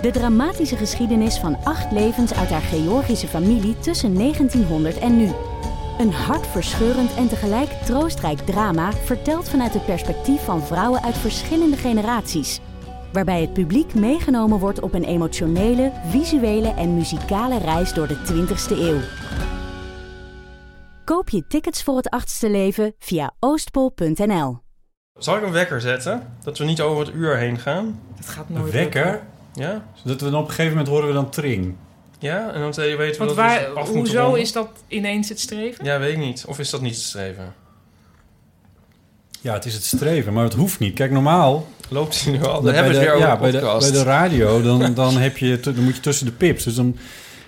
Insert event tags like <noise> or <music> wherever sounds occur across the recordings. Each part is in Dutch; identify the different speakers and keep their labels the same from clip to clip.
Speaker 1: de dramatische geschiedenis van acht levens uit haar Georgische familie tussen 1900 en nu. Een hartverscheurend en tegelijk troostrijk drama... verteld vanuit het perspectief van vrouwen uit verschillende generaties waarbij het publiek meegenomen wordt op een emotionele, visuele en muzikale reis door de 20ste eeuw. Koop je tickets voor het achtste leven via oostpol.nl.
Speaker 2: Zal ik een wekker zetten? Dat we niet over het uur heen gaan?
Speaker 3: Dat gaat
Speaker 4: Een
Speaker 3: nooit lukken.
Speaker 4: wekker.
Speaker 2: Ja?
Speaker 4: Zodat we dan op een gegeven moment horen we dan tring.
Speaker 2: Ja? En dan weten we
Speaker 3: Want
Speaker 2: dat
Speaker 3: waar,
Speaker 2: we af moeten
Speaker 3: hoezo
Speaker 2: ronden.
Speaker 3: is dat ineens het streven?
Speaker 2: Ja, weet ik niet. Of is dat niet te streven?
Speaker 4: Ja, het is het streven, maar het hoeft niet. Kijk, normaal...
Speaker 2: Loopt hij nu al? Dan
Speaker 4: bij
Speaker 2: hebben we het
Speaker 4: de-
Speaker 2: weer over
Speaker 4: ja,
Speaker 2: de
Speaker 4: bij, de,
Speaker 2: podcast.
Speaker 4: bij de radio, dan, dan, heb je, tu- dan moet je tussen de pips. Dus dan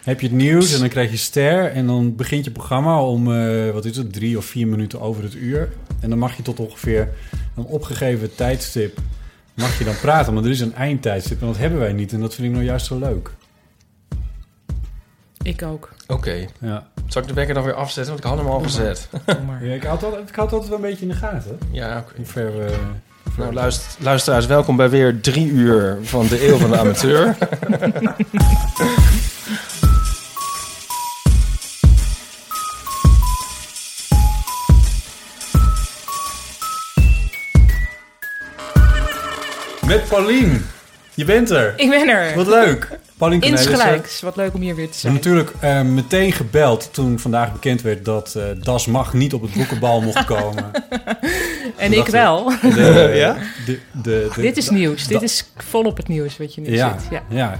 Speaker 4: heb je het nieuws en dan krijg je ster. En dan begint je programma om, eh, wat is het, drie of vier minuten over het uur. En dan mag je tot ongeveer een opgegeven tijdstip... mag je dan praten, maar er is een eindtijdstip. En dat hebben wij niet. En dat vind ik nou juist zo leuk.
Speaker 3: Ik
Speaker 4: <laughs>
Speaker 3: ook.
Speaker 2: Oké.
Speaker 4: Ja,
Speaker 2: Zal ik de wekker dan weer afzetten? Want ik had hem al gezet.
Speaker 3: Doe maar.
Speaker 4: ik, houd altijd, ik houd altijd wel een beetje in de gaten.
Speaker 2: Ja, oké.
Speaker 4: Hoe ver eh, we...
Speaker 2: Nou, luister, luisteraars, welkom bij weer drie uur van de Eeuw van de Amateur.
Speaker 4: Met Paulien. Je bent er.
Speaker 3: Ik ben er.
Speaker 4: Wat leuk. Paulien Cornelissen.
Speaker 3: Insgelijks. Wat leuk om hier weer te
Speaker 4: We hebben
Speaker 3: zijn.
Speaker 4: eh, natuurlijk eh, meteen gebeld toen vandaag bekend werd dat eh, Das Mag niet op het boekenbal mocht
Speaker 3: <laughs>
Speaker 4: komen.
Speaker 3: En ik
Speaker 4: dacht
Speaker 3: wel.
Speaker 4: <laughs>
Speaker 3: <laughs>
Speaker 4: De- eh, de- de- de-
Speaker 3: Dit is nieuws. Dit
Speaker 4: dat-
Speaker 3: is volop het nieuws wat je nu
Speaker 4: ja,
Speaker 3: ziet.
Speaker 4: ja.
Speaker 3: Ja.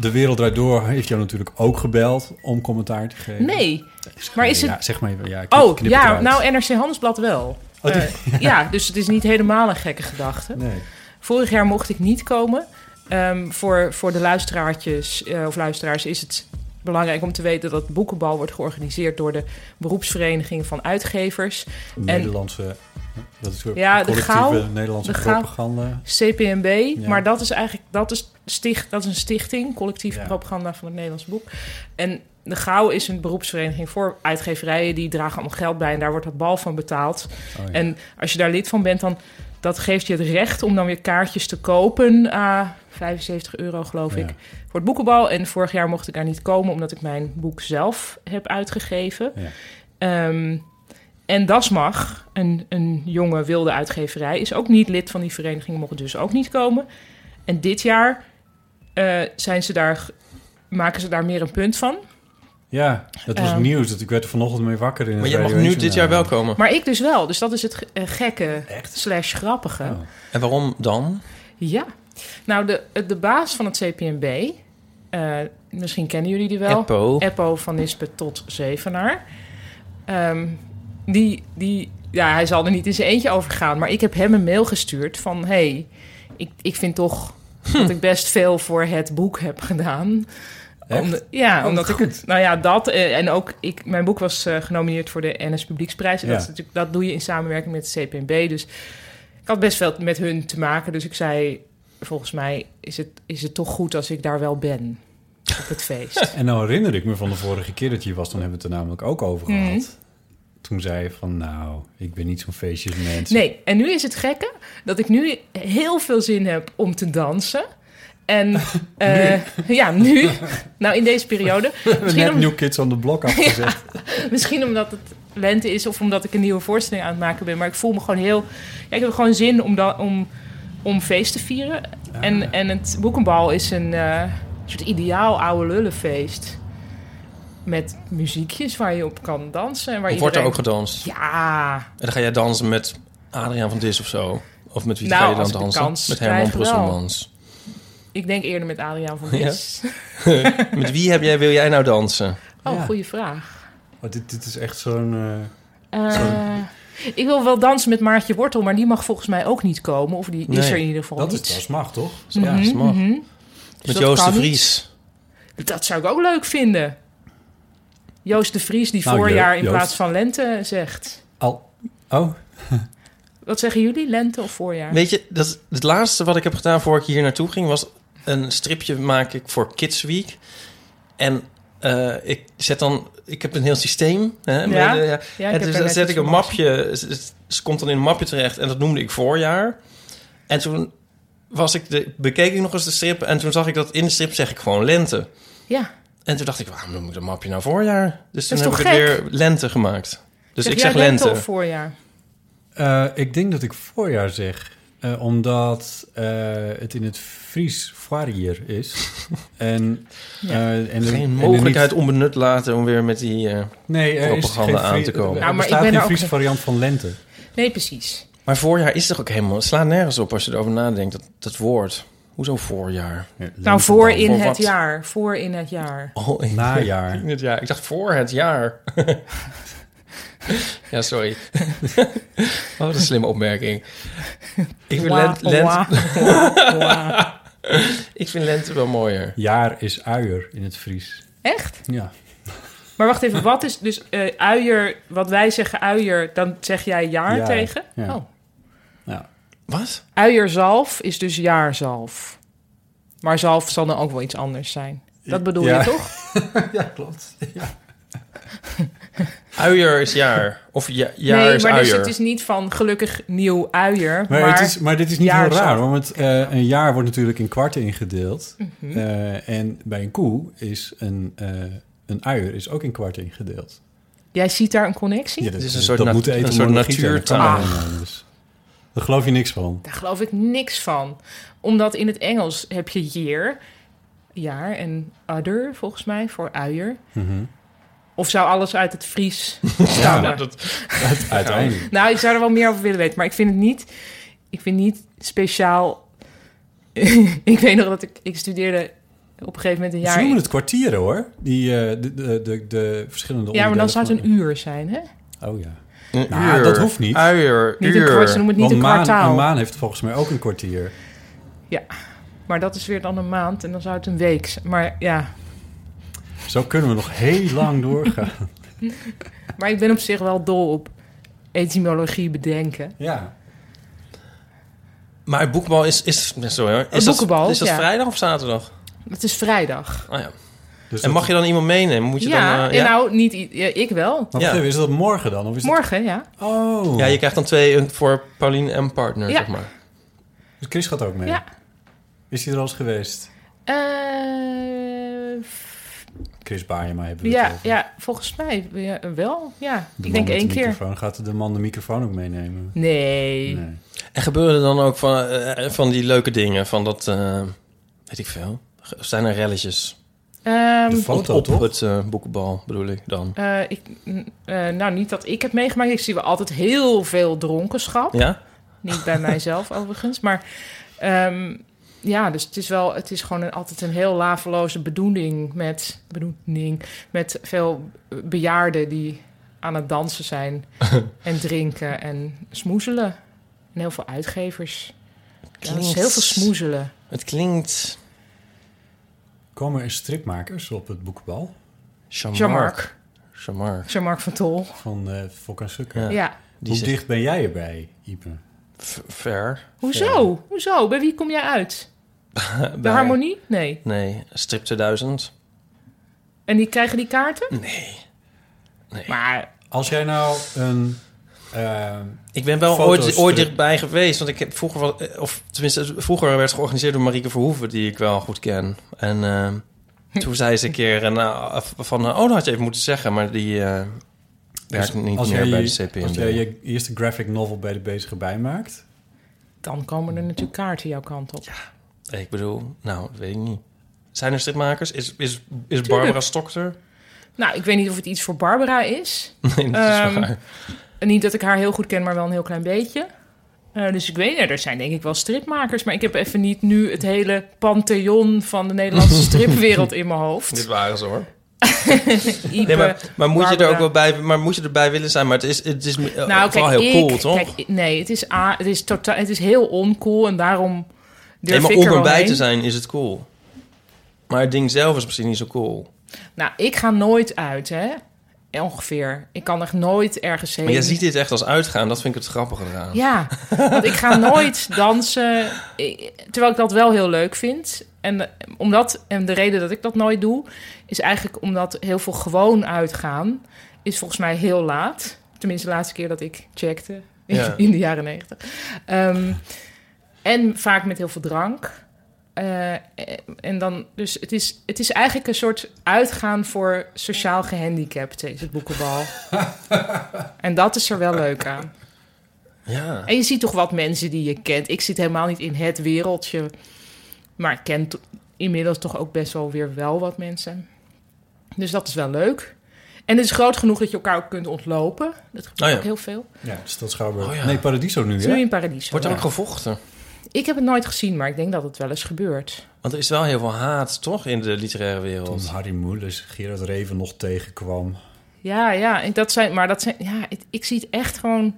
Speaker 4: De Wereld Draait Door heeft jou natuurlijk ook gebeld om commentaar te geven.
Speaker 3: Nee.
Speaker 4: Zeg
Speaker 3: maar is
Speaker 4: ja,
Speaker 3: het-
Speaker 4: zeg maar even. Ja, ik knip-
Speaker 3: Oh,
Speaker 4: knip het
Speaker 3: ja.
Speaker 4: eruit.
Speaker 3: Nou, NRC Handelsblad wel.
Speaker 4: Oh, die-
Speaker 3: Eh, ja, dus het is niet helemaal een gekke gedachte.
Speaker 4: nee.
Speaker 3: Vorig jaar mocht ik niet komen. Ehm, voor, voor de luisteraartjes eh, of luisteraars is het belangrijk om te weten dat Boekenbal wordt georganiseerd door de beroepsvereniging van uitgevers.
Speaker 4: Nederlandse... Dat is
Speaker 3: Ja, de
Speaker 4: collectieve
Speaker 3: Gauw-
Speaker 4: Nederlandse
Speaker 3: de Gauw-
Speaker 4: propaganda. Oh,
Speaker 3: CPMB,
Speaker 4: Ja.
Speaker 3: maar dat is eigenlijk dat is sticht, dat is een stichting, collectieve
Speaker 4: Ja.
Speaker 3: propaganda van het Nederlands boek. En de Gauw is een beroepsvereniging voor uitgeverijen, die dragen allemaal geld bij en daar wordt dat bal van betaald.
Speaker 4: Oh, ja.
Speaker 3: En als je daar lid van bent, dan dat geeft je het recht om dan weer kaartjes te kopen. Ah, 75 euro geloof
Speaker 4: Ja.
Speaker 3: ik. Voor het boekenbal. En vorig jaar mocht ik daar niet komen, omdat ik mijn boek zelf heb uitgegeven.
Speaker 4: Ja.
Speaker 3: Ehm, en Dasmag, een, een jonge wilde uitgeverij, is ook niet lid van die vereniging, mocht dus ook niet komen. En dit jaar eh, zijn ze daar, maken ze daar meer een punt van.
Speaker 4: Ja, dat was
Speaker 3: Ehm.
Speaker 4: nieuws. Dat ik werd er vanochtend mee wakker in
Speaker 2: <laughs> Maar
Speaker 4: het
Speaker 2: jij mag
Speaker 4: Radio
Speaker 2: nu
Speaker 4: 1
Speaker 2: dit jaar wel
Speaker 4: journaal.
Speaker 2: komen.
Speaker 3: Maar ik dus wel, dus dat is het eh, gekke
Speaker 4: Echt?
Speaker 3: slash grappige.
Speaker 4: Oh.
Speaker 2: En waarom dan?
Speaker 3: Ja. Nou, de, de baas van het CPNB, eh, misschien kennen jullie die wel.
Speaker 2: Eppo.
Speaker 3: Eppo van Nispen tot Zevenaar. Ehm, die, die, ja, hij zal er niet in zijn eentje over gaan. Maar ik heb hem een mail gestuurd van... hey, ik, ik vind toch dat ik best veel voor het boek heb gedaan.
Speaker 4: Echt?
Speaker 3: Om de- ja,
Speaker 4: wat
Speaker 3: omdat ik...
Speaker 4: goed.
Speaker 3: Nou ja, dat eh, en ook... Ik, mijn boek was eh, genomineerd voor de NS Publieksprijs. En
Speaker 4: Ja.
Speaker 3: dat, is natuurlijk, dat doe je in samenwerking met de CPNB. Dus ik had best veel met hun te maken. Dus ik zei... Volgens mij is het, is het toch goed als ik daar wel ben op het feest.
Speaker 4: En nou herinner ik me van de vorige keer dat je hier was, dan hebben we het er namelijk ook over
Speaker 3: Mhm.
Speaker 4: gehad. Toen zei je van, nou, ik ben niet zo'n feestjesmens. <laughs>
Speaker 3: Nee, en nu is het gekke dat ik nu heel veel zin heb om te dansen. En eh, ja, nu, <laughs> nou in deze periode.
Speaker 4: We hebben
Speaker 3: Misschien,
Speaker 4: net
Speaker 3: om-
Speaker 4: New Kids on the
Speaker 3: <laughs>
Speaker 4: Block afgezet.
Speaker 3: misschien omdat het lente is of omdat ik een nieuwe voorstelling aan het maken ben. Maar ik voel me gewoon heel. Ja, ik heb gewoon zin om, dan, om, om feest te vieren. En, en het boekenbal is een eh, soort ideaal oude lullenfeest. Met muziekjes waar je op kan dansen. En waar
Speaker 2: Wordt er
Speaker 3: iedereen-
Speaker 2: ook gedanst?
Speaker 3: Ja,
Speaker 2: En dan ga jij dansen met Adriaan van Dis of zo? Of met wie
Speaker 3: Nou,
Speaker 2: ga je dan
Speaker 3: als ik de
Speaker 2: dansen?
Speaker 3: kans
Speaker 2: met Herman
Speaker 3: krijg, wel.
Speaker 2: Brusselmans.
Speaker 3: ik denk eerder met Adriaan van
Speaker 2: Ja.
Speaker 3: Dis.
Speaker 2: Met wie heb jij, wil jij nou dansen?
Speaker 3: Oh,
Speaker 4: Ja.
Speaker 3: goede vraag.
Speaker 4: Oh, dit, dit is echt zo'n... eh,
Speaker 3: Eh, ik wil wel dansen met Maartje Wortel, maar die mag volgens mij ook niet komen. Of die
Speaker 2: Nee,
Speaker 3: is er in ieder geval
Speaker 4: dat is
Speaker 3: niet.
Speaker 4: het mag, toch?
Speaker 2: Ja,
Speaker 3: Mhm,
Speaker 2: dat mag.
Speaker 3: mhm. Dus
Speaker 2: Met
Speaker 3: dat
Speaker 2: Joost de
Speaker 3: kan niet.
Speaker 2: Vries.
Speaker 3: Dat, Dat zou ik ook leuk vinden. Joost de Vries die
Speaker 4: Nou, Jo-
Speaker 3: voorjaar in
Speaker 4: Joost.
Speaker 3: plaats van lente zegt.
Speaker 4: Al. Oh,
Speaker 3: Wat zeggen jullie? Lente of voorjaar?
Speaker 2: Weet je, dat, het laatste wat ik heb gedaan voor ik hier naartoe ging... was een stripje maak ik voor Kids Week. En eh, ik zet dan... Ik heb een heel systeem. Hè, met,
Speaker 3: Ja,
Speaker 2: eh,
Speaker 3: Ja,
Speaker 2: en
Speaker 3: heb
Speaker 2: dus
Speaker 3: er
Speaker 2: dan
Speaker 3: net
Speaker 2: zet
Speaker 3: iets
Speaker 2: ik een
Speaker 3: van af.
Speaker 2: mapje... Het, het- het komt dan in een mapje terecht. En dat noemde ik voorjaar. En toen was ik de, bekeek ik nog eens de strip. En toen zag ik dat in de strip zeg ik gewoon lente.
Speaker 3: Ja.
Speaker 2: En toen dacht ik, waarom noem ik dat mapje nou voorjaar? Dus toen
Speaker 3: is
Speaker 2: heb ik
Speaker 3: toch
Speaker 2: het
Speaker 3: gek?
Speaker 2: weer lente gemaakt. Dus
Speaker 3: Zeg
Speaker 2: ik
Speaker 3: jij
Speaker 2: zeg lente.
Speaker 3: of voorjaar?
Speaker 4: eh, ik denk dat ik voorjaar zeg. Eh, omdat eh, het in het Fries foirier is.
Speaker 3: <laughs>
Speaker 4: en, eh, en er- en er
Speaker 2: Dus Geen
Speaker 4: niet-
Speaker 2: mogelijkheid onbenut laten om weer met die... eh,
Speaker 4: nee, er is
Speaker 2: propaganda
Speaker 4: geen
Speaker 2: aan
Speaker 4: Fri-
Speaker 2: te komen.
Speaker 4: Er
Speaker 3: Nou, maar ik
Speaker 4: bestaat
Speaker 3: ben
Speaker 4: geen
Speaker 3: er ook-
Speaker 4: Friese variant van lente.
Speaker 3: Nee, precies.
Speaker 2: Maar voorjaar is toch ook helemaal... Het slaat nergens op als je erover nadenkt, dat, dat woord. Hoezo voorjaar?
Speaker 3: Nou, voor in
Speaker 2: Voor
Speaker 3: het
Speaker 2: wat?
Speaker 3: jaar. Voor in het jaar.
Speaker 2: Oh, in,
Speaker 4: Najaar.
Speaker 3: <laughs>
Speaker 2: in het jaar. Ik dacht voor het jaar. <laughs> ja, sorry. <laughs> Wat een slimme opmerking. Ik vind,
Speaker 3: Wah,
Speaker 2: lent, lent-
Speaker 3: wah, wah, wah.
Speaker 2: ik vind lente wel mooier.
Speaker 4: Jaar is uier in het Fries.
Speaker 3: Echt?
Speaker 4: Ja.
Speaker 3: Maar wacht even, wat is dus eh, uier, wat wij zeggen uier, dan zeg jij jaar
Speaker 4: Jaar,
Speaker 3: tegen?
Speaker 4: ja.
Speaker 3: Oh.
Speaker 4: ja.
Speaker 2: Wat?
Speaker 3: Uierzalf is dus jaarzalf. Maar zalf zal dan ook wel iets anders zijn. Dat bedoel
Speaker 4: Ja.
Speaker 3: je
Speaker 4: <laughs>
Speaker 3: toch?
Speaker 4: Ja, klopt.
Speaker 2: Uier is jaar. Of ja, jaar
Speaker 3: nee,
Speaker 2: is
Speaker 3: maar
Speaker 2: uier.
Speaker 3: dus het is niet van gelukkig nieuw uier, maar,
Speaker 4: Maar, het is, maar dit is niet heel
Speaker 3: jaar
Speaker 4: raar,
Speaker 3: zo.
Speaker 4: want eh, een jaar wordt natuurlijk in kwarten ingedeeld.
Speaker 3: Mhm.
Speaker 4: Eh, en bij een koe is een, eh, een uier is ook in kwarten ingedeeld.
Speaker 3: jij ziet daar een connectie?
Speaker 4: dat,
Speaker 2: is een
Speaker 4: dat
Speaker 2: soort nat-
Speaker 4: moet de
Speaker 2: een
Speaker 4: etymologie
Speaker 2: soort
Speaker 4: zijn, dat kan
Speaker 2: natuurtaal.
Speaker 4: niet anders. Dus Daar geloof je niks van.
Speaker 3: Daar geloof ik niks van. Omdat in het Engels heb je year, jaar en other volgens mij voor uier.
Speaker 4: Mhm.
Speaker 3: Of zou alles uit het Fries stammen?
Speaker 2: Ja, dat,
Speaker 4: Nou, Uiteindelijk.
Speaker 3: Nou, ik zou er wel meer over willen weten, maar ik vind het niet. Ik vind niet speciaal. <laughs> ik weet nog dat ik ik studeerde op een gegeven moment een
Speaker 4: Ze
Speaker 3: jaar.
Speaker 4: noemen Dus het kwartieren hoor, die, eh, de, de, de, de verschillende
Speaker 3: ja, maar dan zou
Speaker 4: onderdelen
Speaker 3: het
Speaker 4: van-
Speaker 3: een uur zijn, hè?
Speaker 4: Oh ja.
Speaker 2: een
Speaker 4: Nou,
Speaker 2: uur.
Speaker 4: dat hoeft niet.
Speaker 2: Uier,
Speaker 3: Niet een
Speaker 2: uur.
Speaker 3: kwart, ze noemen het niet
Speaker 4: Want
Speaker 3: een
Speaker 4: maan,
Speaker 3: kwartaal.
Speaker 4: een maan heeft volgens mij ook een kwartier.
Speaker 3: Maar dat is weer dan een maand en dan zou het een week zijn. Maar ja,
Speaker 4: Zo kunnen we nog heel lang doorgaan.
Speaker 2: <laughs>
Speaker 3: maar ik ben op zich wel dol op etymologie bedenken.
Speaker 4: Ja.
Speaker 2: Maar boekbal is... is sorry hoor. Is
Speaker 3: Boekenbal,
Speaker 2: dat, is dat
Speaker 3: ja.
Speaker 2: vrijdag of zaterdag?
Speaker 3: Het is vrijdag.
Speaker 2: Ah, ja.
Speaker 4: Dus
Speaker 2: En mag je dan iemand meenemen? Moet je
Speaker 3: ja,
Speaker 2: dan, eh,
Speaker 3: en nou niet i- ja, ik wel.
Speaker 4: Maar
Speaker 2: Ja.
Speaker 4: wacht even, is dat morgen dan? Of is
Speaker 3: Morgen, ja.
Speaker 4: Dat... Oh.
Speaker 2: Ja, je krijgt dan twee een voor Pauline en partner,
Speaker 3: Ja.
Speaker 2: zeg maar.
Speaker 4: Dus Chris gaat ook mee?
Speaker 3: Ja.
Speaker 4: Is hij er al eens geweest?
Speaker 3: Eh,
Speaker 4: Chris Baarjema hebben we het
Speaker 3: ja,
Speaker 4: over.
Speaker 3: ja, volgens mij ja, wel. Ja,
Speaker 4: De
Speaker 3: ik
Speaker 4: man
Speaker 3: denk
Speaker 4: met
Speaker 3: één
Speaker 4: de
Speaker 3: keer.
Speaker 4: Microfoon. Gaat de man de microfoon ook meenemen?
Speaker 3: Nee.
Speaker 4: Nee.
Speaker 2: En gebeuren er dan ook van, eh, van die leuke dingen? Van dat, eh, weet ik veel. Ge- Zijn er relletjes?
Speaker 3: Ehm,
Speaker 4: De
Speaker 2: Op,
Speaker 4: foto,
Speaker 2: op
Speaker 4: toch?
Speaker 2: het eh boekenbal bedoel ik dan.
Speaker 3: Eh, ik, mm, eh, nou, niet dat ik heb meegemaakt. Ik zie wel altijd heel veel dronkenschap.
Speaker 2: Ja?
Speaker 3: Niet bij mijzelf overigens. Maar ehm, ja, dus het is wel, het is gewoon een, altijd een heel laveloze bedoeling met, bedoeling met veel bejaarden die aan het dansen zijn en drinken en smoezelen. En heel veel uitgevers. Ja, dat is heel veel smoezelen.
Speaker 2: Het klinkt...
Speaker 4: Komen er stripmakers op het boekbal
Speaker 2: Jean-Marc.
Speaker 3: Jean-Marc.
Speaker 2: Jean-Marc.
Speaker 3: Jean-Marc van Tol.
Speaker 4: van eh Fok en Sukker?
Speaker 2: Ja.
Speaker 3: Ja.
Speaker 2: Die
Speaker 4: Hoe
Speaker 2: zit
Speaker 4: dicht ben jij erbij, Ipe?
Speaker 2: v- ver.
Speaker 3: Hoezo? Hoezo? Bij wie kom jij uit? De
Speaker 2: bij-
Speaker 3: harmonie? Nee.
Speaker 2: Nee, strip 2000.
Speaker 3: En die krijgen die kaarten?
Speaker 2: Nee.
Speaker 3: Maar
Speaker 4: Als jij nou een... eh,
Speaker 2: Ik ben wel
Speaker 4: Foto's
Speaker 2: ooit, ooit
Speaker 4: terug.
Speaker 2: dichtbij geweest. Want ik heb vroeger wel, eh, of tenminste, vroeger werd georganiseerd door Marieke Verhoeven, die ik wel goed ken. En eh, toen zei ze een keer eh, nou, van, eh, oh, dat had je even moeten zeggen, maar die eh, werkt niet
Speaker 4: als
Speaker 2: meer
Speaker 4: jij,
Speaker 2: bij de
Speaker 4: je-
Speaker 2: CPNB.
Speaker 4: als jij je eerste graphic novel bij de bezige bij maakt...
Speaker 3: dan komen er natuurlijk kaarten jouw kant op.
Speaker 2: Ik bedoel, nou, dat weet ik niet. Zijn er stripmakers? Is, is, is Barbara Stokter?
Speaker 3: Nou, ik weet niet of het iets voor Barbara is.
Speaker 2: <laughs> Nee, dat is
Speaker 3: Ehm,
Speaker 2: waar.
Speaker 3: En Niet dat ik haar heel goed ken, maar wel een heel klein beetje. Eh, dus ik weet niet, er zijn denk ik wel stripmakers. Maar ik heb even niet nu het hele pantheon van de
Speaker 2: <laughs>
Speaker 3: Nederlandse stripwereld in mijn
Speaker 2: Dit
Speaker 3: hoofd.
Speaker 2: waren ze hoor.
Speaker 3: Ipe,
Speaker 2: Nee, maar, eh, maar moet je er
Speaker 3: Barbara.
Speaker 2: ook wel bij, maar moet je erbij willen zijn? Maar het is, het is eh,
Speaker 3: Nou,
Speaker 2: vooral
Speaker 3: kijk,
Speaker 2: heel
Speaker 3: ik,
Speaker 2: cool, toch?
Speaker 3: Kijk, ik- nee, het is, a, het, is totaal, het is heel oncool en daarom
Speaker 2: nee,
Speaker 3: durf
Speaker 2: maar
Speaker 3: ik
Speaker 2: om
Speaker 3: er wel
Speaker 2: erbij
Speaker 3: heen.
Speaker 2: te zijn is het cool. Maar het ding zelf is misschien niet zo cool.
Speaker 3: Nou, ik ga nooit uit, hè? Ongeveer. Ik kan echt nooit ergens heen.
Speaker 2: Maar jij ziet dit echt als uitgaan. Dat vind ik het grappige eraan.
Speaker 3: Ja, want ik ga nooit dansen. eh, Terwijl ik dat wel heel leuk vind. En, eh, omdat, en de reden dat ik dat nooit doe, is eigenlijk omdat heel veel gewoon uitgaan is volgens mij heel laat. Tenminste, de laatste keer dat ik checkte in,
Speaker 2: Ja.
Speaker 3: in de jaren negentig. Ehm, en vaak met heel veel drank. Eh, eh, en dan, dus het is, het is eigenlijk een soort uitgaan voor sociaal gehandicapten, is het boekenbal. en dat is er wel leuk aan.
Speaker 2: Ja.
Speaker 3: En je ziet toch wat mensen die je kent. Ik zit helemaal niet in het wereldje. Maar ik ken to- inmiddels toch ook best wel weer wel wat mensen. Dus dat is wel leuk. En het is groot genoeg dat je elkaar ook kunt ontlopen. Dat gebeurt
Speaker 2: Oh ja.
Speaker 3: ook heel veel.
Speaker 4: Ja, dus dat Schouwburg.
Speaker 2: Oh ja.
Speaker 4: Nee, Paradiso nu,
Speaker 3: Het is nu
Speaker 4: hè?
Speaker 3: in Paradiso.
Speaker 2: Wordt er
Speaker 3: Ja.
Speaker 2: ook gevochten?
Speaker 3: Ik heb het nooit gezien, maar ik denk dat het wel eens gebeurt.
Speaker 2: Want er is wel heel veel haat, toch, in de literaire
Speaker 4: Toen
Speaker 2: wereld.
Speaker 4: Harry Mulisch Gerard Reven nog tegenkwam.
Speaker 3: Ja, ja. En dat zijn, maar dat zijn, ja, het- ik zie het echt gewoon...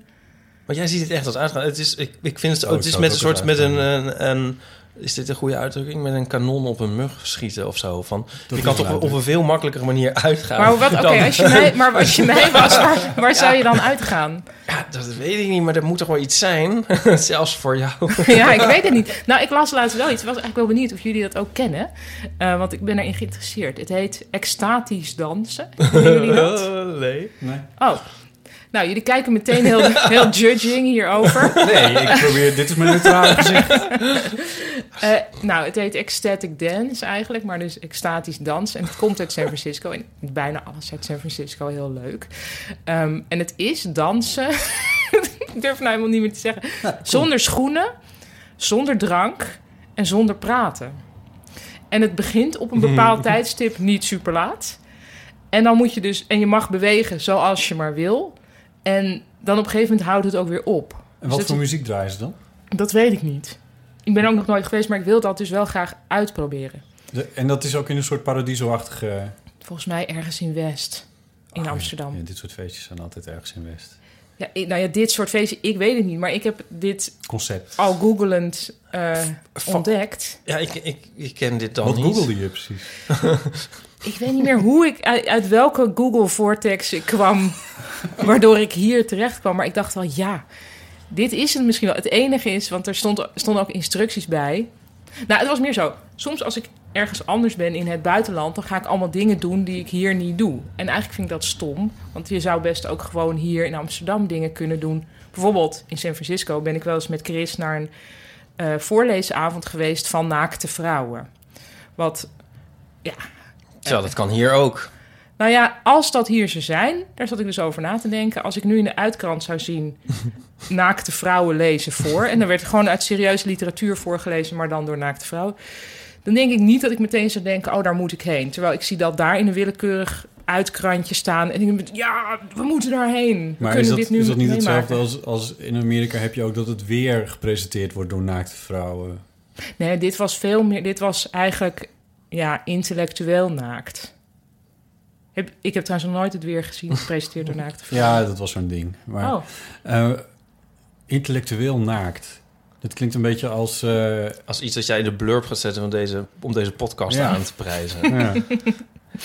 Speaker 2: Maar jij ziet het echt als uitgaan. Het is, ik, ik vind het,
Speaker 4: Oh,
Speaker 2: ook. het
Speaker 4: ik
Speaker 2: is
Speaker 4: zou
Speaker 2: met een
Speaker 4: het ook
Speaker 2: soort, met
Speaker 4: als
Speaker 2: een, een, een- is dit een goede uitdrukking? Met een kanon op een mug schieten of zo. Van, je
Speaker 4: is
Speaker 2: kan
Speaker 4: een
Speaker 2: toch op,
Speaker 4: uitdrukking.
Speaker 2: een veel makkelijkere manier uitgaan.
Speaker 3: Maar wat,
Speaker 2: Oh. dan-
Speaker 3: oké, als je mij, maar
Speaker 2: <laughs>
Speaker 3: als je mij was, waar, waar zou je dan uitgaan?
Speaker 2: Ja, dat weet ik niet, maar er moet toch wel iets zijn. <laughs> Zelfs voor jou.
Speaker 3: <laughs> Ja, ik weet het niet. Nou, ik las laatst wel iets. Ik was eigenlijk wel benieuwd of jullie dat ook kennen. Eh, want ik ben erin geïnteresseerd. Het heet extatisch dansen. Kennen jullie
Speaker 2: <laughs>
Speaker 3: dat?
Speaker 2: nee.
Speaker 3: Oh. Nou, jullie kijken meteen heel, heel judging hierover.
Speaker 4: Nee,
Speaker 3: <laughs>
Speaker 4: ik probeer... dit is mijn neutrale gezicht.
Speaker 3: Eh, nou, het heet ecstatic dance eigenlijk, maar dus extatisch dans. En het komt uit San Francisco. En bijna alles uit San Francisco, heel leuk. Ehm, en het is dansen. <laughs> ik durf nou helemaal niet meer te zeggen. Zonder schoenen, zonder drank en zonder praten. En het begint op een bepaald tijdstip niet super laat. En dan moet je dus, en je mag bewegen zoals je maar wil. En dan op een gegeven moment houdt het ook weer op.
Speaker 4: En
Speaker 3: Dus
Speaker 4: wat
Speaker 3: dat
Speaker 4: voor
Speaker 3: is-
Speaker 4: muziek draaien ze dan?
Speaker 3: dat weet ik niet. Ik ben ook nog nooit geweest, maar ik wil dat dus wel graag uitproberen.
Speaker 4: De- en dat is ook in een soort paradiso-achtige...
Speaker 3: Volgens mij ergens in West, in
Speaker 4: Oh,
Speaker 3: Amsterdam.
Speaker 4: ja, dit soort feestjes zijn altijd ergens in West.
Speaker 3: Ja, ik- nou ja, dit soort feesten, ik weet het niet. Maar ik heb dit
Speaker 4: Concept.
Speaker 3: al googelend eh,
Speaker 2: Fuck.
Speaker 3: ontdekt.
Speaker 2: Ja, ik, ik, ik ken dit
Speaker 3: Oh,
Speaker 2: dan
Speaker 4: Wat
Speaker 2: niet.
Speaker 4: googelde je precies?
Speaker 3: Ik weet niet meer hoe ik, uit, uit welke Google Vortex ik kwam, waardoor ik hier terecht kwam. Maar ik dacht wel, ja, dit is het misschien wel. Het enige is, want er stond, stonden ook instructies bij. Nou, het was meer zo. Soms als ik ergens anders ben in het buitenland, dan ga ik allemaal dingen doen die ik hier niet doe. En eigenlijk vind ik dat stom, want je zou best ook gewoon hier in Amsterdam dingen kunnen doen. Bijvoorbeeld in San Francisco ben ik wel eens met Chris naar een eh, voorleesavond geweest van naakte vrouwen. Wat
Speaker 2: Zo, dat kan hier ook.
Speaker 3: nou ja, als dat hier ze zijn, daar zat ik dus over na te denken. Als ik nu in de uitkrant zou
Speaker 4: <laughs>
Speaker 3: zien naakte vrouwen lezen voor. En dan werd gewoon uit serieuze literatuur voorgelezen, maar dan door naakte vrouwen. Dan denk ik niet dat ik meteen zou denken, oh, daar moet ik heen. Terwijl ik zie dat daar in een willekeurig uitkrantje staan. En ik denk, ja, we moeten daarheen. We
Speaker 4: Maar
Speaker 3: kunnen
Speaker 4: is dat,
Speaker 3: dit nu
Speaker 4: is dat niet
Speaker 3: meemaken.
Speaker 4: hetzelfde als, als in Amerika heb je ook dat het weer gepresenteerd wordt door naakte vrouwen?
Speaker 3: Nee, dit was veel meer. Dit was eigenlijk ja, intellectueel naakt. Heb, ik heb trouwens nog nooit het weer gezien gepresenteerd
Speaker 4: <laughs>
Speaker 3: door naakte vrouwen.
Speaker 4: Ja, dat was zo'n ding. Maar,
Speaker 3: Oh,
Speaker 4: eh, intellectueel naakt. Dat klinkt een beetje als... eh,
Speaker 3: <laughs>
Speaker 2: Als iets dat jij in de blurb gaat zetten van deze, om deze podcast
Speaker 4: Ja.
Speaker 2: aan te
Speaker 3: <laughs>
Speaker 2: prijzen.
Speaker 4: ja.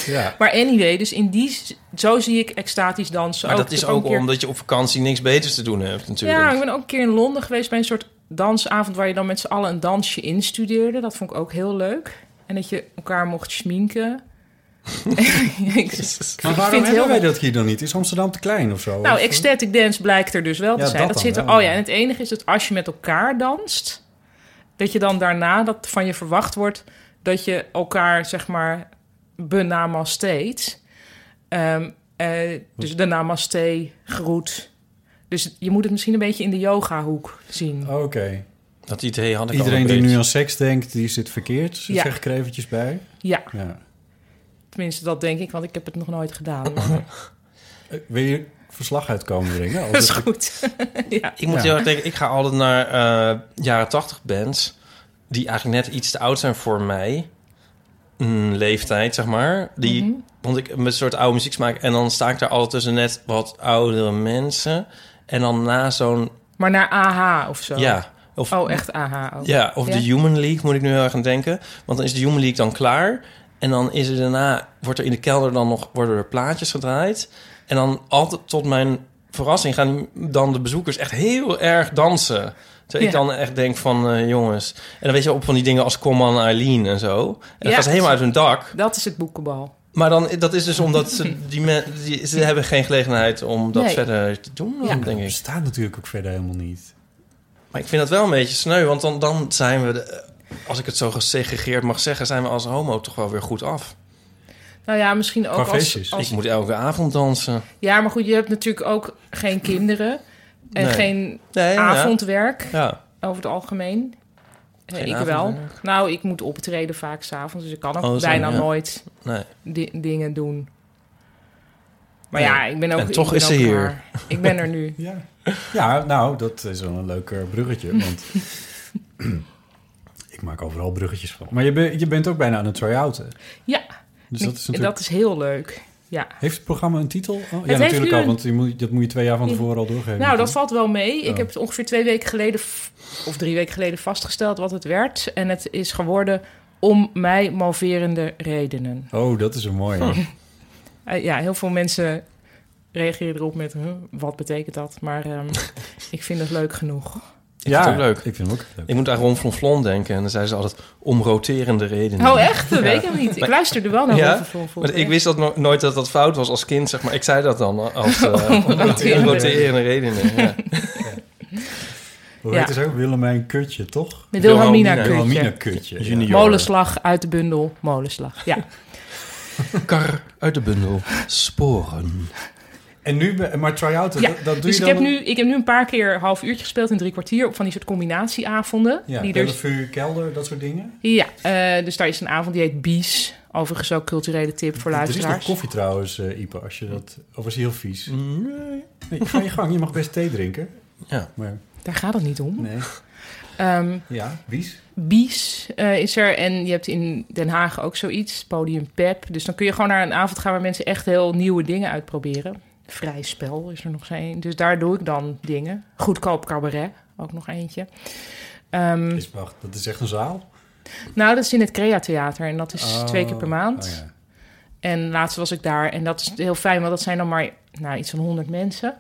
Speaker 4: ja.
Speaker 3: Maar anyway, dus in die... z- Zo zie ik extatisch dansen
Speaker 2: Maar
Speaker 3: ook.
Speaker 2: dat is
Speaker 3: Ik heb
Speaker 2: ook
Speaker 3: een keer-
Speaker 2: omdat je op vakantie niks beters te doen hebt
Speaker 3: Ja, ik
Speaker 2: natuurlijk.
Speaker 3: ben ook een keer in Londen geweest bij een soort dansavond... waar je dan met z'n allen een dansje instudeerde. Dat vond ik ook heel leuk. En dat je elkaar mocht schminken. <laughs> ik,
Speaker 4: Maar
Speaker 3: Ik
Speaker 4: waarom
Speaker 3: vind
Speaker 4: hebben
Speaker 3: heel-
Speaker 4: wij dat hier dan niet? Is Amsterdam te klein of zo?
Speaker 3: nou,
Speaker 4: Of-
Speaker 3: ecstatic dance blijkt er dus wel te
Speaker 4: Ja,
Speaker 3: zijn. Dat,
Speaker 4: dat dan,
Speaker 3: zit er...
Speaker 4: ja.
Speaker 3: Oh ja, en het enige is dat als je met elkaar danst... dat je dan daarna dat van je verwacht wordt... dat je elkaar, zeg maar, benamasteet. Ehm eh dus de namaste, groet. Dus je moet het misschien een beetje in de yoga-hoek zien.
Speaker 4: Oh, Oké.
Speaker 2: Dat idee had ik al
Speaker 4: Iedereen
Speaker 2: een
Speaker 4: die
Speaker 2: beetje.
Speaker 4: nu aan seks denkt, die zit verkeerd. Ze
Speaker 3: Ja.
Speaker 4: Zeg ik er eventjes bij.
Speaker 3: Ja,
Speaker 4: Ja.
Speaker 3: tenminste, dat denk ik, want ik heb het nog nooit <laughs> gedaan.
Speaker 4: Eh, Wil je verslag uitkomen <laughs> brengen? Als
Speaker 3: Dat is
Speaker 4: het-
Speaker 3: goed. <laughs> ja.
Speaker 2: Ik moet
Speaker 4: Ja.
Speaker 2: heel erg denken, ik ga altijd naar eh, jaren tachtig bands... die eigenlijk net iets te oud zijn voor mij. Mm, leeftijd, zeg maar. Die,
Speaker 3: Mhm.
Speaker 2: Want ik heb een soort oude muziek smaak... en dan sta ik daar altijd tussen net wat oudere mensen... en dan na zo'n
Speaker 3: Maar naar AH of zo.
Speaker 2: Ja, Of,
Speaker 3: Oh, echt AH. ook.
Speaker 2: Ja, of
Speaker 3: Ja.
Speaker 2: de Human League moet ik nu heel erg aan denken. Want dan is de Human League dan klaar. En dan is er daarna, wordt er in de kelder dan nog, worden er plaatjes gedraaid. En dan altijd tot mijn verrassing gaan dan de bezoekers echt heel erg dansen. Terwijl ik
Speaker 3: Ja.
Speaker 2: dan echt denk van, eh, jongens... En dan weet je op van die dingen als Come on Eileen en zo. En dat
Speaker 3: Ja.
Speaker 2: gaat ze helemaal uit hun dak.
Speaker 3: Dat is het boekenbal.
Speaker 2: Maar dan, dat is dus omdat
Speaker 3: <laughs>
Speaker 2: ze, die men, die, ze hebben geen gelegenheid om dat
Speaker 3: Nee.
Speaker 2: verder te doen, dan,
Speaker 3: Ja.
Speaker 2: denk ik.
Speaker 4: bestaat natuurlijk ook verder helemaal niet.
Speaker 2: Maar ik vind dat wel een beetje sneu, want dan, dan zijn we, de- eh, als ik het zo gesegregeerd mag zeggen, zijn we als homo toch wel weer goed af. Dus
Speaker 3: Nou ja, misschien ook
Speaker 4: Qua
Speaker 3: als,
Speaker 4: feestjes.
Speaker 3: als...
Speaker 2: Ik moet elke avond dansen.
Speaker 3: Ja, maar goed, je hebt natuurlijk ook geen kinderen en
Speaker 2: Nee.
Speaker 3: geen
Speaker 2: Nee, ja.
Speaker 3: avondwerk
Speaker 2: Ja.
Speaker 3: over het algemeen. Eh,
Speaker 2: Geen
Speaker 3: ik wel.
Speaker 2: avondwerk?
Speaker 3: Nou, ik moet optreden vaak s'avonds, dus ik kan ook
Speaker 2: Oh, zo,
Speaker 3: bijna
Speaker 2: ja.
Speaker 3: nooit
Speaker 2: Nee.
Speaker 3: di- dingen doen. Maar
Speaker 2: Nee.
Speaker 3: ja, ik ben ook...
Speaker 2: En
Speaker 3: ik
Speaker 2: toch
Speaker 3: ben
Speaker 2: is ze
Speaker 3: ook
Speaker 2: hier.
Speaker 3: raar. Ik ben er
Speaker 2: <laughs>
Speaker 3: nu.
Speaker 4: Ja. ja, nou, dat is wel een leuk eh, bruggetje.
Speaker 3: <laughs>
Speaker 4: Want ik maak overal bruggetjes van. Maar je, ben- je bent ook bijna aan het try-outen.
Speaker 3: Ja,
Speaker 4: Dus
Speaker 3: en
Speaker 4: dat is natuurlijk...
Speaker 3: heel leuk. Ja.
Speaker 4: Heeft het programma een titel? Oh, ja,
Speaker 3: heeft
Speaker 4: natuurlijk
Speaker 3: nu
Speaker 4: al,
Speaker 3: een-
Speaker 4: want je moet, dat moet je twee jaar van tevoren al doorgeven.
Speaker 3: Nou, dat valt wel mee.
Speaker 4: Oh.
Speaker 3: Ik heb het ongeveer twee weken geleden f- of drie weken geleden vastgesteld wat het werd. En het is geworden om mij moverende redenen.
Speaker 4: Oh, dat is een mooie.
Speaker 3: Eh, ja, heel veel mensen reageren erop met huh, wat betekent dat? Maar
Speaker 4: <laughs>
Speaker 3: ehm, ik vind het leuk genoeg.
Speaker 2: Ik vind het ook leuk.
Speaker 4: Ik vind hem ook leuk.
Speaker 2: Ik moet aan Ron Flonflon denken en dan zeiden ze altijd om roterende redenen.
Speaker 3: Oh, echt? Dat weet ik hem niet. Ik luisterde wel naar
Speaker 2: Ja?
Speaker 3: Wolf van Volvoort,
Speaker 2: Maar ik
Speaker 3: ja.
Speaker 2: wist dat no- nooit dat dat fout was als kind, zeg maar. Ik zei dat dan
Speaker 3: <laughs>
Speaker 2: als eh, om
Speaker 3: roterende.
Speaker 2: roterende redenen. Ja.
Speaker 4: Hoe
Speaker 3: Ja.
Speaker 4: heet het ook? Willemijn Kutje, toch?
Speaker 3: Met Wilhelmina
Speaker 2: Wilhelmina.
Speaker 4: Wilhelmina
Speaker 3: Kutje.
Speaker 4: Kutje. ja.
Speaker 2: Junior.
Speaker 3: Molenslag uit de bundel. Molenslag, ja. <laughs>
Speaker 2: Kar uit de bundel. Sporen.
Speaker 4: En nu, ben- maar try-outen,
Speaker 3: ja.
Speaker 4: dat, dat doe
Speaker 3: dus
Speaker 4: je
Speaker 3: ik
Speaker 4: dan...
Speaker 3: heb, nu, ik heb nu een paar keer een half uurtje gespeeld in drie kwartier... op van die soort combinatieavonden.
Speaker 4: Ja,
Speaker 3: die dus- er,
Speaker 4: Bellevue, Kelder, dat soort dingen.
Speaker 3: ja eh, dus daar is een avond die heet Bies. Overigens ook culturele tip voor
Speaker 4: Er is nog
Speaker 3: luisteraars.
Speaker 4: koffie trouwens, eh Ipe, als je dat... Of was die heel vies? Nee, ga je gang. Je mag best thee drinken.
Speaker 2: Ja.
Speaker 4: Maar
Speaker 3: Daar gaat het niet om.
Speaker 4: nee.
Speaker 3: Ehm,
Speaker 4: Ja, wies.
Speaker 3: Bies eh, is er. En je hebt in Den Haag ook zoiets, Podium Pep. Dus dan kun je gewoon naar een avond gaan waar mensen echt heel nieuwe dingen uitproberen. Vrij spel is er nog een. Dus daar doe ik dan dingen. Goedkoop cabaret, ook nog eentje. Ehm,
Speaker 4: Is, wacht, dat is echt een zaal?
Speaker 3: nou, dat is in het Crea Theater en dat is
Speaker 4: Oh,
Speaker 3: twee keer per maand.
Speaker 4: oh ja.
Speaker 3: En laatst was ik daar en dat is heel fijn, want dat zijn dan maar nou, iets van 100 mensen.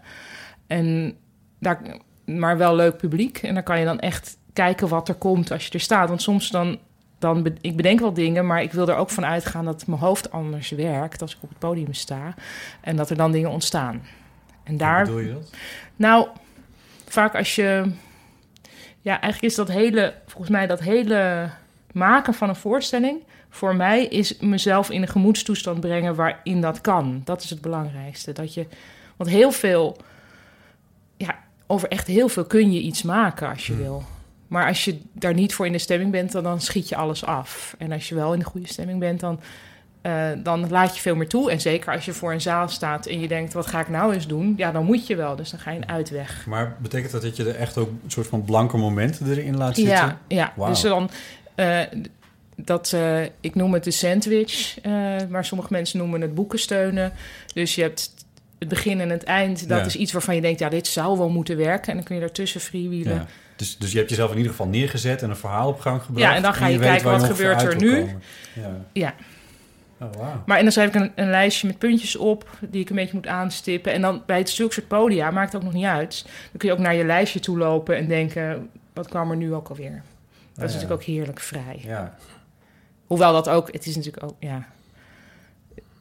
Speaker 3: En daar, maar wel leuk publiek. En dan kan je dan echt kijken wat er komt als je er staat. Want soms dan, dan be- ik bedenk wel dingen, maar ik wil er ook van uitgaan dat mijn hoofd anders werkt als ik op het podium sta. En dat er dan dingen ontstaan. En
Speaker 4: Hoe
Speaker 3: daar
Speaker 4: bedoel je dat?
Speaker 3: nou, vaak als je. Ja, eigenlijk is dat hele. Volgens mij dat hele maken van een voorstelling. Voor mij is mezelf in een gemoedstoestand brengen waarin dat kan. Dat is het belangrijkste. Dat je. Want heel veel. Ja, over echt heel veel kun je iets maken als je wil. Maar als je daar niet voor in de stemming bent, dan, dan schiet je alles af. En als je wel in de goede stemming bent, dan, eh, dan laat je veel meer toe. En zeker als je voor een zaal staat en je denkt, wat ga ik nou eens doen? Ja, dan moet je wel. Dus dan ga je een uitweg.
Speaker 4: Maar betekent dat dat je er echt ook een soort van blanke momenten erin laat zitten?
Speaker 3: Ja, ja.
Speaker 4: Wauw.
Speaker 3: dus dan... eh, dat, eh, ik noem het de sandwich, eh, maar sommige mensen noemen het boeken steunen. Dus je hebt het begin en het eind. Dat
Speaker 4: Ja.
Speaker 3: is iets waarvan je denkt, ja, dit zou wel moeten werken. En dan kun je daartussen freewheelen.
Speaker 4: Ja. Dus, dus je hebt jezelf in ieder geval neergezet en een verhaal op gang gebracht.
Speaker 3: Ja, en dan ga je
Speaker 4: weet
Speaker 3: kijken
Speaker 4: waar
Speaker 3: wat
Speaker 4: ongeveer
Speaker 3: gebeurt
Speaker 4: uit
Speaker 3: er
Speaker 4: wil
Speaker 3: nu.
Speaker 4: komen. Ja.
Speaker 3: Ja.
Speaker 4: Oh, wauw.
Speaker 3: Maar en dan schrijf ik een, een lijstje met puntjes op die ik een beetje moet aanstippen. En dan bij het zulke soort podia, maakt het ook nog niet uit. Dan kun je ook naar je lijstje toe lopen en denken, wat kwam er nu ook alweer?
Speaker 2: Ah,
Speaker 3: Dat is
Speaker 4: ja.
Speaker 3: natuurlijk ook heerlijk vrij.
Speaker 4: Ja.
Speaker 3: Hoewel dat ook, het is natuurlijk ook, ja.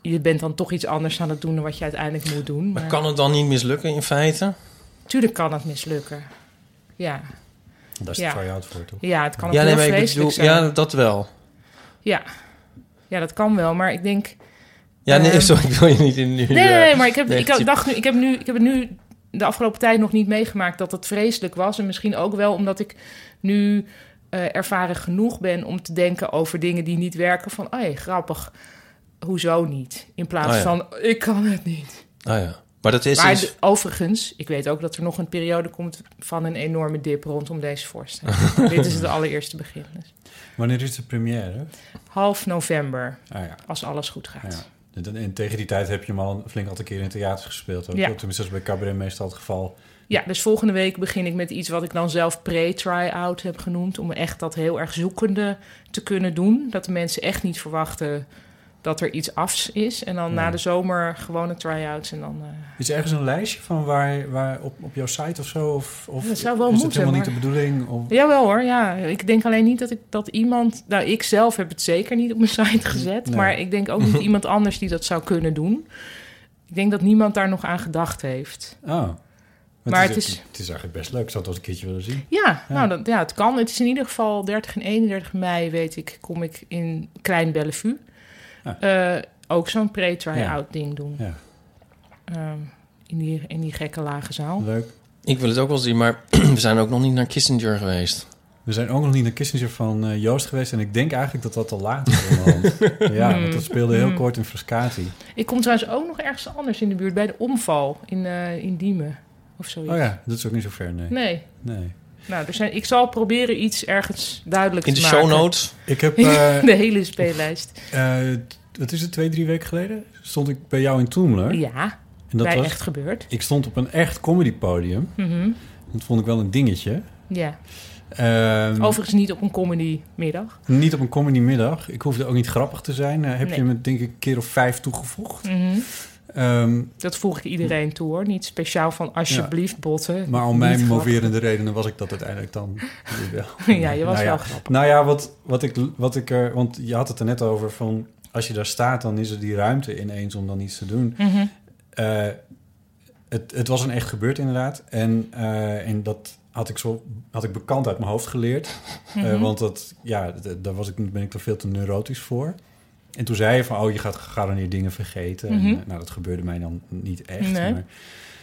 Speaker 3: Je bent dan toch iets anders aan het doen dan wat je uiteindelijk moet doen.
Speaker 2: Maar
Speaker 3: Maar
Speaker 2: kan het dan niet mislukken in feite?
Speaker 3: tuurlijk kan het mislukken. Ja,
Speaker 4: Daar is
Speaker 3: Ja.
Speaker 4: de try-out voor, toch?
Speaker 3: ja het kan ook heel
Speaker 2: maar ik
Speaker 3: vreselijk
Speaker 2: bedoel-
Speaker 3: zijn.
Speaker 2: ja, dat wel.
Speaker 3: Ja. ja, dat kan wel. Maar ik denk,
Speaker 2: Ja, nee,
Speaker 3: Ehm,
Speaker 2: <laughs> sorry, ik wil je niet in nu.
Speaker 3: Nee, nee,
Speaker 2: eh,
Speaker 3: nee, maar ik heb, ik
Speaker 2: negatief-
Speaker 3: dacht nu, ik heb nu, ik heb het nu de afgelopen tijd nog niet meegemaakt dat het vreselijk was. En misschien ook wel omdat ik nu eh, ervaren genoeg ben om te denken over dingen die niet werken. Van, oh grappig, hoezo niet? In plaats
Speaker 2: Oh ja.
Speaker 3: van, ik kan het niet.
Speaker 2: Ah ja. Maar dat is
Speaker 3: maar
Speaker 2: dus-
Speaker 3: d- overigens, ik weet ook dat er nog een periode komt van een enorme dip rondom deze
Speaker 2: <laughs>
Speaker 3: voorstelling. Dit is het allereerste begin. Dus
Speaker 4: Wanneer is de première?
Speaker 3: half november,
Speaker 4: Ah ja.
Speaker 3: als alles goed
Speaker 4: Ah,
Speaker 3: gaat.
Speaker 4: ja. En- En tegen die tijd heb je hem al een flink aantal keer in theaters gespeeld. Ook.
Speaker 3: Ja.
Speaker 4: Tenminste, dat is bij cabaret meestal het geval.
Speaker 3: Ja, dus volgende week begin ik met iets wat ik dan zelf pre-try-out heb genoemd. Om echt dat heel erg zoekende te kunnen doen. Dat de mensen echt niet verwachten dat er iets afs is. En dan na de zomer gewone try-outs. En dan, eh,
Speaker 4: Is er ergens een lijstje van waar, waar op, op jouw site of zo? Of, of
Speaker 3: Dat zou wel
Speaker 4: is
Speaker 3: moeten,
Speaker 4: dat helemaal
Speaker 3: maar-
Speaker 4: niet de bedoeling? Of...
Speaker 3: Jawel hoor, ja. Ik denk alleen niet dat, ik, dat iemand... Nou, ik zelf heb het zeker niet op mijn site gezet.
Speaker 4: Nee.
Speaker 3: Maar ik denk ook niet iemand anders die dat zou kunnen doen. Ik denk dat niemand daar nog aan gedacht heeft.
Speaker 4: Oh.
Speaker 3: Maar
Speaker 4: het,
Speaker 3: het
Speaker 4: is,
Speaker 3: is-
Speaker 4: het is eigenlijk best leuk. Ik zou het wel eens een keertje willen zien.
Speaker 3: Ja,
Speaker 4: Ja.
Speaker 3: nou dat, ja, het kan. Het is in ieder geval 30 en 31 mei, weet ik, kom ik in Klein Bellevue.
Speaker 4: Ja.
Speaker 3: Eh, ook zo'n pre-try-out ding doen.
Speaker 4: Ah. Ja.
Speaker 3: Ehm, in, die, in die gekke lage zaal.
Speaker 4: Leuk.
Speaker 2: Ik wil het ook wel zien, maar <clears throat> we zijn ook nog niet naar Kissinger geweest.
Speaker 4: We zijn ook nog niet naar Kissinger van eh, Joost geweest. En ik denk eigenlijk dat dat al laat is.
Speaker 3: <laughs>
Speaker 4: onderhand. ja,
Speaker 3: Hmm.
Speaker 4: want dat speelde heel kort in Frascati.
Speaker 3: Ik kom trouwens ook nog ergens anders in de buurt, bij de omval in, eh, in Diemen of zoiets.
Speaker 4: Oh ja, dat is ook niet zo ver, nee.
Speaker 3: Nee.
Speaker 4: nee.
Speaker 3: Nou, er zijn, ik zal proberen iets ergens duidelijk
Speaker 2: In de
Speaker 3: te maken.
Speaker 2: show
Speaker 3: <laughs>
Speaker 2: notes.
Speaker 4: Ik heb, eh,
Speaker 3: de hele speellijst.
Speaker 4: eh, wat is het, twee, drie weken geleden? Stond ik bij jou in Toemler.
Speaker 3: Ja,
Speaker 4: en dat
Speaker 3: bij
Speaker 4: was,
Speaker 3: echt gebeurd.
Speaker 4: Ik stond op een echt comedy podium.
Speaker 3: Mhm.
Speaker 4: Dat vond ik wel een dingetje.
Speaker 3: Ja.
Speaker 4: Ehm,
Speaker 3: Overigens niet op een comedy middag.
Speaker 4: Niet op een comedy middag. Ik hoefde ook niet grappig te zijn. Eh, heb
Speaker 3: Nee.
Speaker 4: je me denk ik een keer of vijf toegevoegd.
Speaker 3: Mhm.
Speaker 4: Ehm,
Speaker 3: Dat voeg ik iedereen toe hoor. Niet speciaal van alsjeblieft botten.
Speaker 4: maar om
Speaker 3: Niet
Speaker 4: mijn
Speaker 3: grappig.
Speaker 4: moverende redenen was ik dat uiteindelijk dan weer wel.
Speaker 3: <laughs> Ja, je was
Speaker 4: Nou ja.
Speaker 3: wel grappig.
Speaker 4: Nou ja, wat, wat ik, wat ik er... Want je had het er net over van... Als je daar staat, dan is er die ruimte ineens om dan iets te doen.
Speaker 3: Mhm.
Speaker 4: Eh, het, het was een echt gebeurd inderdaad. En, eh, en dat had ik, zo, had ik bekant uit mijn hoofd geleerd. Eh,
Speaker 3: Mhm.
Speaker 4: want dat, ja, d- daar was ik, ben ik er veel te neurotisch voor. En toen zei je van, oh, je gaat gegarandeerd dingen vergeten. En,
Speaker 3: Mhm.
Speaker 4: eh, nou, dat gebeurde mij dan niet echt.
Speaker 3: Nee.
Speaker 4: Maar,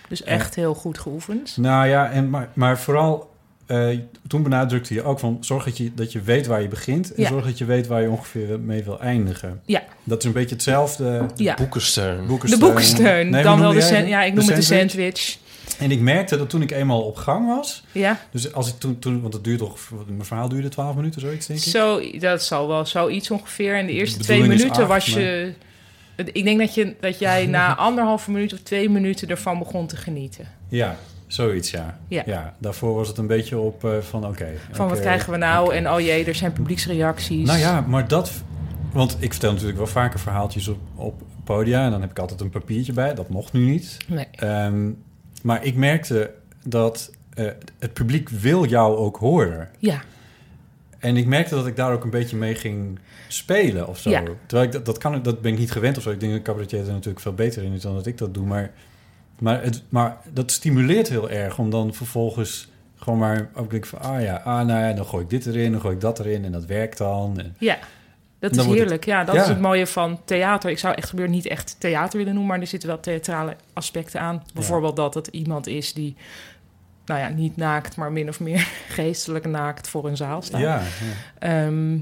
Speaker 3: Dus echt heel goed geoefend.
Speaker 4: nou ja, en, maar, maar vooral... eh, toen benadrukte je ook van zorg dat je, dat je weet waar je begint... en
Speaker 3: Ja.
Speaker 4: zorg dat je weet waar je ongeveer mee wil eindigen.
Speaker 3: Ja.
Speaker 4: Dat is een beetje hetzelfde.
Speaker 3: Ja.
Speaker 2: Boekensteun.
Speaker 3: De boekensteun.
Speaker 4: Nee,
Speaker 3: Dan
Speaker 4: hoe
Speaker 3: wel de
Speaker 4: noemde jij
Speaker 3: sandwich.
Speaker 4: het?
Speaker 3: Ja, ik noem het de
Speaker 4: sandwich.
Speaker 3: sandwich.
Speaker 4: En ik merkte dat toen ik eenmaal op gang was...
Speaker 3: Ja,
Speaker 4: Dus als ik toen, toen want het duurt toch, mijn verhaal duurde 12 minuten, zoiets denk ik.
Speaker 3: zo, dat zal wel zoiets ongeveer. En de eerste
Speaker 4: De
Speaker 3: twee
Speaker 4: bedoeling is
Speaker 3: minuten
Speaker 4: acht,
Speaker 3: was je... Ik denk dat, je, dat
Speaker 4: <laughs>
Speaker 3: jij na anderhalve minuut of twee minuten ervan begon te genieten.
Speaker 4: Ja, zoiets, ja.
Speaker 3: Ja.
Speaker 4: daarvoor was het een beetje op eh, van, oké.
Speaker 3: Van wat krijgen we nou? En oh jee, er zijn publieksreacties.
Speaker 4: Nou ja, maar dat, want ik vertel natuurlijk wel vaker verhaaltjes op, op podia en dan heb ik altijd een papiertje bij, dat mocht nu niet.
Speaker 3: Nee.
Speaker 4: Ehm, maar ik merkte dat eh, het publiek wil jou ook horen.
Speaker 3: Ja,
Speaker 4: En ik merkte dat ik daar ook een beetje mee ging spelen of zo.
Speaker 3: Ja.
Speaker 4: Terwijl ik dat, dat kan, ik- dat ben ik niet gewend of zo. Ik denk dat een cabaretier er natuurlijk veel beter in is dan dat ik dat doe. Maar, maar, het, maar dat stimuleert heel erg om dan vervolgens gewoon maar ook denk van, ah ja, ah nou ja, dan gooi ik dit erin, dan gooi ik dat erin en dat werkt dan. En,
Speaker 3: Ja, dat
Speaker 4: Dan
Speaker 3: is
Speaker 4: wordt het-
Speaker 3: heerlijk. Ja, dat
Speaker 4: Ja.
Speaker 3: is het mooie van theater. Ik zou echt gebeurd niet echt theater willen noemen, maar er zitten wel theatrale aspecten aan. Bijvoorbeeld dat het iemand is die, nou ja, niet naakt, maar min of meer <laughs> geestelijk naakt voor een zaal staat.
Speaker 4: ja, ja.
Speaker 3: Ehm,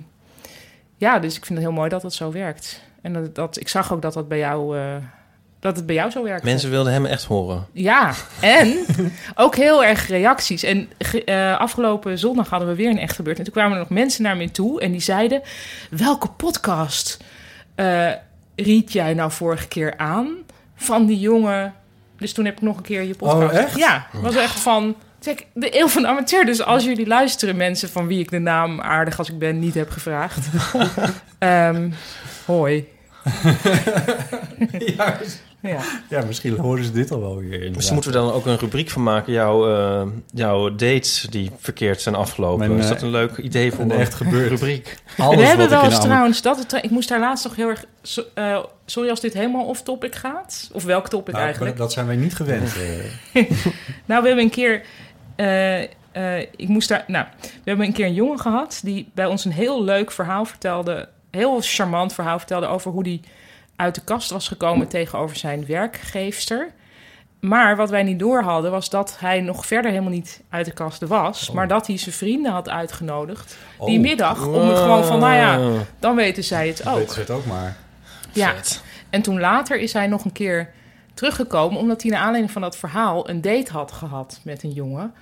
Speaker 3: ja, dus ik vind het heel mooi dat dat zo werkt. En dat, dat, ik zag ook dat dat bij jou, eh, dat het bij jou zo werkt.
Speaker 2: Mensen wilden hem echt horen.
Speaker 3: Ja, en <laughs> ook heel erg reacties. En ge- eh, afgelopen zondag hadden we weer een echt gebeurd. En toen kwamen er nog mensen naar me toe en die zeiden... welke podcast eh, ried jij nou vorige keer aan van die jongen? Dus toen heb ik nog een keer je podcast...
Speaker 4: Oh, echt?
Speaker 3: Ja, was echt van... Kijk, de eeuw van de amateur. Dus als jullie luisteren, mensen van wie ik de naam aardig als ik ben niet heb
Speaker 4: <laughs>
Speaker 3: gevraagd. Ehm, hoi.
Speaker 4: ja,
Speaker 3: Ja.
Speaker 4: ja, misschien horen ze dit al wel weer in.
Speaker 2: Misschien Dus moeten we dan ook een rubriek van maken. Jouw, eh, jouw dates die verkeerd zijn afgelopen.
Speaker 4: Mijn,
Speaker 2: is
Speaker 4: eh,
Speaker 2: dat een leuk idee voor
Speaker 4: een echt gebeurd.
Speaker 2: rubriek?
Speaker 4: Alles
Speaker 3: we hebben
Speaker 4: wat
Speaker 3: wel
Speaker 4: ik
Speaker 3: eens
Speaker 4: in de amateur-
Speaker 3: trouwens, dat, het- ik moest daar laatst nog heel erg... so- eh, sorry als dit helemaal off-topic gaat. Of welk topic
Speaker 4: Nou,
Speaker 3: eigenlijk. Oh.
Speaker 4: Dat zijn wij niet gewend. eh.
Speaker 3: Nou, we hebben een keer... eh, eh, ik moest daar... Nou, we hebben een keer een jongen gehad... die bij ons een heel leuk verhaal vertelde... heel charmant verhaal vertelde over hoe die uit de kast was gekomen tegenover zijn werkgeefster. Maar wat wij niet door hadden was dat hij nog verder helemaal niet uit de kast was. Maar dat hij zijn vrienden had uitgenodigd die
Speaker 4: Oh,
Speaker 3: middag. Om er gewoon van, nou ja, dan weten zij het
Speaker 4: dat
Speaker 3: ook.
Speaker 4: weten ze het ook maar.
Speaker 3: Ja. En toen later is hij nog een keer teruggekomen, omdat hij naar aanleiding van dat verhaal een date had gehad met een jongen.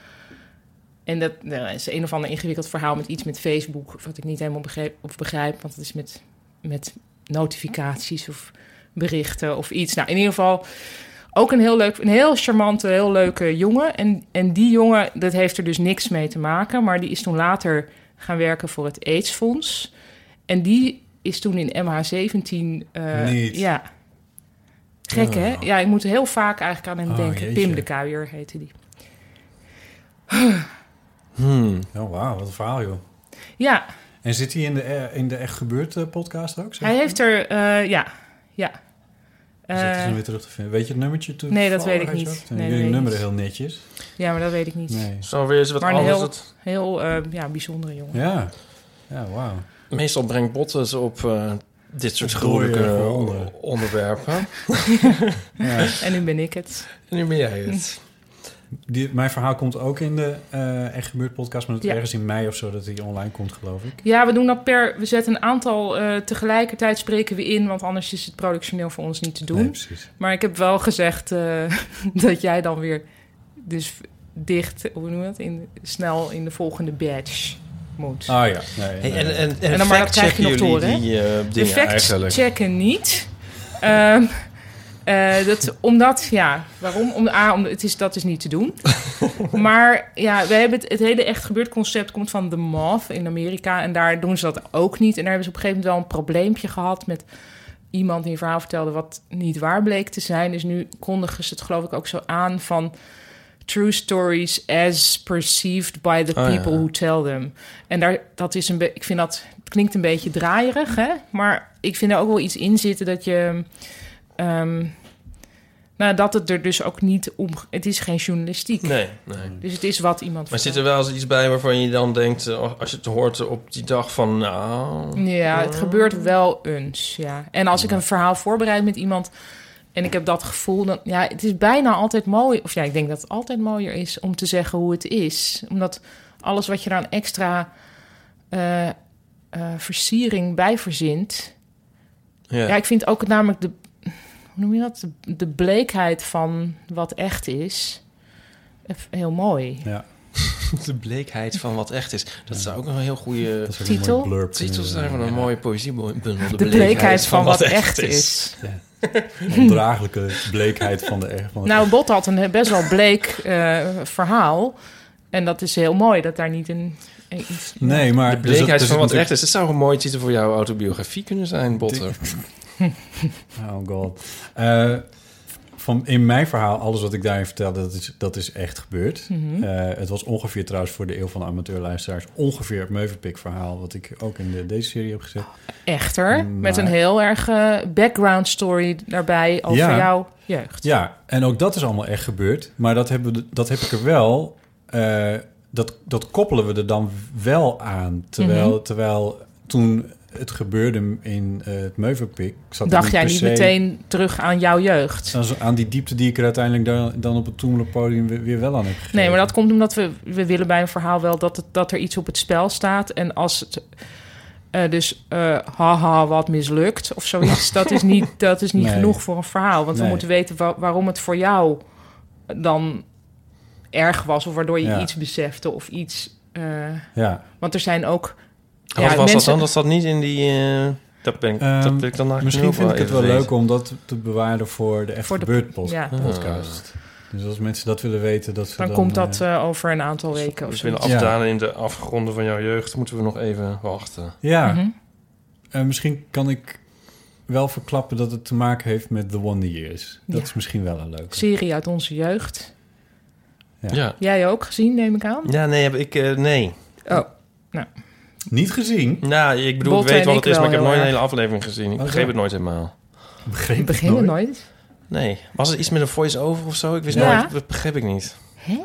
Speaker 3: En dat nou, is een of ander ingewikkeld verhaal met iets met Facebook, wat ik niet helemaal begreep, of begrijp, want het is met, met notificaties of berichten of iets. Nou, in ieder geval Ook een heel, leuk, een heel charmante, heel leuke jongen. En, en die jongen, dat heeft er dus niks mee te maken. Maar die is toen later gaan werken voor het AIDS-fonds. En die is toen in MH17... eh,
Speaker 4: Niet.
Speaker 3: Ja. Gek, hè? Ja, ik moet heel vaak eigenlijk aan hem
Speaker 4: Oh,
Speaker 3: denken. Pim
Speaker 4: jeetje.
Speaker 3: de Kuijer heette die.
Speaker 2: Hmm.
Speaker 4: Oh, wauw, wat een verhaal, joh.
Speaker 3: Ja,
Speaker 4: En zit hij in de, eh, in de Echt Gebeurd eh, podcast ook? zeg
Speaker 3: hij
Speaker 4: je?
Speaker 3: heeft er... eh, ja, ja.
Speaker 4: Dan zitten ze
Speaker 3: Eh,
Speaker 4: hem weer terug te vinden. Weet je het nummertje toen?
Speaker 3: Nee, dat
Speaker 4: toevallig
Speaker 3: weet ik
Speaker 4: uit je
Speaker 3: niet.
Speaker 4: hoofd? Zijn
Speaker 3: Nee, dat
Speaker 4: jullie
Speaker 3: weet ik
Speaker 4: nummeren heel netjes.
Speaker 3: ja, maar dat weet ik niet.
Speaker 4: Nee.
Speaker 2: Zo weer eens wat
Speaker 3: Maar een
Speaker 2: anders.
Speaker 3: heel-
Speaker 2: Het-
Speaker 3: Heel eh, ja, bijzondere jongen.
Speaker 4: Ja. Ja, wauw.
Speaker 2: meestal brengt botten ze op eh, dit soort
Speaker 4: Op dode
Speaker 2: gruwelijke
Speaker 4: gronden.
Speaker 2: onderwerpen.
Speaker 4: Ja.
Speaker 3: En nu ben ik het.
Speaker 2: En nu ben jij het.
Speaker 4: <laughs> Die, mijn verhaal komt ook in de eh Echt Gebeurd podcast, maar dat
Speaker 3: Ja.
Speaker 4: ergens in mei of zo dat die online komt, geloof ik.
Speaker 3: Ja, we doen dat per... We zetten een aantal eh, tegelijkertijd spreken we in... want anders is het productioneel voor ons niet te doen.
Speaker 4: Nee, precies.
Speaker 3: Maar ik heb wel gezegd eh, <laughs> dat jij dan weer... dus dicht, hoe noem je dat? In, snel in de volgende batch moet.
Speaker 4: Oh ja. Nee,
Speaker 2: Hey,
Speaker 4: nee,
Speaker 2: en, eh,
Speaker 4: nee.
Speaker 2: en,
Speaker 3: En
Speaker 2: en,
Speaker 3: dan maar dat krijg je
Speaker 2: checken
Speaker 3: nog
Speaker 2: jullie
Speaker 3: te horen, hè?
Speaker 2: die eh,
Speaker 3: De
Speaker 2: dingen
Speaker 3: facts
Speaker 2: eigenlijk?
Speaker 3: checken niet. Ehm, eh, dat, omdat, ja, waarom? Om, A, om, het is, dat is niet te doen. <laughs> maar ja, we hebben het, het hele echt gebeurd concept komt van The Moth in Amerika. En daar doen ze dat ook niet. En daar hebben ze op een gegeven moment wel een probleempje gehad met iemand die een verhaal vertelde wat niet waar bleek te zijn. Dus nu kondigen ze het geloof ik ook zo aan van true stories as perceived by the
Speaker 2: Oh, ja.
Speaker 3: people who tell them. En daar, dat is een be- ik vind dat, het klinkt een beetje draaierig, hè? Maar ik vind er ook wel iets in zitten dat je, ehm, nou, dat het er dus ook niet om, het is geen journalistiek.
Speaker 2: Nee, nee.
Speaker 3: Dus het is wat iemand.
Speaker 2: Maar zit er
Speaker 3: vertelt.
Speaker 2: wel eens iets bij waarvan je dan denkt, eh, als je het hoort op die dag van, nou...
Speaker 3: Ja, het gebeurt wel eens, ja. En als ik een verhaal voorbereid met iemand en ik heb dat gevoel, dan ja, het is bijna altijd mooi. Of ja, ik denk dat het altijd mooier is om te zeggen hoe het is, omdat alles wat je daar een extra eh, eh, versiering bij verzint.
Speaker 2: Ja. <laughs>
Speaker 3: Ja, ik vind ook namelijk de, hoe noem je dat, de, de bleekheid van wat echt is, eh, heel mooi.
Speaker 4: Ja,
Speaker 2: De bleekheid van wat echt is. Dat zou ook nog een heel goede
Speaker 4: dat is ook een
Speaker 3: Titel?
Speaker 4: mooie blurb.
Speaker 2: titel zijn van een
Speaker 4: Ja.
Speaker 2: mooie poëziebundel. De,
Speaker 3: De bleekheid van wat echt is.
Speaker 4: Ja. Een Ondraaglijke bleekheid van de erg. Van de
Speaker 3: Nou, Bot had een best wel bleek eh, verhaal. En dat is heel mooi dat daar niet een. een- iets-
Speaker 4: Nee, maar...
Speaker 2: De bleekheid
Speaker 4: dus dat-
Speaker 2: van
Speaker 4: dus
Speaker 2: wat echt is. Het zou een mooie titel voor jouw autobiografie kunnen zijn, Botten.
Speaker 4: natuurlijk- Oh god. Eh, van, in mijn verhaal, alles wat ik daarin vertelde, dat is, dat is echt gebeurd.
Speaker 3: Mhm.
Speaker 4: Eh, het was ongeveer trouwens voor de eeuw van de amateurluisteraars... ongeveer het Meuvenpik verhaal, wat ik ook in de, deze serie heb
Speaker 3: Oh,
Speaker 4: gezet.
Speaker 3: Echter, met een
Speaker 4: Maar-
Speaker 3: heel erg eh, background story daarbij over
Speaker 4: Ja.
Speaker 3: jouw jeugd.
Speaker 4: Ja, en ook dat is allemaal echt gebeurd. Maar dat, hebben, we- dat heb ik er wel. eh, dat, dat koppelen we er dan wel aan. Terwijl,
Speaker 3: Mhm.
Speaker 4: terwijl toen het gebeurde in eh, het Meuvenpik. Zat ik
Speaker 3: Dacht jij
Speaker 4: per
Speaker 3: niet
Speaker 4: se
Speaker 3: meteen terug aan jouw jeugd?
Speaker 4: Aan, zo- aan die diepte die ik er uiteindelijk dan, dan op het Toemelenpodium weer, weer wel aan heb gegeven.
Speaker 3: Nee, maar dat komt omdat we, we willen bij een verhaal wel dat, het, dat er iets op het spel staat. En als het. eh, dus eh, haha, wat mislukt of
Speaker 4: <laughs>
Speaker 3: zoiets. dat is niet, dat is niet
Speaker 4: Nee.
Speaker 3: genoeg voor een verhaal. Want we
Speaker 4: Nee.
Speaker 3: moeten weten wa- waarom het voor jou dan erg was. Of waardoor je
Speaker 4: Ja.
Speaker 3: iets besefte of iets. eh,
Speaker 4: Ja,
Speaker 3: want er zijn ook.
Speaker 2: Wat was dat
Speaker 3: mensen-
Speaker 2: dan? Dat zat niet in die... eh, dat ben ik,
Speaker 4: Ehm,
Speaker 2: dat wil ik dan eigenlijk
Speaker 4: misschien
Speaker 2: ook
Speaker 4: vind ik het wel
Speaker 2: even
Speaker 4: leuk
Speaker 2: weten.
Speaker 4: om dat te bewaren voor de Echt
Speaker 3: Voor de-
Speaker 4: Gebeurd pod-
Speaker 3: ja.
Speaker 4: podcast. Dus als mensen dat willen weten, dat ze
Speaker 3: Dan,
Speaker 4: dan...
Speaker 3: komt dat
Speaker 4: eh,
Speaker 3: eh, over een aantal weken of
Speaker 2: Dus
Speaker 3: zo.
Speaker 2: willen
Speaker 4: Ja.
Speaker 2: afdalen in de afgronden van jouw jeugd moeten we nog even wachten.
Speaker 4: ja,
Speaker 3: Mhm.
Speaker 4: Eh, misschien kan ik wel verklappen dat het te maken heeft met The Wonder Years. Dat
Speaker 3: Ja.
Speaker 4: is misschien wel een leuke.
Speaker 3: Serie uit onze jeugd.
Speaker 4: Ja.
Speaker 2: Ja,
Speaker 3: Jij ook gezien, neem ik aan.
Speaker 2: ja nee, heb ik, eh, nee.
Speaker 3: Oh,
Speaker 4: Niet gezien.
Speaker 2: Nou, ik bedoel,
Speaker 3: Botte
Speaker 2: ik weet
Speaker 3: en
Speaker 2: wat
Speaker 3: ik
Speaker 2: het is, maar ik heb
Speaker 3: wel heel
Speaker 2: nooit een
Speaker 3: erg.
Speaker 2: hele aflevering gezien. Ik
Speaker 4: Oh, zo.
Speaker 2: begreep het nooit helemaal.
Speaker 4: Begreep
Speaker 3: ik
Speaker 4: het
Speaker 3: begin het nooit.
Speaker 2: Nee. Was het iets met een voice-over of zo? Ik wist
Speaker 3: Ja.
Speaker 2: nooit, dat begreep ik niet.
Speaker 3: Hè?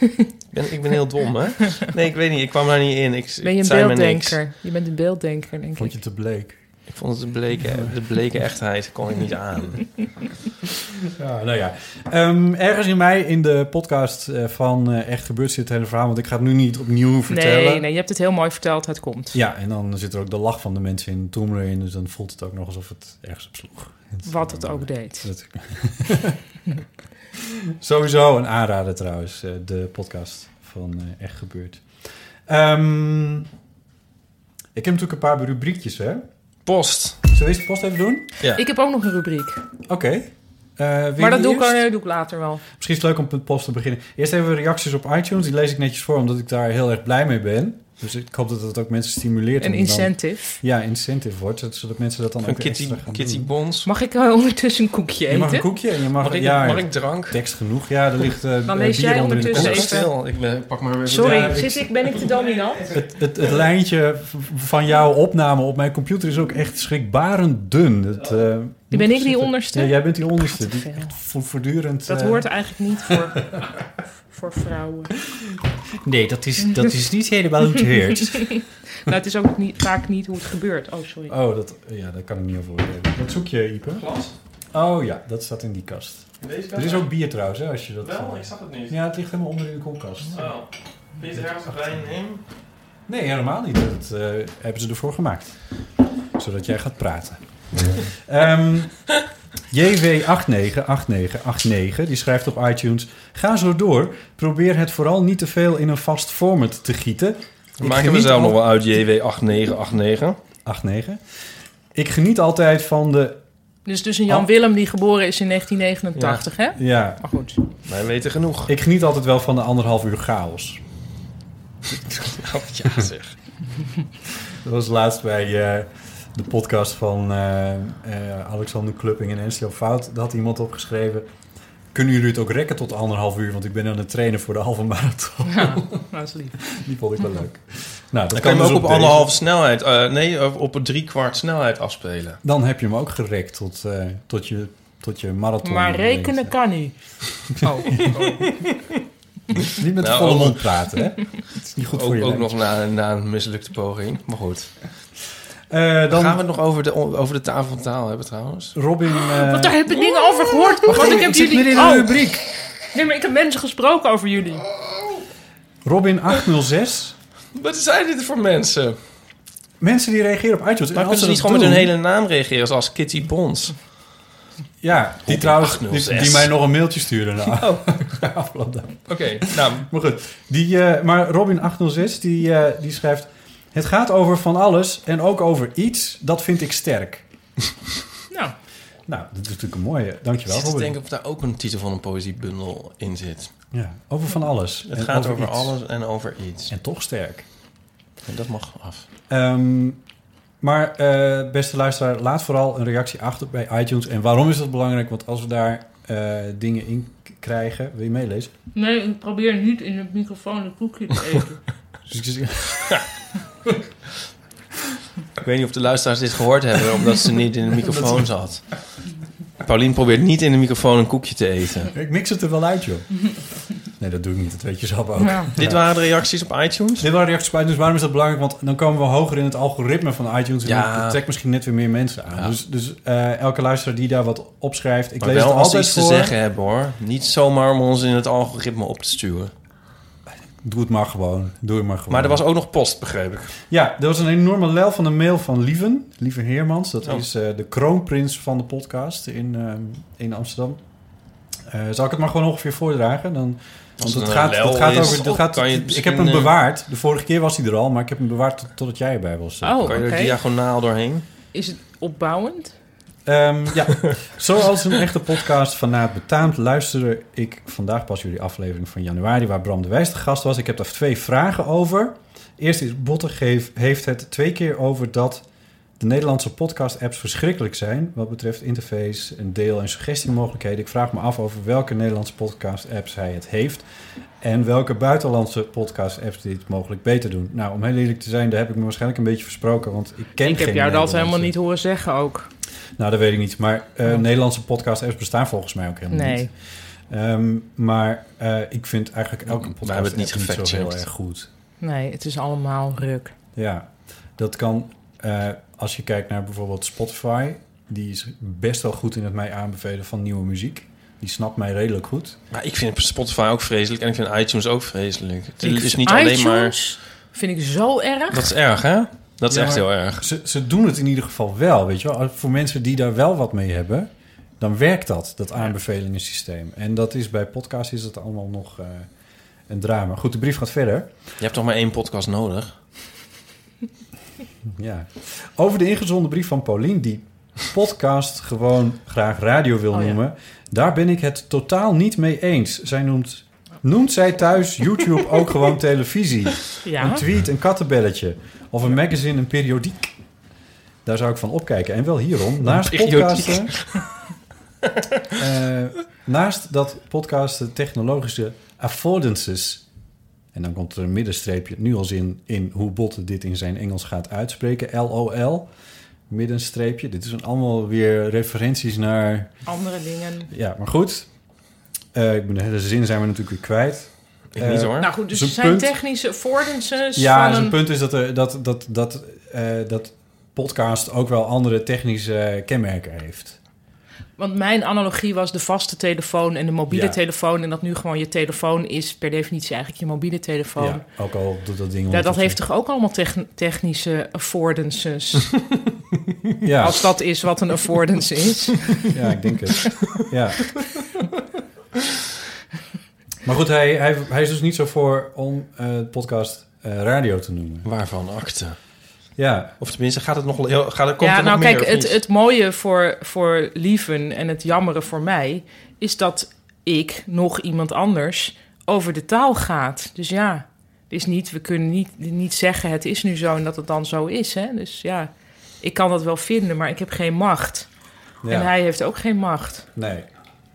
Speaker 2: Ik ben, ik ben heel dom,
Speaker 3: <laughs>
Speaker 2: hè? Nee, ik weet niet. Ik kwam daar niet in. Ik,
Speaker 3: Ben
Speaker 2: het
Speaker 3: je een
Speaker 2: zei me niks.
Speaker 3: beelddenker? Je bent een beelddenker, denk
Speaker 4: Vond
Speaker 3: ik.
Speaker 4: je te bleek?
Speaker 2: Ik vond het de bleke, de bleke echtheid kon ik niet
Speaker 3: <laughs>
Speaker 2: aan.
Speaker 4: Ja, nou ja. Ehm, ergens in mij in de podcast eh, van eh, Echt Gebeurd zit het hele verhaal, want ik ga het nu niet opnieuw vertellen.
Speaker 3: Nee, nee, je hebt het heel mooi verteld. Het komt.
Speaker 4: Ja, en dan zit er ook de lach van de mensen in Tomb in, dus dan voelt het ook nog alsof het ergens op sloeg.
Speaker 3: Wat het ook deed.
Speaker 4: Dat- Sowieso een aanrader trouwens, eh, de podcast van eh, Echt Gebeurd. Ehm, ik heb natuurlijk een paar rubriekjes, hè?
Speaker 2: Post.
Speaker 4: Zullen we deze post even doen?
Speaker 2: Ja.
Speaker 3: Ik heb ook nog een rubriek.
Speaker 4: Oké. Eh, wil
Speaker 3: Maar dat
Speaker 4: je
Speaker 3: doe ik,
Speaker 4: eerst?
Speaker 3: eh, doe ik later wel.
Speaker 4: Misschien is het leuk om met post te beginnen. Eerst even reacties op iTunes. Die lees ik netjes voor, omdat ik daar heel erg blij mee ben. Dus ik hoop dat dat ook mensen stimuleert.
Speaker 3: Een
Speaker 4: om dan-
Speaker 3: incentive.
Speaker 4: Ja, incentive wordt. zodat- Zodat mensen dat dan
Speaker 2: Van
Speaker 4: ook
Speaker 2: Kitty,
Speaker 4: extra gaan
Speaker 2: Kitty
Speaker 4: doen.
Speaker 2: Bons.
Speaker 3: Mag ik eh, ondertussen een koekje
Speaker 4: Je mag een
Speaker 3: eten?
Speaker 4: koekje en je mag...
Speaker 2: Mag ik,
Speaker 4: ja,
Speaker 2: mag ik drank?
Speaker 4: tekst genoeg. Ja, er ligt eh
Speaker 3: Dan
Speaker 4: eh,
Speaker 3: lees
Speaker 4: bier
Speaker 3: jij
Speaker 4: onder in de
Speaker 3: ondertussen
Speaker 4: koelkast.
Speaker 2: Stil,
Speaker 3: even.
Speaker 2: ik ben, pak maar weer even
Speaker 3: Sorry,
Speaker 4: Ja, ik-
Speaker 3: zit ik, ben ik te dominant?
Speaker 4: Het, het, het lijntje v- van jouw opname op mijn computer is ook echt schrikbarend dun. Het, eh, moet
Speaker 3: ben ik, die
Speaker 4: zitten.
Speaker 3: onderste?
Speaker 4: Ja, jij bent die onderste.
Speaker 3: Wat
Speaker 4: Die eh,
Speaker 3: veel.
Speaker 4: echt vo- voortdurend...
Speaker 3: Dat
Speaker 4: eh,
Speaker 3: hoort eigenlijk niet voor, voor vrouwen.
Speaker 5: Nee, dat is, dat is niet helemaal hoe het heurt.
Speaker 3: <laughs> Nou, het is ook niet, vaak niet hoe het gebeurt. Oh, sorry.
Speaker 4: Oh, dat, ja, daar kan ik niet over oordelen. Wat zoek je, Ipe?
Speaker 2: Glas?
Speaker 4: Oh ja, dat staat in die kast.
Speaker 2: Deze
Speaker 4: Er is ook bier trouwens, hè, als je dat...
Speaker 2: Wel, ik zag het niet.
Speaker 4: Ja, het ligt helemaal onder in de koelkast.
Speaker 2: Oh. Vind je het ergens een wijn in?
Speaker 4: Nee, helemaal niet. Dat eh, hebben ze ervoor gemaakt. Zodat jij gaat praten. Ehm JW898989, die schrijft op iTunes... Ga zo door. Probeer het vooral niet te veel in een vast format te gieten.
Speaker 2: We
Speaker 4: Ik
Speaker 2: maken
Speaker 4: geniet
Speaker 2: we zelf
Speaker 4: al-
Speaker 2: nog wel uit, JW8989.
Speaker 4: 89. Ik geniet altijd van de...
Speaker 3: Dus dus een Jan Willem die geboren is in 1989, hè?
Speaker 4: Ja,
Speaker 3: Maar goed.
Speaker 2: Wij weten genoeg.
Speaker 4: ik geniet altijd wel van de anderhalf uur chaos.
Speaker 2: <laughs> Oh, ja, zeg.
Speaker 4: Dat was laatst bij eh, de podcast van eh, eh, Alexander Klupping en Ensio Fout. Daar had iemand opgeschreven... Kunnen jullie het ook rekken tot anderhalf uur? Want ik ben aan het trainen voor de halve marathon. <laughs>
Speaker 3: Ja, dat is lief.
Speaker 4: Die vond ik wel leuk. Nou, dat
Speaker 2: Dan kan je
Speaker 4: dus
Speaker 2: hem ook op
Speaker 4: deze.
Speaker 2: anderhalve snelheid, eh, nee, op- op een driekwart snelheid afspelen.
Speaker 4: Dan heb je hem ook gerekt tot, eh, tot, je, tot je marathon.
Speaker 3: Maar rekenen kan niet. Oh,
Speaker 2: <laughs>
Speaker 4: Niet met
Speaker 2: Nou,
Speaker 4: volle
Speaker 2: ook-
Speaker 4: mond praten, hè?
Speaker 2: <laughs>
Speaker 4: Het is niet goed voor
Speaker 2: Ook,
Speaker 4: je
Speaker 2: ook
Speaker 4: lijf.
Speaker 2: nog na, na een mislukte poging. Maar goed.
Speaker 4: Eh,
Speaker 2: Dan
Speaker 4: dan
Speaker 2: gaan we het nog over de, over de tafel van taal hebben trouwens.
Speaker 4: Robin... eh,
Speaker 3: want daar heb ik dingen over gehoord. Want ik heb
Speaker 4: zit
Speaker 3: jullie...
Speaker 4: midden in de
Speaker 3: oh,
Speaker 4: rubriek.
Speaker 3: nee, maar ik heb mensen gesproken over jullie.
Speaker 4: Robin 806.
Speaker 2: Wat zijn dit voor mensen?
Speaker 4: Mensen die reageren op iTunes. En
Speaker 2: Maar kunnen
Speaker 4: als
Speaker 2: ze
Speaker 4: ze
Speaker 2: niet
Speaker 4: dat
Speaker 2: gewoon met hun
Speaker 4: doen-
Speaker 2: hele naam reageren zoals Kitty
Speaker 4: <laughs>
Speaker 2: Bons?
Speaker 4: Ja, die
Speaker 2: Robin
Speaker 4: trouwens... Die,
Speaker 2: 806.
Speaker 4: die mij nog een mailtje sturen. Nou,
Speaker 2: Oh.
Speaker 4: <laughs> afgelopen dag.
Speaker 2: Oké, nou,
Speaker 4: Maar goed, die, eh, maar Robin806 die, eh, die schrijft... Het gaat over van alles en ook over iets. Dat vind ik sterk.
Speaker 3: Nou,
Speaker 4: Nou, dat is natuurlijk een mooie.
Speaker 2: ik
Speaker 4: Dankjewel,
Speaker 2: zit te
Speaker 4: Robin.
Speaker 2: denken of daar ook een titel van een poëziebundel in zit.
Speaker 4: Ja, over van alles.
Speaker 2: Het
Speaker 4: en
Speaker 2: gaat over,
Speaker 4: iets.
Speaker 2: alles en over iets.
Speaker 4: En toch sterk.
Speaker 2: En dat mag af.
Speaker 4: Ehm, maar eh, beste luisteraar, laat vooral een reactie achter bij iTunes. En waarom is dat belangrijk? Want als we daar eh, dingen in k- krijgen... Wil je meelezen?
Speaker 3: nee, ik probeer niet in het microfoon een koekje te eten.
Speaker 4: <laughs> Dus ik zeg-
Speaker 2: Ik weet niet of de luisteraars dit gehoord hebben, omdat ze niet
Speaker 4: <laughs>
Speaker 2: in de microfoon zat. Paulien probeert niet in de microfoon een koekje te eten.
Speaker 4: ik mix het er wel uit, joh. Nee, dat doe ik niet. Dat weet je zelf ook.
Speaker 3: Ja.
Speaker 2: Dit waren de reacties op iTunes.
Speaker 4: Dit waren reacties op iTunes. Waarom is dat belangrijk? Want dan komen we hoger in het algoritme van iTunes. En
Speaker 2: Ja.
Speaker 4: dat trekt misschien net weer meer mensen aan.
Speaker 2: Ja.
Speaker 4: Dus, dus eh, elke luisteraar die daar wat opschrijft... Ik
Speaker 2: Maar
Speaker 4: lees
Speaker 2: wel
Speaker 4: het
Speaker 2: als ze
Speaker 4: altijd
Speaker 2: iets
Speaker 4: voor.
Speaker 2: te zeggen hebben hoor. Niet zomaar om ons in het algoritme op te sturen.
Speaker 4: Doe het maar gewoon. Doe het maar gewoon.
Speaker 2: Maar er was ook nog post, begreep ik.
Speaker 4: Ja, er was een enorme lel van een mail van Lieven. Lieve Heermans. Dat
Speaker 2: Oh.
Speaker 4: is eh, de kroonprins van de podcast in, ehm, in Amsterdam. Eh, zal ik het maar gewoon ongeveer voordragen? Dan,
Speaker 2: het
Speaker 4: want het
Speaker 2: een
Speaker 4: gaat,
Speaker 2: lel
Speaker 4: dat gaat
Speaker 2: is,
Speaker 4: over... Dat
Speaker 2: oh,
Speaker 4: gaat,
Speaker 2: kan je het
Speaker 4: ik heb
Speaker 2: misschien,
Speaker 4: hem
Speaker 2: eh,
Speaker 4: bewaard. De vorige keer was hij er al, maar ik heb hem bewaard tot, totdat jij erbij was. eh,
Speaker 3: Oh,
Speaker 2: Kan je er
Speaker 3: Oké.
Speaker 2: diagonaal doorheen?
Speaker 3: Is het opbouwend?
Speaker 4: Ehm,
Speaker 3: <laughs>
Speaker 4: ja, zoals een echte podcast van Na het Betaamt luisterde ik vandaag pas jullie aflevering van januari, waar Bram de Wijs de gast was. Ik heb daar twee vragen over. Eerst is Botte geef, heeft het twee keer over dat de Nederlandse podcast-apps verschrikkelijk zijn wat betreft interface en deel- en suggestiemogelijkheden. Ik vraag me af over welke Nederlandse podcast-apps hij het heeft en welke buitenlandse podcast-apps dit mogelijk beter doen. Nou, om heel eerlijk te zijn, daar heb ik me waarschijnlijk een beetje versproken, want ik ken
Speaker 3: Ik heb
Speaker 4: geen
Speaker 3: jou dat helemaal
Speaker 4: Nederlandse.
Speaker 3: niet horen zeggen ook.
Speaker 4: Nou, dat weet ik niet. Maar eh,
Speaker 3: Oh.
Speaker 4: Nederlandse podcast-apps bestaan volgens mij ook helemaal
Speaker 3: Nee.
Speaker 4: niet. Ehm, maar eh, ik vind eigenlijk elke podcast
Speaker 2: hebben het niet
Speaker 4: app niet zo heel
Speaker 2: gefactcheckt.
Speaker 4: erg goed.
Speaker 3: Nee, het is allemaal ruk.
Speaker 4: Ja, dat kan... eh, als je kijkt naar bijvoorbeeld Spotify... die is best wel goed in het mij aanbevelen van nieuwe muziek. Die snapt mij redelijk goed.
Speaker 2: Maar ik vind Spotify ook vreselijk en ik vind iTunes ook vreselijk. Het
Speaker 3: Ik-
Speaker 2: is niet alleen maar...
Speaker 3: iTunes vind ik zo erg.
Speaker 2: Dat is erg, hè? Dat is
Speaker 4: Ja,
Speaker 2: echt
Speaker 4: maar-
Speaker 2: heel erg.
Speaker 4: Ze, ze doen het in ieder geval wel, weet je wel. Voor mensen die daar wel wat mee hebben... dan werkt dat, dat aanbevelingensysteem. En dat is bij podcasts is dat allemaal nog eh, een drama. Goed, de brief gaat verder.
Speaker 2: Je hebt toch maar één podcast nodig?
Speaker 4: Ja. Over de ingezonden brief van Paulien, die podcast gewoon graag radio wil
Speaker 3: Oh, ja.
Speaker 4: noemen. Daar ben ik het totaal niet mee eens. Zij noemt, noemt zij thuis YouTube ook gewoon televisie. Een
Speaker 3: Ja.
Speaker 4: tweet, een kattenbelletje. Of een magazine, een periodiek. Daar zou ik van opkijken. En wel hierom. Naast
Speaker 2: periodiek.
Speaker 4: podcasten... eh, naast dat podcasten technologische affordances... En dan komt er een middenstreepje, nu als in, in hoe Botte dit in zijn Engels gaat uitspreken. LOL, middenstreepje. Dit zijn allemaal weer referenties naar...
Speaker 3: Andere dingen.
Speaker 4: Ja, maar goed. Eh, ik ben de hele zin zijn we natuurlijk weer kwijt.
Speaker 2: Ik
Speaker 4: Eh,
Speaker 2: niet hoor.
Speaker 3: Nou goed, dus
Speaker 4: Zo'n
Speaker 3: er zijn
Speaker 4: punt.
Speaker 3: technische affordances
Speaker 4: Ja,
Speaker 3: van
Speaker 4: zijn
Speaker 3: een...
Speaker 4: punt is dat, er, dat, dat, dat, eh, dat podcast ook wel andere technische eh, kenmerken heeft.
Speaker 3: Want mijn analogie was de vaste telefoon en de mobiele
Speaker 4: Ja.
Speaker 3: telefoon. En dat nu gewoon je telefoon is per definitie eigenlijk je mobiele telefoon.
Speaker 4: Ja, ook al doet dat ding...
Speaker 3: Oh. Ja, dat
Speaker 4: ondertussen-
Speaker 3: heeft toch ook allemaal techn- technische affordances.
Speaker 4: Ja,
Speaker 3: Als dat is wat een affordance is.
Speaker 4: <laughs> ja, ik denk het. Ja. Maar goed, hij, hij, hij is dus niet zo voor om eh, het podcast eh, radio te noemen.
Speaker 2: Waarvan akte?
Speaker 4: Ja,
Speaker 2: Of tenminste, gaat het nog heel... Gaat, het- komt
Speaker 3: ja,
Speaker 2: er nog
Speaker 3: nou
Speaker 2: meer,
Speaker 3: kijk,
Speaker 2: of
Speaker 3: het,
Speaker 2: niet?
Speaker 3: het mooie voor, voor Lieven en het jammere voor mij is dat ik nog iemand anders over de taal gaat. Dus ja, het is niet, we kunnen niet, niet zeggen het is nu zo en dat het dan zo is. Hè? Dus ja, ik kan dat wel vinden, maar ik heb geen macht.
Speaker 4: ja.
Speaker 3: En hij heeft ook geen macht.
Speaker 4: nee.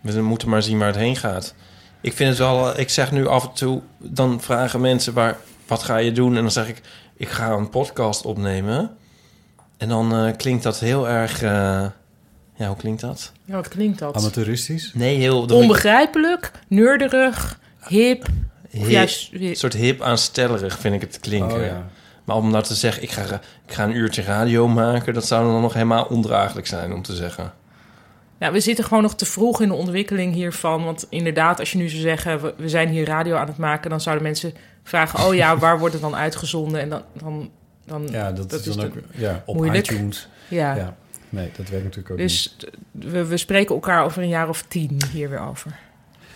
Speaker 2: We moeten maar zien waar het heen gaat. Ik vind het wel... eh, Ik zeg nu af en toe... Dan vragen mensen waar... Wat ga je doen? En dan zeg ik... Ik ga een podcast opnemen. En dan eh, klinkt dat heel erg... eh, ja, hoe klinkt dat?
Speaker 3: Ja, wat klinkt dat?
Speaker 4: Amateuristisch?
Speaker 2: Nee, heel... dat ik
Speaker 3: Onbegrijpelijk, neurderig, hip,
Speaker 2: hip-
Speaker 3: juist...
Speaker 2: Een soort hip aanstellerig vind ik het klinken.
Speaker 4: Oh, ja.
Speaker 2: Maar om nou te zeggen, ik ga, ik ga een uurtje radio maken... dat zou dan nog helemaal ondraaglijk zijn om te zeggen.
Speaker 3: Nou, we zitten gewoon nog te vroeg in de ontwikkeling hiervan. Want inderdaad, als je nu zou zeggen, we, we zijn hier radio aan het maken, dan zouden mensen vragen: oh
Speaker 4: <laughs>
Speaker 3: ja, waar wordt het dan uitgezonden? En dan. dan, dan ja.
Speaker 4: ja, dat,
Speaker 3: Dat
Speaker 4: is
Speaker 3: is
Speaker 4: dan ook... Ja, op
Speaker 3: moeilijk.
Speaker 4: iTunes. Ja. Nee, dat werkt natuurlijk ook niet.
Speaker 3: Dus t- we, we spreken elkaar over een jaar of tien hier weer over.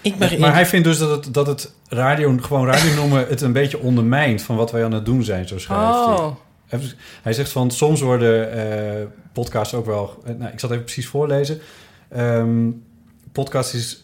Speaker 2: Ik ben
Speaker 4: Maar hij vindt dus dat het, dat het radio, gewoon radio noemen het een beetje ondermijnt van wat wij aan het doen zijn, zo schrijft hij.
Speaker 3: Oh,
Speaker 4: Even- Hij zegt van soms worden eh, podcasts ook wel. eh, nou, ik zal het even precies voorlezen. Ehm, podcast is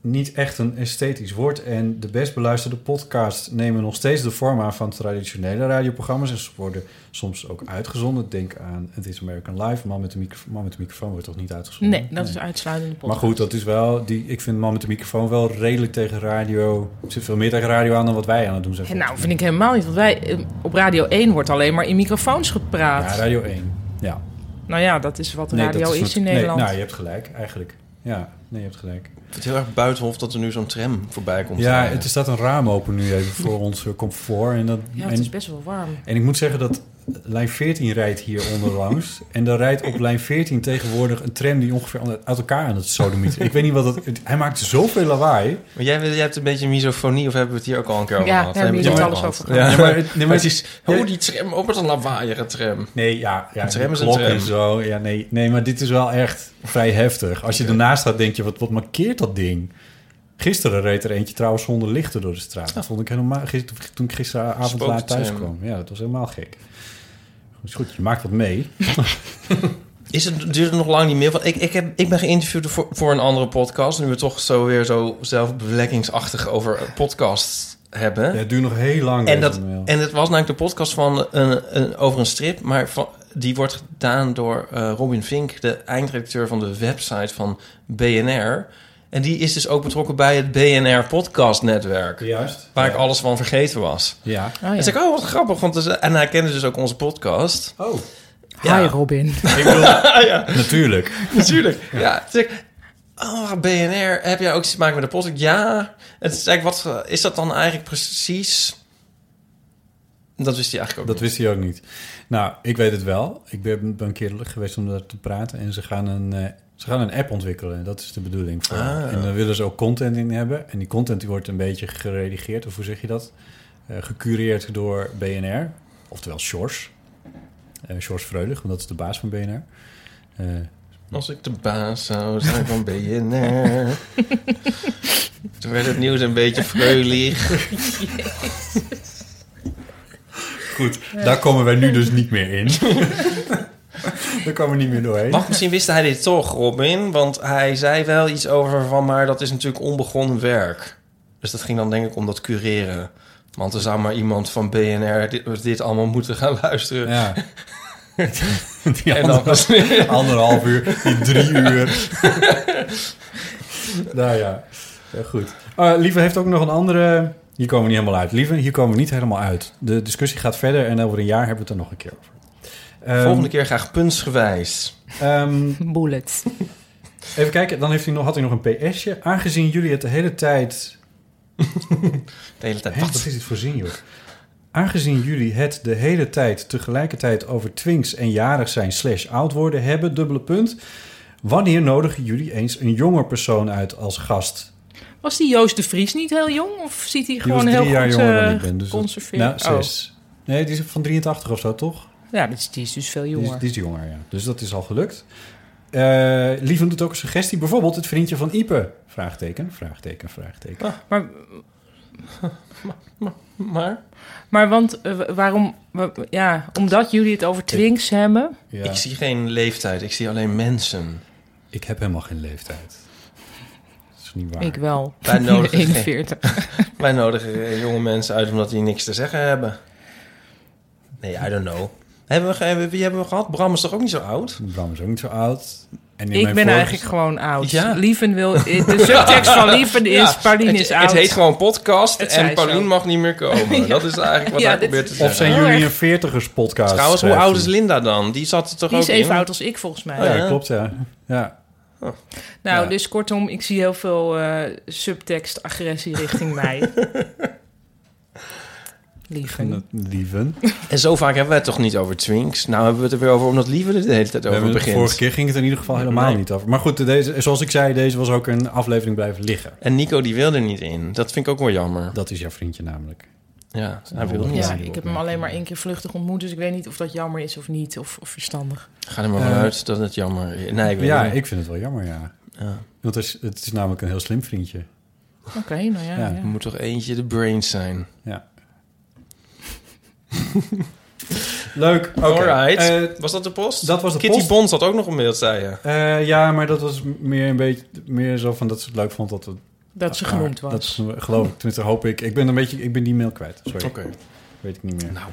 Speaker 4: niet echt een esthetisch woord. En de best beluisterde podcasts nemen nog steeds de vorm aan van traditionele radioprogramma's. En ze worden soms ook uitgezonden. Denk aan Het is American Life. Man met de, micro- Man met de microfoon wordt toch niet uitgezonden?
Speaker 3: nee, dat is uitsluitend in de
Speaker 4: Maar
Speaker 3: podcast.
Speaker 4: goed, dat is wel. Die, ik vind man met de microfoon wel redelijk tegen radio. Er zit veel meer tegen radio aan dan wat wij aan het doen zijn.
Speaker 3: En nou, vind ik helemaal niet. Want wij eh, op Radio 1 wordt alleen maar in microfoons gepraat.
Speaker 4: Ja, radio 1. Ja.
Speaker 3: Nou ja, dat is wat
Speaker 4: Nee,
Speaker 3: radio
Speaker 4: dat
Speaker 3: is, in
Speaker 4: nee,
Speaker 3: Nederland.
Speaker 4: nou, je hebt gelijk, eigenlijk. Ja, nee, je hebt gelijk.
Speaker 2: Ik vind het heel erg buitenhof dat er nu zo'n tram voorbij komt.
Speaker 4: Ja,
Speaker 2: rijden.
Speaker 4: het is dat een raam open nu even
Speaker 3: <laughs>
Speaker 4: voor ons eh, comfort. En, dat,
Speaker 3: ja, het
Speaker 4: en,
Speaker 3: is best wel warm.
Speaker 4: en ik moet zeggen dat lijn 14 rijdt hier onder
Speaker 3: <laughs>
Speaker 4: langs. en daar rijdt op lijn 14 tegenwoordig een tram die ongeveer aan- uit elkaar aan het sodomieten. ik weet niet wat dat... het- Hij maakt zoveel lawaai.
Speaker 2: Maar jij, jij hebt een beetje misofonie, of hebben we het hier ook al een keer over
Speaker 3: Ja,
Speaker 2: gehad?
Speaker 3: daar hebben
Speaker 2: we
Speaker 3: jullie
Speaker 2: al
Speaker 3: het alles
Speaker 2: gehad.
Speaker 3: over
Speaker 2: Ja,
Speaker 3: gehad.
Speaker 4: Ja,
Speaker 2: <laughs>
Speaker 4: maar het- nee,
Speaker 2: maar,
Speaker 4: maar
Speaker 2: het is... Oh, die tram, oh, wat een lawaaiige tram.
Speaker 4: Nee, ja, ja
Speaker 2: Een tram is een
Speaker 4: klok
Speaker 2: tram.
Speaker 4: en zo. Ja, nee, nee, maar dit is wel echt vrij heftig. Als je ernaast staat, denk je, wat, wat markeert dat ding? Gisteren reed er eentje trouwens zonder lichten door de straat.
Speaker 2: Nou.
Speaker 4: Dat vond ik helemaal... Gister, toen ik gisteravond laat thuis
Speaker 2: Spooktram.
Speaker 4: kwam. Ja, dat was helemaal gek. Is goed, je maakt wat mee.
Speaker 2: Is het, duurt het nog lang niet meer? Want ik, ik, heb, ik ben geïnterviewd voor, voor een andere podcast. Nu we toch zo weer zo zelfbevlekkingsachtig over podcasts hebben.
Speaker 4: Ja, het duurt nog heel lang.
Speaker 2: en,
Speaker 4: deze
Speaker 2: dat,
Speaker 4: mail.
Speaker 2: en het was namelijk de podcast van een, een, over een strip. Maar van, die wordt gedaan door eh, Robin Vink, de eindredacteur van de website van BNR. En die is dus ook betrokken bij het BNR Podcast Netwerk.
Speaker 4: Juist.
Speaker 2: Waar ik alles van vergeten was.
Speaker 4: Ja.
Speaker 3: Oh,
Speaker 2: En
Speaker 3: ja.
Speaker 2: zei ik, oh, wat grappig. Want er zijn- en hij kende dus ook onze podcast.
Speaker 4: Oh.
Speaker 2: Ja.
Speaker 3: Hi Robin. <laughs>
Speaker 4: Ik
Speaker 2: <laughs>
Speaker 4: bedoel, Natuurlijk.
Speaker 2: Natuurlijk. Ja. Toen zei ik, oh, BNR, heb jij ook iets te maken met de podcast? Ja. En toen zei ik, wat eh, is dat dan eigenlijk precies? Dat wist hij eigenlijk ook
Speaker 4: Dat wist hij ook niet. Nou, ik weet het wel. Ik ben, ben een keer geweest om daar te praten. En ze gaan een, eh, ze gaan een app ontwikkelen. Dat is de bedoeling. Voor.
Speaker 2: Ah.
Speaker 4: En daar willen ze ook content in hebben. En die content die wordt een beetje geredigeerd. Of hoe zeg je dat? Eh, gecureerd door BNR. Oftewel Sjors. Eh Sjors Vreulig, want dat is de baas van BNR. Eh,
Speaker 2: niet. Als ik de baas zou zijn van BNR. toen werd het nieuws een beetje freulig.
Speaker 4: Goed, daar komen wij nu dus niet meer in. <laughs> Daar komen we niet meer doorheen.
Speaker 2: Wacht, misschien wist hij dit toch, Robin. Want hij zei wel iets over van... maar dat is natuurlijk onbegonnen werk. Dus dat ging dan denk ik om dat cureren. Want er zou maar iemand van BNR dit, dit allemaal moeten gaan luisteren. <laughs>
Speaker 4: Ja. Die
Speaker 2: En dan
Speaker 4: <laughs> ander- anderhalf uur, die drie uur. <laughs> nou ja, Ja, goed. Eh, Lieve heeft ook nog een andere... Hier komen we niet helemaal uit. Lieve, hier komen we niet helemaal uit. De discussie gaat verder en over een jaar hebben we het er nog een keer over. Ehm,
Speaker 2: Volgende keer graag puntsgewijs.
Speaker 4: ehm,
Speaker 3: Bullets.
Speaker 4: even kijken, dan heeft hij nog, had hij nog een PS'je. Aangezien jullie het de hele tijd
Speaker 2: De hele tijd.
Speaker 4: Hè,
Speaker 2: Wat?
Speaker 4: wat is dit voor zin, joh? Aangezien jullie het de hele tijd tegelijkertijd over twinks en jarig zijn slash oud worden hebben, dubbele punt. Wanneer nodigen jullie eens een jonger persoon uit als gast?
Speaker 3: Was die Joost de Vries niet heel jong? Of ziet hij
Speaker 4: Die was
Speaker 3: gewoon
Speaker 4: drie
Speaker 3: heel
Speaker 4: jaar
Speaker 3: goed
Speaker 4: jonger dan
Speaker 3: eh,
Speaker 4: ik ben. Dus dat-
Speaker 3: geconserveerd?
Speaker 4: nou,
Speaker 3: Oh.
Speaker 4: zes. Nee, die is van 83 of zo, toch?
Speaker 3: Ja, die is, die is dus veel
Speaker 4: Die is,
Speaker 3: jonger.
Speaker 4: die is jonger, ja. Dus dat is al gelukt. Eh Lieven doet ook een suggestie. Bijvoorbeeld het vriendje van Ipe. Vraagteken, vraagteken, vraagteken.
Speaker 3: Maar,
Speaker 2: Maar
Speaker 3: maar want, eh, wa- waarom... wa- ja, omdat jullie het over twinks hebben...
Speaker 4: Ja.
Speaker 2: ik zie geen leeftijd. Ik zie alleen mensen.
Speaker 4: Ik heb helemaal geen leeftijd. Dat is niet waar.
Speaker 3: Ik
Speaker 4: <laughs>
Speaker 3: wel.
Speaker 2: Wij nodigen geen-
Speaker 3: 41.
Speaker 2: Wij nodigen eh, jonge mensen uit omdat die niks te zeggen hebben. Nee, I don't know. Hebben we, ge- hebben, wie hebben we gehad? Bram is toch ook niet zo oud?
Speaker 4: Bram is ook niet zo oud. En in
Speaker 3: Ik
Speaker 4: mijn
Speaker 3: ben
Speaker 4: vorige-
Speaker 3: eigenlijk gewoon oud.
Speaker 2: Ja.
Speaker 3: Lieven
Speaker 4: <laughs>
Speaker 3: wil... De subtekst
Speaker 2: <laughs>
Speaker 3: van Lieven is...
Speaker 2: Ja,
Speaker 3: Pauline
Speaker 2: het,
Speaker 3: is
Speaker 2: het
Speaker 3: oud.
Speaker 2: heet gewoon podcast
Speaker 3: Het
Speaker 2: en
Speaker 3: zei
Speaker 2: Paulien
Speaker 3: zo.
Speaker 2: mag niet meer komen.
Speaker 3: <laughs>
Speaker 2: Dat is eigenlijk wat
Speaker 3: Ja,
Speaker 2: hij
Speaker 3: dit-
Speaker 2: probeert te zeggen.
Speaker 4: Of zijn
Speaker 3: Heel
Speaker 4: jullie een veertigers podcast?
Speaker 2: Trouwens, hoe oud is Linda dan? Die zat er toch
Speaker 3: Die
Speaker 2: ook
Speaker 3: is even
Speaker 2: in?
Speaker 3: oud als ik, volgens mij.
Speaker 2: Oh
Speaker 4: Ja,
Speaker 2: Ja.
Speaker 4: klopt ja. ja.
Speaker 3: Nou,
Speaker 4: Ja.
Speaker 3: dus kortom, ik zie heel veel eh, subtekst agressie richting
Speaker 4: <laughs>
Speaker 3: mij. Lieven.
Speaker 4: Lieven.
Speaker 2: En zo vaak hebben we het toch niet over Twinks? Nou hebben we het er weer over omdat Lieve er de hele tijd over
Speaker 4: De
Speaker 2: begint.
Speaker 4: vorige keer ging het in ieder geval helemaal
Speaker 2: Nee.
Speaker 4: niet over. Maar goed, deze, zoals ik zei, deze was ook een aflevering blijven liggen.
Speaker 2: En Nico die wil er niet in. Dat vind ik ook wel jammer.
Speaker 4: Dat is jouw vriendje namelijk.
Speaker 2: Ja, hij wil
Speaker 4: Ja.
Speaker 2: niet.
Speaker 3: Ja, ik heb hem alleen maar één keer vluchtig ontmoet, dus ik weet niet of dat jammer is of niet, of, of verstandig.
Speaker 2: Ga er maar
Speaker 4: Eh.
Speaker 2: vanuit dat het jammer is. Nee, ik weet
Speaker 4: ja,
Speaker 2: niet.
Speaker 4: ik vind het wel jammer, ja.
Speaker 2: Ja.
Speaker 4: Want het is, het is namelijk een heel slim vriendje.
Speaker 3: Oké, nou ja.
Speaker 4: Ja.
Speaker 3: ja.
Speaker 2: Er moet toch eentje de brains zijn.
Speaker 4: Ja. Leuk. Oké.
Speaker 2: Alright.
Speaker 4: Eh,
Speaker 2: was dat de post?
Speaker 4: dat was de
Speaker 2: Kitty
Speaker 4: post.
Speaker 2: Bond zat ook nog een mail, zei je.
Speaker 4: eh, ja, maar dat was meer een beetje meer zo van dat ze het leuk vond dat we
Speaker 3: Dat ze
Speaker 4: Maar
Speaker 3: genoemd was.
Speaker 4: Ah, Dat is, eh, geloof ik, tenminste hoop ik. Ik ben, een beetje, ik ben die mail kwijt. Sorry,
Speaker 2: Oké.
Speaker 4: weet ik niet meer.
Speaker 2: Nou.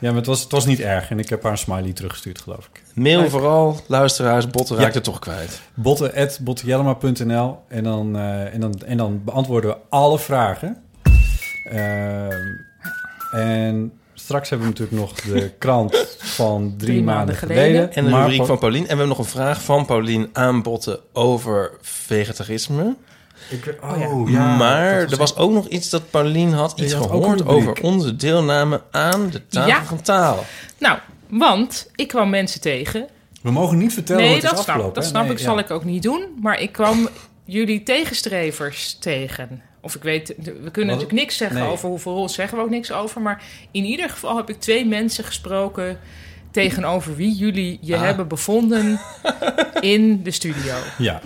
Speaker 4: Ja, maar het was, het was niet erg. En ik heb haar een smiley teruggestuurd, geloof ik.
Speaker 2: Mail vooral, luisteraars, botten raakt het toch kwijt.
Speaker 4: botten.bottejellema.nl en, dan, eh, en, dan, en dan beantwoorden we alle vragen. Ehm, en straks hebben we natuurlijk nog <laughs> de krant van drie,
Speaker 3: Drie
Speaker 4: maanden
Speaker 3: maanden
Speaker 4: geleden.
Speaker 3: geleden.
Speaker 2: En de
Speaker 4: Maar
Speaker 2: rubriek
Speaker 4: pa-
Speaker 2: van Paulien. En we hebben nog een vraag van Paulien aan botten over vegetarisme.
Speaker 4: Ik, oh,
Speaker 3: Oh
Speaker 4: ja.
Speaker 2: maar
Speaker 4: dat
Speaker 2: er was ook nog iets dat Paulien had iets
Speaker 4: had ook
Speaker 2: gehoord
Speaker 4: een rubriek.
Speaker 2: over onze deelname aan de tafel
Speaker 3: Ja.
Speaker 2: van taal.
Speaker 3: Nou, want ik kwam mensen tegen.
Speaker 4: We mogen niet vertellen
Speaker 3: nee,
Speaker 4: wat het
Speaker 3: dat
Speaker 4: is
Speaker 3: snap,
Speaker 4: afgelopen.
Speaker 3: dat
Speaker 4: hè?
Speaker 3: snap
Speaker 4: Nee,
Speaker 3: ik, zal
Speaker 4: ja.
Speaker 3: ik ook niet doen. Maar ik kwam <laughs> jullie tegenstrevers tegen. Of ik weet, we kunnen natuurlijk niks zeggen
Speaker 4: Nee.
Speaker 3: over hoeveel rol zeggen we ook niks over. Maar in ieder geval heb ik twee mensen gesproken tegenover wie jullie je
Speaker 2: Ah.
Speaker 3: hebben bevonden in de studio.
Speaker 4: Ja,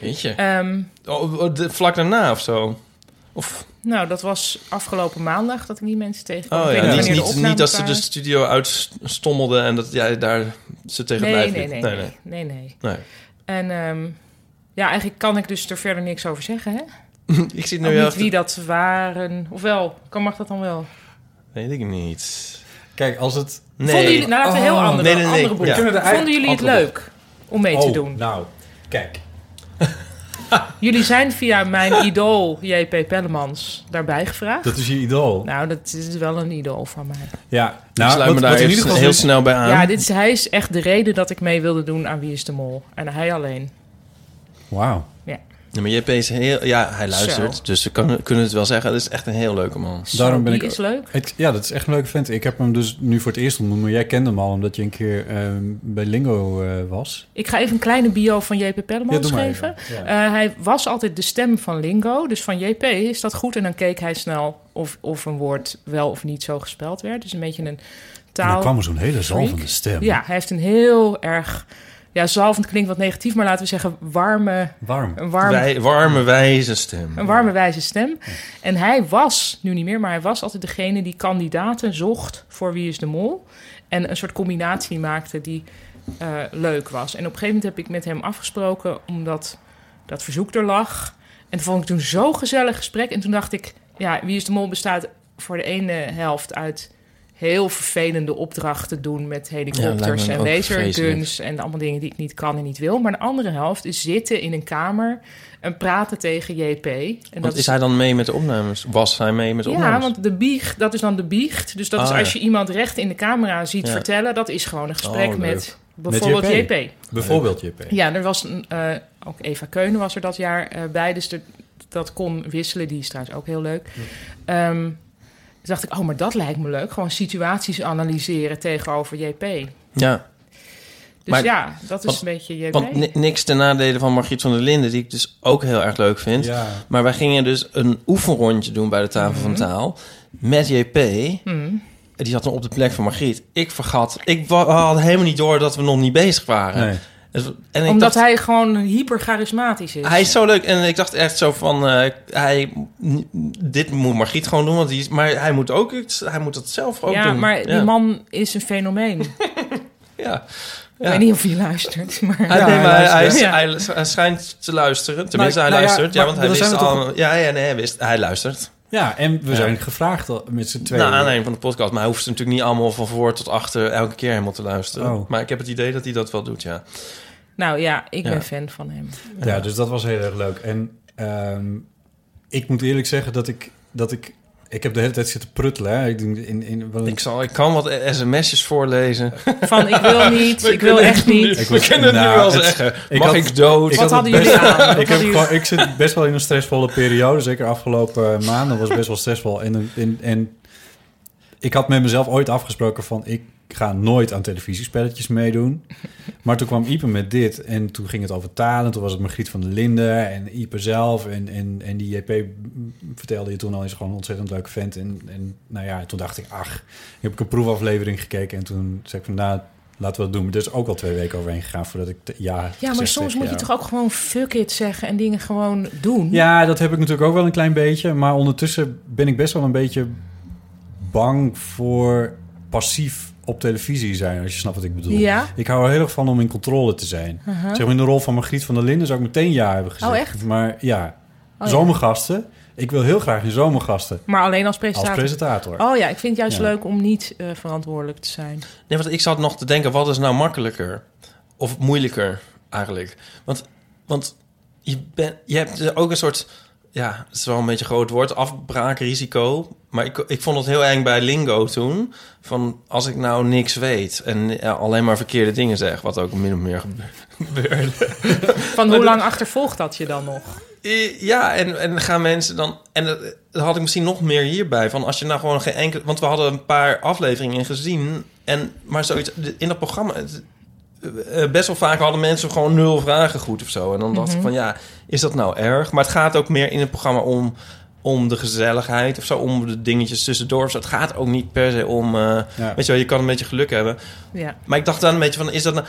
Speaker 2: Weet je?
Speaker 3: Ehm,
Speaker 2: Oh, oh, de, vlak daarna of zo? Of,
Speaker 3: nou, dat was afgelopen maandag dat ik die mensen tegenkwam.
Speaker 2: oh
Speaker 3: Ik weet
Speaker 2: ja,
Speaker 4: niet
Speaker 2: niet,
Speaker 3: wanneer de
Speaker 2: niet,
Speaker 3: opnames eh,
Speaker 2: niet dat ze dus de
Speaker 3: waren.
Speaker 2: studio uitstommelden en dat jij daar ze tegen het
Speaker 3: Nee
Speaker 2: lijf
Speaker 3: nee
Speaker 2: liep.
Speaker 3: nee, nee, nee, nee,
Speaker 2: nee.
Speaker 3: En ehm, ja, eigenlijk kan ik dus er verder niks over zeggen,
Speaker 2: Nou
Speaker 3: hè?
Speaker 2: nee. <laughs> Ik zit nu
Speaker 3: Ook
Speaker 2: heel
Speaker 3: Oh, niet
Speaker 2: erg
Speaker 3: wie dat waren. Ofwel, kan mag dat dan wel?
Speaker 2: Weet ik niet.
Speaker 4: kijk, als het...
Speaker 2: Nee.
Speaker 3: Vonden jullie, nou laten we
Speaker 4: Oh,
Speaker 3: heel andere,
Speaker 2: nee, nee, nee.
Speaker 3: andere boeken.
Speaker 2: Ja.
Speaker 4: Kunnen we er
Speaker 3: Vonden jullie het
Speaker 4: eigenlijk
Speaker 3: leuk om mee te
Speaker 4: Oh,
Speaker 3: doen?
Speaker 4: nou, kijk.
Speaker 3: Jullie zijn via
Speaker 2: <laughs>
Speaker 3: mijn idool JP Pellemans daarbij gevraagd.
Speaker 4: Dat is je idool.
Speaker 3: Nou, dat is wel een idool van mij.
Speaker 4: Ja, nou,
Speaker 2: ik sluit me daar
Speaker 4: in
Speaker 2: even
Speaker 4: ieder geval dus-
Speaker 2: heel
Speaker 4: is-
Speaker 2: snel bij aan.
Speaker 3: Ja, dit is, hij is echt de reden dat ik mee wilde doen aan Wie is de Mol. En hij alleen.
Speaker 4: Wauw.
Speaker 2: Ja, maar JP is heel... Ja, hij luistert,
Speaker 3: Zo.
Speaker 2: dus we kan- kunnen het wel zeggen. Het is echt een heel leuke man.
Speaker 3: Zo,
Speaker 4: Daarom ben
Speaker 3: die
Speaker 4: ik-
Speaker 3: is leuk.
Speaker 4: Het- ja, dat is echt een leuke vent. Ik heb hem dus nu voor het eerst ontmoet, maar jij kende hem al omdat je een keer ehm, bij Lingo eh, was.
Speaker 3: Ik ga even een kleine bio van JP Pellemans geven.
Speaker 4: even. Ja.
Speaker 3: Eh, hij was altijd de stem van Lingo, dus van JP is dat goed. En dan keek hij snel of, of een woord wel of niet zo gespeld werd. Dus een beetje een
Speaker 4: En dan
Speaker 3: taal.
Speaker 4: kwam er zo'n hele
Speaker 3: freak.
Speaker 4: zalvende stem.
Speaker 3: Ja, hij heeft een heel erg... Ja, zalvend klinkt wat negatief, maar laten we zeggen warme,
Speaker 4: Warm.
Speaker 3: een warme,
Speaker 2: Wij- warme, wijze stem.
Speaker 3: een warme wijze stem. En hij was, nu niet meer, maar hij was altijd degene die kandidaten zocht voor Wie is de Mol. En een soort combinatie maakte die eh, leuk was. En op een gegeven moment heb ik met hem afgesproken, omdat dat verzoek er lag. En dat vond ik toen zo'n gezellig gesprek. En toen dacht ik, ja, Wie is de Mol bestaat voor de ene helft uit heel vervelende opdrachten doen met
Speaker 2: Ja, lijkt
Speaker 3: helikopters
Speaker 2: me
Speaker 3: en
Speaker 2: ook
Speaker 3: laserguns en allemaal dingen die ik niet kan en niet wil. Maar de andere helft is zitten in een kamer en praten tegen JP. En
Speaker 2: Want is hij dan mee met de opnames? Was hij mee met de
Speaker 3: ja,
Speaker 2: opnames?
Speaker 3: want de biecht, dat is dan de biecht. Dus dat
Speaker 2: Ah,
Speaker 3: is als
Speaker 2: ja.
Speaker 3: je iemand recht in de camera ziet
Speaker 2: Ja.
Speaker 3: vertellen, dat is gewoon een gesprek
Speaker 2: Oh, leuk.
Speaker 3: met bijvoorbeeld
Speaker 4: Met JP.
Speaker 3: JP.
Speaker 4: Bijvoorbeeld JP.
Speaker 3: Ja, er was een, eh, ook Eva Keunen was er dat jaar eh, bij, dus de- dat kon wisselen. Die is trouwens ook heel leuk. Ehm, toen dacht ik, oh, maar dat lijkt me leuk. Gewoon situaties analyseren tegenover JP. Dus
Speaker 2: ja. Maar-
Speaker 3: ja, dat is
Speaker 2: want-
Speaker 3: een beetje JP.
Speaker 2: Want ni- niks ten nadele van Margriet van der Linden, die ik dus ook heel erg leuk vind.
Speaker 4: Ja.
Speaker 2: Maar wij gingen dus een oefenrondje doen bij de tafel
Speaker 3: Mhm.
Speaker 2: van taal met JP. En Die zat dan op de plek van Margriet. Ik vergat, ik wa- had helemaal niet door dat we nog niet bezig waren.
Speaker 4: Nee.
Speaker 2: Dus- En ik
Speaker 3: Omdat
Speaker 2: dacht,
Speaker 3: hij gewoon hyper charismatisch is.
Speaker 2: Hij is zo leuk. En ik dacht echt zo van... eh, hij, dit moet Margriet gewoon doen. Want die is, maar hij moet ook iets... Hij moet dat zelf ook
Speaker 3: ja,
Speaker 2: doen.
Speaker 3: maar die
Speaker 2: Ja.
Speaker 3: man is een fenomeen.
Speaker 2: Ja.
Speaker 3: Ik weet niet of hij luistert, maar...
Speaker 2: Hij, nee,
Speaker 4: Ah, hij
Speaker 2: maar hij,
Speaker 4: luistert.
Speaker 2: is-
Speaker 3: Ja.
Speaker 2: hij, lu- hij schijnt te luisteren. Tenminste,
Speaker 4: Maar-
Speaker 2: hij
Speaker 4: nou ja,
Speaker 2: luistert. Ja,
Speaker 4: maar
Speaker 2: want hij
Speaker 4: dan
Speaker 2: wist
Speaker 4: zijn we
Speaker 2: al... Ja, ja, nee, hij wist. Hij luistert.
Speaker 4: Ja, en we
Speaker 2: Ja. Nou,
Speaker 4: zijn gevraagd al met z'n
Speaker 2: Naar
Speaker 4: tweeën.
Speaker 2: aanleiding van de podcast. Maar hij hoeft natuurlijk niet allemaal van voor tot achter... elke keer helemaal te luisteren.
Speaker 4: Oh.
Speaker 2: Maar ik heb het idee dat hij dat wel doet, ja.
Speaker 3: Nou ja, ik
Speaker 2: Ja.
Speaker 3: ben fan van hem.
Speaker 4: Ja, dus dat was heel erg leuk. En ehm, ik moet eerlijk zeggen dat ik, dat ik... Ik heb de hele tijd zitten pruttelen. Hè. Ik, denk in, in, wel een-
Speaker 2: Ik, zal, ik kan wat e- sms'jes voorlezen.
Speaker 3: Van, ik
Speaker 4: <laughs>
Speaker 3: wil niet,
Speaker 2: We
Speaker 3: ik wil
Speaker 2: kunnen
Speaker 3: echt
Speaker 2: het nu-
Speaker 3: niet.
Speaker 4: Ik
Speaker 2: We
Speaker 4: was-
Speaker 2: kunnen het nu
Speaker 4: nou,
Speaker 2: wel
Speaker 4: het-
Speaker 2: zeggen.
Speaker 4: ik
Speaker 2: Mag
Speaker 4: had-
Speaker 2: ik dood?
Speaker 4: ik
Speaker 3: Wat
Speaker 4: had
Speaker 3: hadden
Speaker 4: het
Speaker 3: jullie
Speaker 4: best-
Speaker 3: aan? Wat
Speaker 4: <laughs> Ik, heb
Speaker 3: hadden
Speaker 4: gewoon, ik zit best wel in een stressvolle periode. Zeker afgelopen eh, maanden was best wel stressvol. En, en, en ik had met mezelf ooit afgesproken van... ik ga nooit aan televisiespelletjes meedoen. Maar toen kwam Ipe met dit. En toen ging het over talen. Toen was het Margriet van der Linden en Ipe zelf. En, en, en die JP vertelde je toen al eens gewoon een ontzettend leuke vent. En, en nou ja, toen dacht ik, ach. Heb ik een proefaflevering gekeken. En toen zei ik van, nou, laten we dat doen. Maar er is ook al twee weken overheen gegaan voordat ik... te- ja,
Speaker 3: Ja, maar
Speaker 4: gezegd
Speaker 3: soms
Speaker 4: heb,
Speaker 3: moet je
Speaker 4: ja.
Speaker 3: toch ook gewoon fuck it zeggen en dingen gewoon doen.
Speaker 4: Ja, dat heb ik natuurlijk ook wel een klein beetje. Maar ondertussen ben ik best wel een beetje bang voor passief op televisie zijn, als je snapt wat ik bedoel.
Speaker 3: Ja?
Speaker 4: Ik hou er heel erg van om in controle te zijn. Zeg maar in de rol van Margriet van der Linden zou ik meteen ja hebben gezegd.
Speaker 3: Oh, echt? Oh,
Speaker 4: Maar ja,
Speaker 3: ja.
Speaker 4: zomergasten. Ik wil heel graag in zomergasten
Speaker 3: Maar alleen als
Speaker 4: als
Speaker 3: presentator.
Speaker 4: presentator.
Speaker 3: Oh ja, ik vind het juist
Speaker 4: Ja.
Speaker 3: leuk om niet eh, verantwoordelijk te zijn.
Speaker 2: Nee, want ik zat nog te denken, wat is nou makkelijker? Of moeilijker eigenlijk? Want, want je, ben, je hebt dus ook een soort, ja, het is wel een beetje een groot woord, afbraakrisico. Maar ik, ik vond het heel eng bij Lingo toen. Van als ik nou niks weet en ja, alleen maar verkeerde dingen zeg, wat ook min of meer gebeurde.
Speaker 3: Van hoe lang achtervolgt dat je dan nog?
Speaker 2: Eh, Ja, en, en gaan mensen dan. En dat, dat had ik misschien nog meer hierbij. Van als je nou gewoon geen enkele. Want we hadden een paar afleveringen gezien. En, maar zoiets. In dat programma. het- eh, best wel vaak hadden mensen gewoon nul vragen goed of zo. En dan dacht ik van ja, is dat nou erg? Maar het gaat ook meer in het programma om. Om de gezelligheid of zo, om de dingetjes tussendoor. of zo. Het gaat ook niet per se om. eh,
Speaker 4: Ja.
Speaker 2: Weet je wel, je kan een beetje geluk hebben.
Speaker 3: Ja.
Speaker 2: Maar ik dacht dan een beetje van, is dat nou...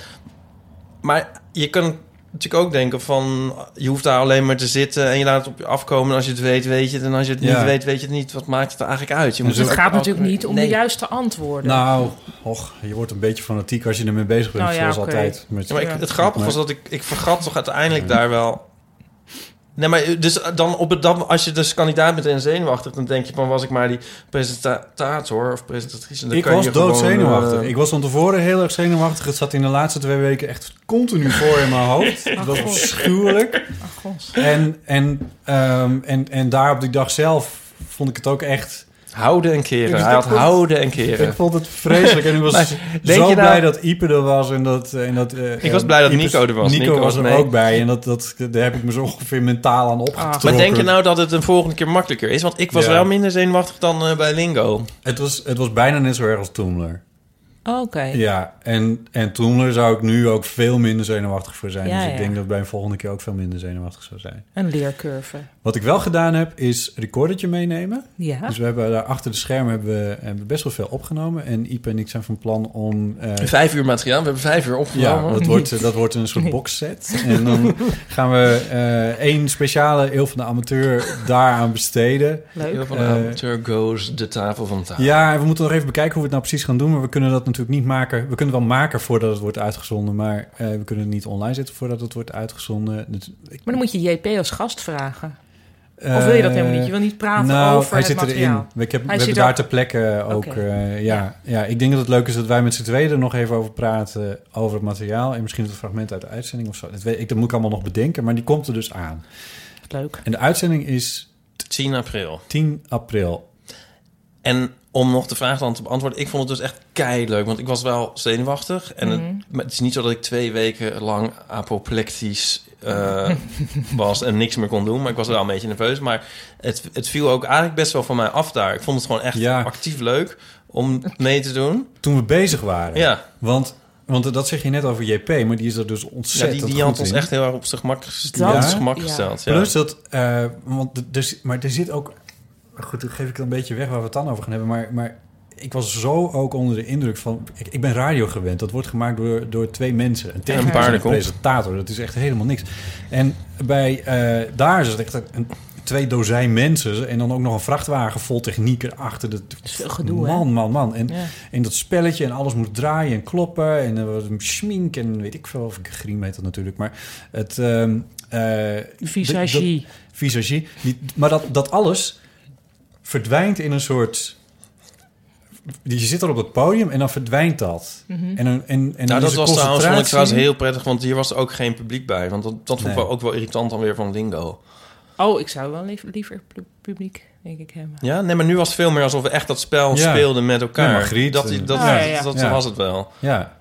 Speaker 2: Maar je kan natuurlijk ook denken van... je hoeft daar alleen maar te zitten en je laat het op je afkomen. En als je het weet, weet je het. En als je het
Speaker 4: Ja.
Speaker 2: niet weet, weet je het niet. Wat maakt het er eigenlijk uit? Je
Speaker 4: Dus
Speaker 3: Dus het
Speaker 2: ook
Speaker 3: gaat
Speaker 2: altijd-
Speaker 3: natuurlijk niet om
Speaker 2: Nee.
Speaker 3: de juiste antwoorden.
Speaker 4: Nou, och, je wordt een beetje fanatiek als je ermee bezig bent,
Speaker 3: Nou ja,
Speaker 4: zoals
Speaker 3: oké.
Speaker 4: altijd. Met,
Speaker 2: Ja, maar ik, het grappige was dat ik... Ik vergat toch uiteindelijk daar wel... Nee, maar dus dan op het, dan, als je dus kandidaat bent en zenuwachtig... dan denk je van, was ik maar die presentator of presentatrice. en dan
Speaker 4: Ik
Speaker 2: kan
Speaker 4: was
Speaker 2: je
Speaker 4: dood
Speaker 2: gewoon,
Speaker 4: zenuwachtig.
Speaker 2: eh,
Speaker 4: Ik was van tevoren heel erg zenuwachtig. Het zat in de laatste twee weken echt continu voor in mijn hoofd. Dat was
Speaker 3: God.
Speaker 4: afschuwelijk.
Speaker 3: Ach, god.
Speaker 4: En, en, ehm, en, en daar op die dag zelf vond ik het ook echt...
Speaker 2: houden en keren.
Speaker 4: Dus
Speaker 2: Hij
Speaker 4: dat
Speaker 2: had
Speaker 4: was-
Speaker 2: houden en
Speaker 4: Ik
Speaker 2: keren.
Speaker 4: vond het vreselijk. En ik was
Speaker 2: <laughs> Maar
Speaker 4: zo
Speaker 2: denk je nou-
Speaker 4: blij dat Ipe er was. En dat, en dat, eh,
Speaker 2: Ik was blij dat
Speaker 4: Iepe's-
Speaker 2: Nico er was.
Speaker 4: Nico,
Speaker 2: Nico
Speaker 4: was
Speaker 2: was
Speaker 4: er
Speaker 2: mee.
Speaker 4: ook bij. En dat, dat, daar heb ik me zo ongeveer mentaal aan opgetrokken.
Speaker 2: Maar denk je nou dat het een volgende keer makkelijker is? Want ik was
Speaker 4: Ja.
Speaker 2: wel minder zenuwachtig dan eh, bij Lingo.
Speaker 4: Het was, het was bijna net zo erg als Toemler.
Speaker 3: Oké.
Speaker 4: Ja, en, en Toemler zou ik nu ook veel minder zenuwachtig voor zijn.
Speaker 3: Ja,
Speaker 4: dus ik
Speaker 3: ja.
Speaker 4: denk dat ik bij een volgende keer ook veel minder zenuwachtig zou zijn.
Speaker 3: Een leercurve.
Speaker 4: Wat ik wel gedaan heb, is recordertje meenemen.
Speaker 3: Ja.
Speaker 4: Dus we hebben daar achter de schermen hebben we, hebben we best wel veel opgenomen. En Ipe en ik zijn van plan om... eh,
Speaker 2: Vijf uur materiaal, we hebben vijf uur
Speaker 4: <laughs> ja,
Speaker 2: opgenomen.
Speaker 4: dat wordt, eh, dat wordt een soort boxset. En
Speaker 3: <laughs>
Speaker 4: dan gaan we eh, één speciale Eeuw van de Amateur daaraan besteden.
Speaker 3: Leuk.
Speaker 2: Van
Speaker 4: Eh,
Speaker 2: amateur goes de tafel van tafel.
Speaker 4: Ja, en we moeten nog even bekijken hoe we het nou precies gaan doen. Maar we kunnen dat natuurlijk niet maken. We kunnen wel maken voordat het wordt uitgezonden, maar eh, we kunnen het niet online zetten voordat het wordt uitgezonden. Dus, ik-
Speaker 3: Maar dan moet je JP als gast vragen. Of wil je dat helemaal niet? Je wil niet praten
Speaker 4: eh, nou,
Speaker 3: over
Speaker 4: hij
Speaker 3: het
Speaker 4: zit
Speaker 3: materiaal.
Speaker 4: erin. Ik heb,
Speaker 3: Hij
Speaker 4: we hebben
Speaker 3: zit
Speaker 4: daar
Speaker 3: er-
Speaker 4: ter plekke ook.
Speaker 3: Oké.
Speaker 4: eh, ja, ja. ik denk dat het leuk is dat wij met z'n tweeën er nog even over praten. Over het materiaal. En misschien het fragment uit de uitzending of zo. Dat, weet ik, dat moet ik allemaal nog bedenken. Maar die komt er dus aan.
Speaker 3: Leuk.
Speaker 4: En de uitzending is
Speaker 2: 10 april.
Speaker 4: 10 april.
Speaker 2: En om nog de vraag dan te beantwoorden, ik vond het dus echt keihard leuk, want ik was wel zenuwachtig. En het- maar het is niet zo dat ik twee weken lang apoplectisch eh, was en niks meer kon doen, maar ik was wel een beetje nerveus. Maar het, het viel ook eigenlijk best wel van mij af daar. Ik vond het gewoon echt
Speaker 4: Ja.
Speaker 2: actief leuk om mee te doen.
Speaker 4: Toen we bezig waren.
Speaker 2: Ja,
Speaker 4: Want, want dat zeg je net over JP. Maar die is er dus
Speaker 2: ja
Speaker 4: ontzettend
Speaker 2: die, die had
Speaker 4: goed
Speaker 2: ons
Speaker 4: in.
Speaker 2: echt heel erg op zijn gemak, gest-
Speaker 3: Dat-
Speaker 2: op zijn gemak
Speaker 3: ja.
Speaker 2: gesteld. Ja.
Speaker 4: Plus dat, eh, want d- dus, maar er zit ook, goed, dan geef ik dan een beetje weg waar we het dan over gaan hebben, maar, maar ik was zo ook onder de indruk van, ik, ik ben radio gewend, dat wordt gemaakt door, door twee mensen. Een technicus en een
Speaker 2: paardenkop.
Speaker 4: presentator, dat is echt helemaal niks. En bij, eh, daar is het echt een, twee dozijn mensen en dan ook nog een vrachtwagen vol techniek erachter. Dat
Speaker 3: is veel gedoe, hè?
Speaker 4: Man, man, man. En
Speaker 3: Ja.
Speaker 4: in dat spelletje en alles moet draaien en kloppen en er was een schmink en weet ik veel of ik griem heet dat natuurlijk, maar het... ehm eh, dat-
Speaker 3: Visagie.
Speaker 4: visagie. Die, maar dat, dat alles verdwijnt in een soort... Je zit er op het podium en dan verdwijnt dat. En, een, en, en
Speaker 2: nou,
Speaker 4: dan
Speaker 2: dat
Speaker 4: is er
Speaker 2: was trouwens, vond ik trouwens
Speaker 4: concentratie.
Speaker 2: heel prettig, want hier was ook geen publiek bij. Want dat, dat vond ik
Speaker 4: Nee.
Speaker 2: wel ook wel irritant dan weer van Lingo.
Speaker 3: Oh, ik zou wel lief- liever pu- publiek, denk ik, hebben.
Speaker 2: Ja, nee, maar nu was het veel meer alsof we echt dat spel
Speaker 4: Ja.
Speaker 2: speelden met elkaar.
Speaker 4: Ja, Margriet,
Speaker 2: dat,
Speaker 4: eh,
Speaker 2: dat,
Speaker 3: Ja, ja, ja.
Speaker 2: dat,
Speaker 4: Ja.
Speaker 2: was het wel.
Speaker 4: Ja.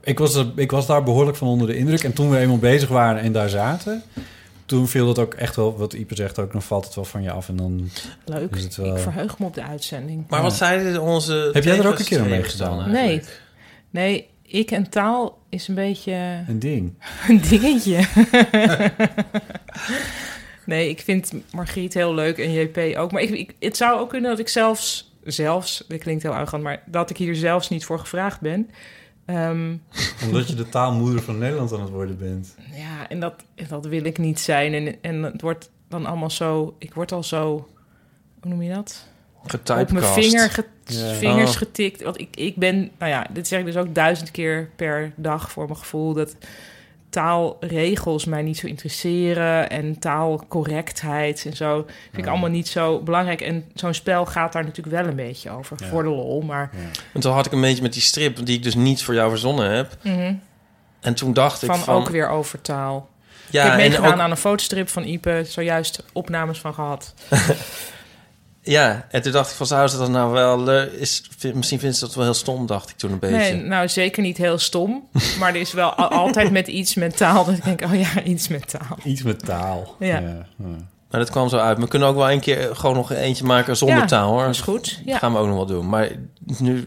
Speaker 4: Ik, was er, ik was daar behoorlijk van onder de indruk. En toen we eenmaal bezig waren en daar zaten... Toen viel dat ook echt wel, wat Ieper zegt ook, dan valt het wel van je af. En dan,
Speaker 3: Leuk.
Speaker 4: Is het wel-
Speaker 3: Ik verheug me op de uitzending.
Speaker 2: Maar
Speaker 4: Ja.
Speaker 2: wat zeiden onze...
Speaker 4: Heb jij er ook een keer aan
Speaker 2: tegenstanders
Speaker 4: meegedaan?
Speaker 2: eigenlijk?
Speaker 3: Nee. Nee, ik en taal is een
Speaker 4: <laughs>
Speaker 3: beetje
Speaker 4: een ding.
Speaker 3: een dingetje. <laughs> nee, ik vind Margriet heel leuk en JP ook. Maar ik, ik- het zou ook kunnen dat ik zelfs, zelfs, dit klinkt heel arrogant, maar dat ik hier zelfs niet voor gevraagd ben. Ehm,
Speaker 4: Omdat je de taalmoeder van Nederland aan het worden bent.
Speaker 3: ja, en dat, en dat wil ik niet zijn. En, en het wordt dan allemaal zo, ik word al zo, hoe noem je dat? op mijn
Speaker 2: Getypecast.
Speaker 3: vinger ge-
Speaker 4: Ja.
Speaker 3: vingers
Speaker 2: Oh.
Speaker 3: getikt. Want ik, ik ben, nou ja, dit zeg ik dus ook duizend keer per dag voor mijn gevoel. Dat taalregels mij niet zo interesseren. En taalcorrectheid en zo. Vind ik allemaal niet zo belangrijk. En zo'n spel gaat daar natuurlijk wel een beetje over.
Speaker 4: Ja.
Speaker 3: Voor de lol. Maar
Speaker 2: En toen had ik een beetje met die strip, die ik dus niet voor jou verzonnen heb.
Speaker 3: mhm,
Speaker 2: En toen dacht ik
Speaker 3: van,
Speaker 2: van...
Speaker 3: ook weer over taal. ik
Speaker 2: Ja,
Speaker 3: heb
Speaker 2: en
Speaker 3: meegedaan
Speaker 2: ook,
Speaker 3: aan een fotostrip van Ipe. Zojuist opnames van gehad.
Speaker 2: ja, en toen dacht ik van, zou ze dat nou wel... eh, is, vind- misschien vinden ze dat wel heel stom, dacht ik toen een beetje.
Speaker 3: Nee, nou zeker niet heel
Speaker 4: <laughs>
Speaker 3: stom. Maar er is wel al- altijd met iets met taal. Dat ik denk, oh ja, iets met taal.
Speaker 4: Iets met taal.
Speaker 3: Ja.
Speaker 4: ja.
Speaker 2: Maar dat kwam zo uit. We kunnen ook wel een keer gewoon nog eentje maken zonder
Speaker 3: Ja,
Speaker 2: taal, hoor.
Speaker 3: Dat is goed. Ja.
Speaker 2: Dat gaan we ook nog wel doen. Maar nu,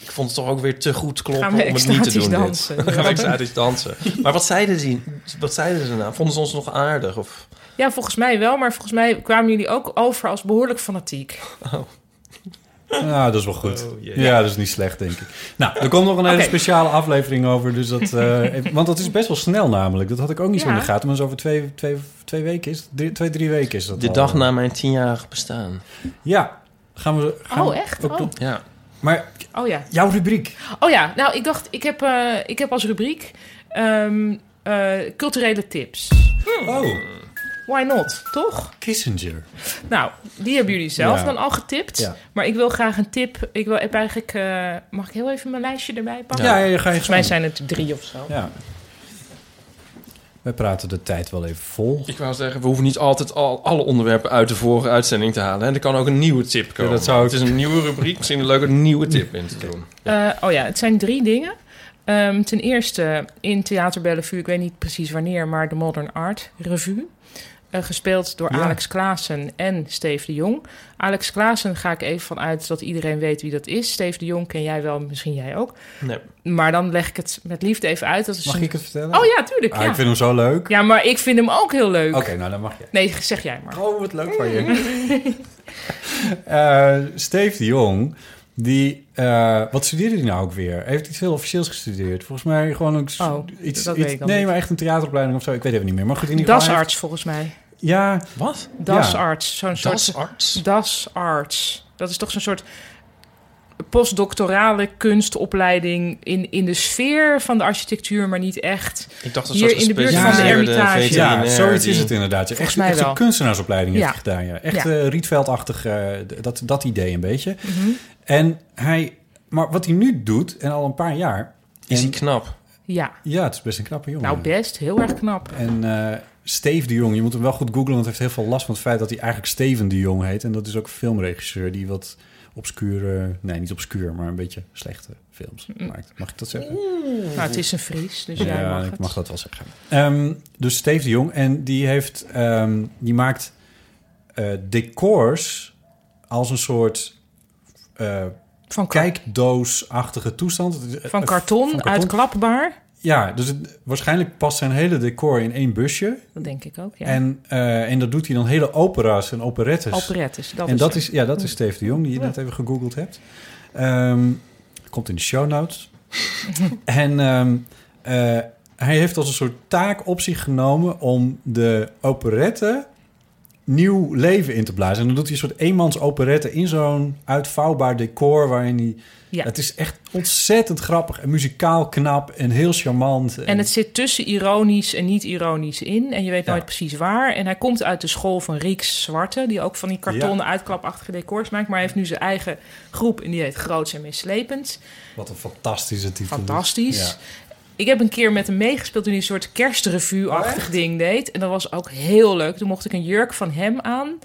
Speaker 2: ik vond het toch ook weer te goed kloppen
Speaker 3: Gaan
Speaker 2: om
Speaker 3: we
Speaker 2: het niet te
Speaker 3: extatisch
Speaker 2: doen. dit.
Speaker 3: dansen.
Speaker 2: <laughs> Dan gaan we extatisch
Speaker 3: <laughs>
Speaker 2: dansen. Maar wat zeiden, ze, wat zeiden ze nou? Vonden ze ons nog aardig? Of?
Speaker 3: Ja, volgens mij wel, maar volgens mij kwamen jullie ook over als behoorlijk fanatiek.
Speaker 4: Nou, dat is wel goed.
Speaker 2: Oh, jee.
Speaker 4: Ja, dat is niet slecht, denk ik. Nou, er komt nog een hele
Speaker 3: Oké.
Speaker 4: speciale aflevering over. Dus dat, eh,
Speaker 3: <laughs>
Speaker 4: even- want dat is best wel snel namelijk. Dat had ik ook niet zo in de
Speaker 3: Ja.
Speaker 4: gaten. Maar zo over twee, twee, twee weken is drie, twee, drie weken is dat
Speaker 2: De
Speaker 4: al.
Speaker 2: dag na mijn tienjarig bestaan.
Speaker 4: Ja, gaan we... Gaan
Speaker 3: Oh,
Speaker 4: we
Speaker 3: echt?
Speaker 4: ook
Speaker 3: Oh.
Speaker 4: doen.
Speaker 2: Ja.
Speaker 4: Maar
Speaker 3: Oh ja.
Speaker 4: jouw rubriek.
Speaker 3: Oh ja, nou ik dacht, ik heb, eh, ik heb als rubriek ehm, eh, culturele tips.
Speaker 4: Oh,
Speaker 3: Why not, toch?
Speaker 4: Kissinger.
Speaker 3: Nou, die hebben jullie zelf
Speaker 4: Ja.
Speaker 3: dan al getipt.
Speaker 4: Ja.
Speaker 3: Maar ik wil graag een tip. Ik wil, heb eigenlijk, eh, mag ik heel even mijn lijstje erbij pakken?
Speaker 4: Ja, ja, ja, ga je
Speaker 3: Volgens mij
Speaker 4: gang.
Speaker 3: zijn het drie of zo.
Speaker 4: Ja. Wij praten de tijd wel even vol.
Speaker 2: Ik wou zeggen, we hoeven niet altijd al, alle onderwerpen uit de vorige uitzending te halen. En er kan ook een nieuwe tip komen.
Speaker 4: dat zou ik-
Speaker 2: Het is een nieuwe rubriek. Misschien leuk een nieuwe tip in te doen.
Speaker 3: Eh, oh ja, het zijn drie dingen. Ehm, ten eerste in Theater Bellevue, ik weet niet precies wanneer, maar de Modern Art Revue. Eh, gespeeld door
Speaker 4: Ja.
Speaker 3: Alex Klaassen en Steve de Jong. Alex Klaassen ga ik even vanuit dat iedereen weet wie dat is. Steve de Jong ken jij wel, misschien jij ook.
Speaker 2: Nee.
Speaker 3: Maar dan leg ik het met liefde even uit. Dat is
Speaker 4: Mag
Speaker 3: een-
Speaker 4: ik het vertellen?
Speaker 3: Oh ja, tuurlijk.
Speaker 4: Ah,
Speaker 3: ja.
Speaker 4: ik vind hem zo leuk.
Speaker 3: ja, maar ik vind hem ook heel leuk.
Speaker 4: Oké, nou dan mag je.
Speaker 3: Nee, zeg jij maar.
Speaker 4: Oh, wat leuk van je.
Speaker 3: <laughs>
Speaker 4: Eh, Steve de Jong, die, eh, wat studeerde hij nou ook weer? Hij heeft iets heel officieels gestudeerd. Volgens mij gewoon ook s-
Speaker 3: Oh,
Speaker 4: iets,
Speaker 3: dat
Speaker 4: iets-
Speaker 3: weet ik dan
Speaker 4: nee,
Speaker 3: niet.
Speaker 4: maar echt een theateropleiding of zo. Ik weet even niet meer. Maar goed, in ieder geval. hij
Speaker 3: Dasarts volgens mij.
Speaker 4: heeft- Ja,
Speaker 2: Wat?
Speaker 3: Dasarts. Zo'n soort
Speaker 2: Dasarts?
Speaker 3: DAS-arts. Dat is toch zo'n soort postdoctorale kunstopleiding in, in de sfeer van de architectuur, maar niet echt.
Speaker 2: Ik dacht dat
Speaker 3: Hier
Speaker 2: soort
Speaker 3: in de buurt van de
Speaker 2: gespecialiseerde
Speaker 3: Hermitage.
Speaker 4: Ja,
Speaker 2: veterinair
Speaker 4: zoiets is
Speaker 2: die-
Speaker 4: het inderdaad. Ja,
Speaker 3: Volgens
Speaker 4: Echt,
Speaker 3: mij
Speaker 4: echt
Speaker 3: wel.
Speaker 4: een kunstenaarsopleiding heeft
Speaker 3: Ja.
Speaker 4: hij gedaan. Ja. Echt
Speaker 3: Ja. Mhm.
Speaker 4: eh, Rietveld-achtig, eh, d- dat, dat idee een beetje. En hij, maar wat hij nu doet, en al een paar jaar...
Speaker 2: Is hij
Speaker 4: en-
Speaker 2: knap?
Speaker 3: Ja,
Speaker 4: ja, het is best een knappe jongen.
Speaker 3: nou best, heel erg knap.
Speaker 4: En eh, Steve de Jong, je moet hem wel goed googlen... want hij heeft heel veel last van het feit dat hij eigenlijk Steven de Jong heet. En dat is ook een filmregisseur die wat obscure... Nee, niet obscuur, maar een beetje slechte films maakt. Mag ik dat zeggen?
Speaker 3: Nou, het is een Fries, dus jij
Speaker 4: Ja,
Speaker 3: Mm. mag
Speaker 4: ik
Speaker 3: het.
Speaker 4: mag dat wel zeggen. Ehm, dus Steve de Jong. En die, heeft, ehm, die maakt eh, decors als een soort eh,
Speaker 3: Van, ka-
Speaker 4: kijkdoosachtige toestand. Het is, eh,
Speaker 3: van
Speaker 4: eh,
Speaker 3: karton, uitklapbaar.
Speaker 4: Ja, dus het- waarschijnlijk past zijn hele decor in één busje.
Speaker 3: Dat denk ik ook, ja.
Speaker 4: En, eh, en dat doet hij dan hele opera's en operettes.
Speaker 3: Operettes, dat
Speaker 4: en
Speaker 3: is
Speaker 4: dat
Speaker 3: het.
Speaker 4: is, ja, dat is Steve de Jong, die je net even gegoogeld hebt. Ehm, komt in de show
Speaker 3: <laughs>
Speaker 4: notes. en ehm, eh, hij heeft als een soort taak op zich genomen om de operette nieuw leven in te blazen. En dan doet hij een soort eenmans operette in zo'n uitvouwbaar decor waarin hij...
Speaker 3: Ja.
Speaker 4: Het is echt ontzettend grappig en muzikaal knap en heel charmant.
Speaker 3: En het zit tussen ironisch en niet ironisch in. En je weet
Speaker 4: Ja.
Speaker 3: nooit precies waar. En hij komt uit de school van Rieks Zwarte. Die ook van die kartonnen uitklapachtige decors maakt. Maar hij heeft nu zijn eigen groep. En die heet Groots en Mislepend.
Speaker 4: Wat een fantastische titel.
Speaker 3: Fantastisch.
Speaker 4: Ja.
Speaker 3: Ik heb een keer met hem meegespeeld toen hij een soort kerstrevue-achtig ding deed. En dat was ook heel leuk. Toen mocht ik een jurk van hem aan.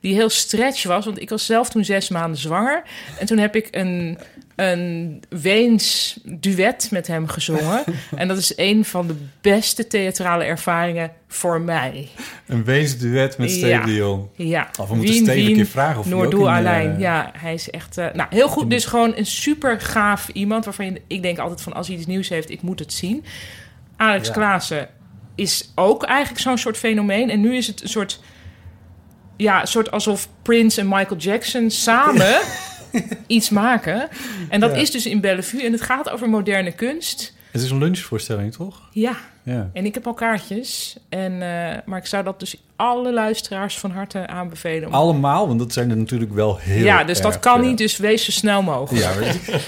Speaker 3: Die heel stretch was. Want ik was zelf toen zes maanden zwanger. En toen heb ik een, een Weens duet met hem gezongen. En dat is een van de beste theatrale ervaringen voor mij.
Speaker 4: Een weesduet met Steve
Speaker 3: Ja.
Speaker 4: de Jong.
Speaker 3: Ja.
Speaker 4: Of we moeten Steven een keer vragen of hij ook
Speaker 3: Noordoe
Speaker 4: in, eh,
Speaker 3: alleen. Ja, hij is echt... eh, nou, heel goed. Dus gewoon een super gaaf iemand... waarvan je- ik denk altijd van... als hij iets nieuws heeft, ik moet het zien. Alex
Speaker 4: Ja.
Speaker 3: Klaassen is ook eigenlijk zo'n soort fenomeen. En nu is het een soort... Ja, een soort alsof Prince en Michael Jackson samen <laughs> iets maken. En dat
Speaker 4: Ja.
Speaker 3: is dus in Bellevue. En het gaat over moderne kunst.
Speaker 4: Het is een lunchvoorstelling, toch?
Speaker 3: Ja,
Speaker 4: Ja.
Speaker 3: en ik heb al kaartjes. En, eh, maar ik zou dat dus alle luisteraars van harte aanbevelen. om
Speaker 4: Allemaal, want dat zijn er natuurlijk wel heel
Speaker 3: ja, dus dat
Speaker 4: erg
Speaker 3: kan
Speaker 4: veel.
Speaker 3: niet, dus wees zo snel mogelijk.
Speaker 4: Ja, weet je.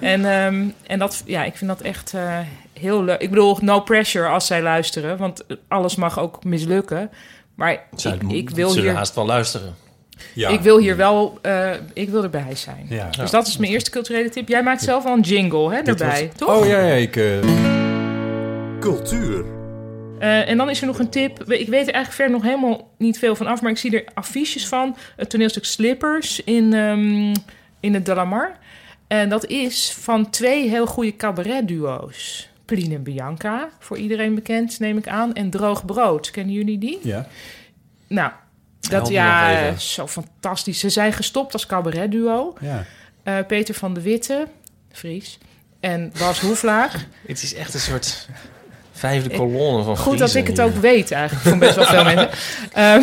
Speaker 3: En, ehm, en dat, ja, ik vind dat echt eh, heel leuk. Ik bedoel, no pressure als zij luisteren, want alles mag ook mislukken. Maar
Speaker 2: Zij
Speaker 3: ik,
Speaker 2: mo-
Speaker 3: ik, wil,
Speaker 2: zullen
Speaker 3: hier,
Speaker 2: haast wel luisteren.
Speaker 4: Ja.
Speaker 3: ik wil hier wel, eh, ik wil erbij zijn.
Speaker 4: Ja.
Speaker 3: Dus dat is mijn eerste culturele tip. Jij maakt zelf al een jingle hè,
Speaker 4: Dit was-
Speaker 3: erbij, toch?
Speaker 4: Oh ja, ja ik... eh,
Speaker 6: Cultuur.
Speaker 3: Eh, en dan is er nog een tip. We- Ik weet er eigenlijk verder nog helemaal niet veel van af, maar ik zie er affiches van. Het toneelstuk Slippers in, ehm, in het Dalamar. En dat is van twee heel goede cabaretduo's. Pline en Bianca, voor iedereen bekend, neem ik aan. En Droog Brood, kennen jullie die?
Speaker 4: ja.
Speaker 3: Nou, dat
Speaker 2: Help me nog
Speaker 3: ja,
Speaker 2: even.
Speaker 3: zo fantastisch. Ze zijn gestopt als cabaretduo.
Speaker 4: Ja.
Speaker 3: Eh Peter van de Witte, Fries, en Bas Hoeflaag.
Speaker 2: Het is echt een soort vijfde kolonne van
Speaker 3: Goed dat
Speaker 2: Friesen
Speaker 3: ik het
Speaker 2: hier.
Speaker 3: ook weet eigenlijk van best wel veel mensen. Ehm,